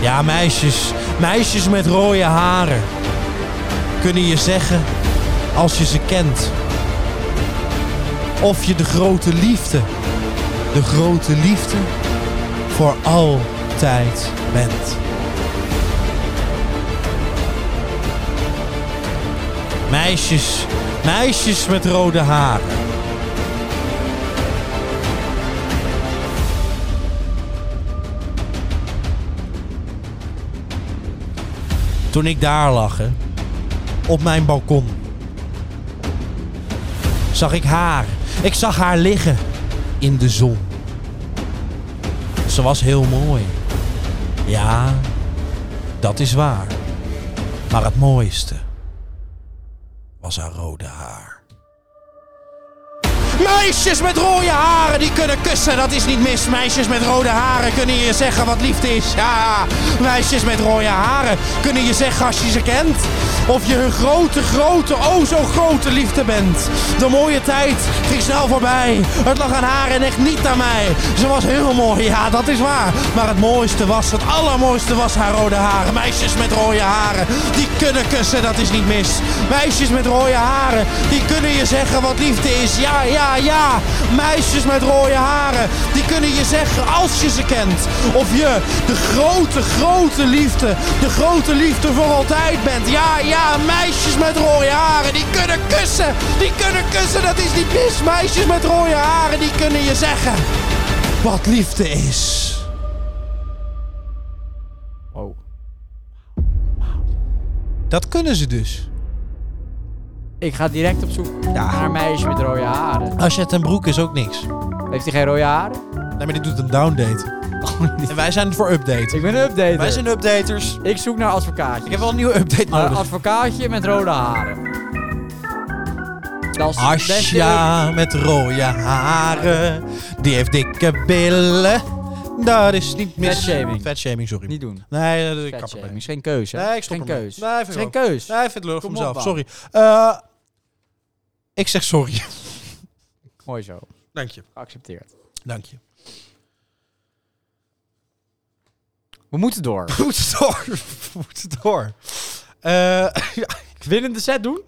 [SPEAKER 1] Ja, meisjes, meisjes met rode haren kunnen je zeggen als je ze kent. Of je de grote liefde, de grote liefde voor altijd bent. Meisjes, meisjes met rode haren. Toen ik daar lag, hè, op mijn balkon. Zag ik haar. Ik zag haar liggen in de zon. Ze was heel mooi. Ja, dat is waar. Maar het mooiste was haar rode haar. Meisjes met rode haren die kunnen kussen, dat is niet mis. Meisjes met rode haren kunnen je zeggen wat liefde is. Ja, meisjes met rode haren kunnen je zeggen als je ze kent. Of je hun grote, grote, oh zo grote liefde bent. De mooie tijd ging snel voorbij. Het lag aan haar en echt niet aan mij. Ze was heel mooi, ja dat is waar. Maar het mooiste was, het allermooiste was haar rode haren. Meisjes met rode haren, die kunnen kussen, dat is niet mis. Meisjes met rode haren, die kunnen je zeggen wat liefde is. Ja, ja, ja. Meisjes met rode haren, die kunnen je zeggen als je ze kent. Of je de grote, grote liefde, de grote liefde voor altijd bent. Ja, ja, meisjes met rode haren, die kunnen kussen. Die kunnen kussen, dat is niet mis. Meisjes met rode haren, die kunnen je zeggen wat liefde is.
[SPEAKER 2] Oh.
[SPEAKER 1] Dat kunnen ze dus.
[SPEAKER 2] Ik ga direct op zoek naar een meisje met rode haren.
[SPEAKER 1] Als je het een broek is ook niks.
[SPEAKER 2] Heeft hij geen rode haren?
[SPEAKER 1] Nee, maar dit doet een downdate. En wij zijn voor update.
[SPEAKER 2] Oh, Ik ben een updater.
[SPEAKER 1] Wij zijn updaters.
[SPEAKER 2] Ik zoek naar advocaatje.
[SPEAKER 1] Ik heb wel Oh, een nieuwe update
[SPEAKER 2] Een
[SPEAKER 1] nodig.
[SPEAKER 2] advocaatje met rode haren. Dat is het beste
[SPEAKER 1] Asja met rode haren. Die heeft dikke billen. Dat is niet mis.
[SPEAKER 2] Vetshaming.
[SPEAKER 1] Vetshaming, sorry.
[SPEAKER 2] Niet doen.
[SPEAKER 1] Nee, dat- ik kap
[SPEAKER 2] Fatshaming.
[SPEAKER 1] ermee.
[SPEAKER 2] Is geen keuze. hè?
[SPEAKER 1] Nee, ik stop
[SPEAKER 2] geen
[SPEAKER 1] ermee.
[SPEAKER 2] keuze.
[SPEAKER 1] Nee, vind ik
[SPEAKER 2] Is geen
[SPEAKER 1] ook.
[SPEAKER 2] keuze.
[SPEAKER 1] Nee, ik vind het lullig voor
[SPEAKER 2] Kom
[SPEAKER 1] mezelf.
[SPEAKER 2] op,
[SPEAKER 1] Sorry. Eh, ik zeg sorry.
[SPEAKER 2] Mooi zo.
[SPEAKER 1] Dank je.
[SPEAKER 2] Geaccepteerd.
[SPEAKER 1] Dank je.
[SPEAKER 2] We moeten door.
[SPEAKER 1] We moeten door. We moeten door. Eh, ja.
[SPEAKER 2] Winnende set doen?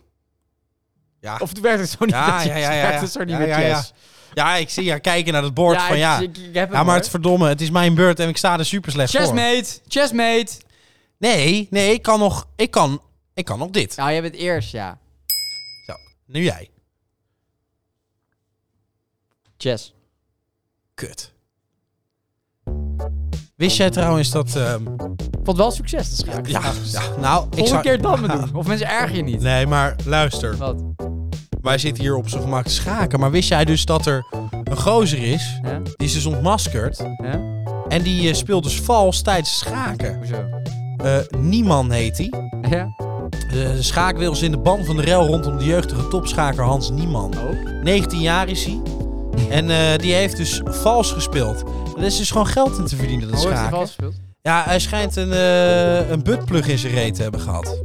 [SPEAKER 1] Ja.
[SPEAKER 2] Of werkt het zo niet
[SPEAKER 1] Ja,
[SPEAKER 2] met
[SPEAKER 1] ja, ja,
[SPEAKER 2] chess?
[SPEAKER 1] ja, ja.
[SPEAKER 2] Werkt het zo niet
[SPEAKER 1] Ja,
[SPEAKER 2] met
[SPEAKER 1] ja, ja.
[SPEAKER 2] chess?
[SPEAKER 1] Ja, ik zie haar kijken naar het bord van
[SPEAKER 2] ik-
[SPEAKER 1] ja.
[SPEAKER 2] ik- ik heb
[SPEAKER 1] ja, maar het verdomme, het is mijn beurt en ik sta er super slecht voor.
[SPEAKER 2] Chessmate! Chessmate!
[SPEAKER 1] Nee, nee, ik kan nog, ik kan, ik kan nog dit.
[SPEAKER 2] Nou, jij bent eerst, ja.
[SPEAKER 1] Zo, nu jij.
[SPEAKER 2] Chess.
[SPEAKER 1] Kut. Wist jij trouwens dat... ehm,
[SPEAKER 2] Ik vond wel succes te schakelen.
[SPEAKER 1] ja, ja, nou, ik
[SPEAKER 2] Volgende
[SPEAKER 1] zou...
[SPEAKER 2] keer dat me doen. Of mensen erg je niet.
[SPEAKER 1] Nee, maar luister.
[SPEAKER 2] Wat?
[SPEAKER 1] Wij zitten hier op zijn gemak te schaken. Maar wist jij dus dat er een gozer is...
[SPEAKER 2] Ja?
[SPEAKER 1] Die is dus ontmaskerd.
[SPEAKER 2] Ja?
[SPEAKER 1] En die eh, speelt dus vals tijdens schaken.
[SPEAKER 2] Hoezo?
[SPEAKER 1] Eh Nieman heet hij.
[SPEAKER 2] Ja?
[SPEAKER 1] De schaakwiel is in de ban van de rel rondom de jeugdige topschaker Hans Nieman.
[SPEAKER 2] Oh.
[SPEAKER 1] 19 jaar is hij. En eh, die heeft dus vals gespeeld. Er is dus gewoon geld in te verdienen, dat
[SPEAKER 2] Hoe Oh, heeft hij
[SPEAKER 1] schaken.
[SPEAKER 2] vals gespeeld?
[SPEAKER 1] Ja, hij schijnt een, eh een buttplug in zijn reet te hebben gehad.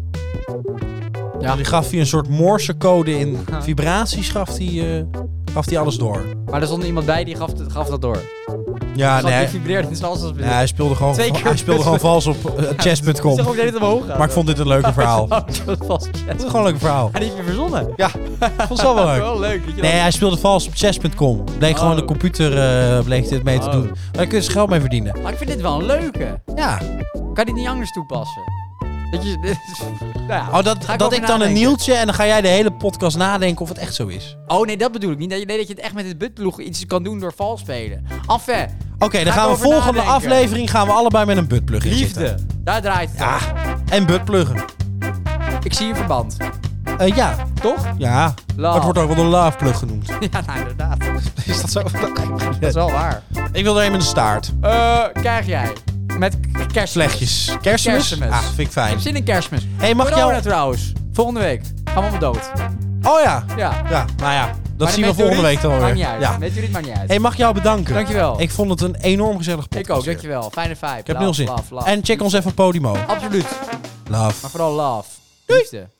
[SPEAKER 2] Ja.
[SPEAKER 1] Die gaf hij een soort morsecode in vibraties, gaf hij, eh, gaf hij alles door.
[SPEAKER 2] Maar er stond iemand bij die gaf, het- gaf dat door.
[SPEAKER 1] Ja, nee.
[SPEAKER 2] Ah, nee. Die
[SPEAKER 1] hij-
[SPEAKER 2] vibreerde in zijn als
[SPEAKER 1] nee, hij speelde gewoon,
[SPEAKER 2] Twee keer
[SPEAKER 1] hij speelde gewoon vals op eh,
[SPEAKER 2] Ik
[SPEAKER 1] chess.com.
[SPEAKER 2] zag ook dat het omhoog gaat.
[SPEAKER 1] Maar ik vond dit een leuke verhaal. Het
[SPEAKER 2] Oh, ik vond het vals chess.
[SPEAKER 1] is gewoon een leuk verhaal.
[SPEAKER 2] En die heb je verzonnen.
[SPEAKER 1] Ja, vond het wel wel leuk.
[SPEAKER 2] Wel leuk. Dat je
[SPEAKER 1] Nee,
[SPEAKER 2] dat-
[SPEAKER 1] hij speelde vals op chess.com. Bleek gewoon de computer eh, bleek dit mee te
[SPEAKER 2] Oh.
[SPEAKER 1] doen. Maar daar kun je dus geld mee verdienen.
[SPEAKER 2] Maar ik vind dit wel een leuke.
[SPEAKER 1] Ja.
[SPEAKER 2] Kan je dit niet anders toepassen? Dat je... Nou ja,
[SPEAKER 1] Oh, dat,
[SPEAKER 2] ga
[SPEAKER 1] dat
[SPEAKER 2] over
[SPEAKER 1] ik dan een
[SPEAKER 2] nadenken.
[SPEAKER 1] nieltje en dan ga jij de hele podcast nadenken of het echt zo is.
[SPEAKER 2] Oh nee, dat bedoel ik niet. Nee, nee, dat je het echt met het buttploeg iets kan doen door vals spelen. Affe,
[SPEAKER 1] Oké, dan
[SPEAKER 2] Ga
[SPEAKER 1] gaan we
[SPEAKER 2] erover
[SPEAKER 1] volgende
[SPEAKER 2] nadenken.
[SPEAKER 1] aflevering gaan we allebei met een buttplug in
[SPEAKER 2] liefde.
[SPEAKER 1] zitten.
[SPEAKER 2] Daar draait het om.
[SPEAKER 1] Ja, en buttpluggen.
[SPEAKER 2] Ik zie een verband.
[SPEAKER 1] Eh ja,
[SPEAKER 2] Toch?
[SPEAKER 1] ja.
[SPEAKER 2] Love.
[SPEAKER 1] Dat wordt ook wel de loveplug genoemd.
[SPEAKER 2] Ja, nou, inderdaad. Dat
[SPEAKER 1] Is dat zo?
[SPEAKER 2] is wel waar.
[SPEAKER 1] Ik wil er een met een staart.
[SPEAKER 2] Eh, krijg jij. Met k- kerstmis.
[SPEAKER 1] Slechtjes. Kerstmis?
[SPEAKER 2] Kerstmis.
[SPEAKER 1] Ah, vind ik
[SPEAKER 2] Ik
[SPEAKER 1] fijn.
[SPEAKER 2] heb zin in kerstmis.
[SPEAKER 1] Hey, mag ik
[SPEAKER 2] Corona
[SPEAKER 1] jou-
[SPEAKER 2] trouwens. Volgende week. Gaan we allemaal dood.
[SPEAKER 1] Oh ja.
[SPEAKER 2] Ja.
[SPEAKER 1] Ja, nou ja. Dat
[SPEAKER 2] Maar
[SPEAKER 1] zien we
[SPEAKER 2] met
[SPEAKER 1] volgende
[SPEAKER 2] Judith
[SPEAKER 1] week dan
[SPEAKER 2] Maakt
[SPEAKER 1] weer.
[SPEAKER 2] niet uit.
[SPEAKER 1] Ja.
[SPEAKER 2] Met jullie maakt niet uit.
[SPEAKER 1] Hey, mag ik jou bedanken?
[SPEAKER 2] Dankjewel.
[SPEAKER 1] Ik vond het een enorm gezellig podcast.
[SPEAKER 2] ik ook,
[SPEAKER 1] weer.
[SPEAKER 2] dankjewel. Fijne vibe.
[SPEAKER 1] Ik heb nul zin. En check ons even op Podimo.
[SPEAKER 2] Absoluut.
[SPEAKER 1] Love.
[SPEAKER 2] Maar vooral love. Liefde.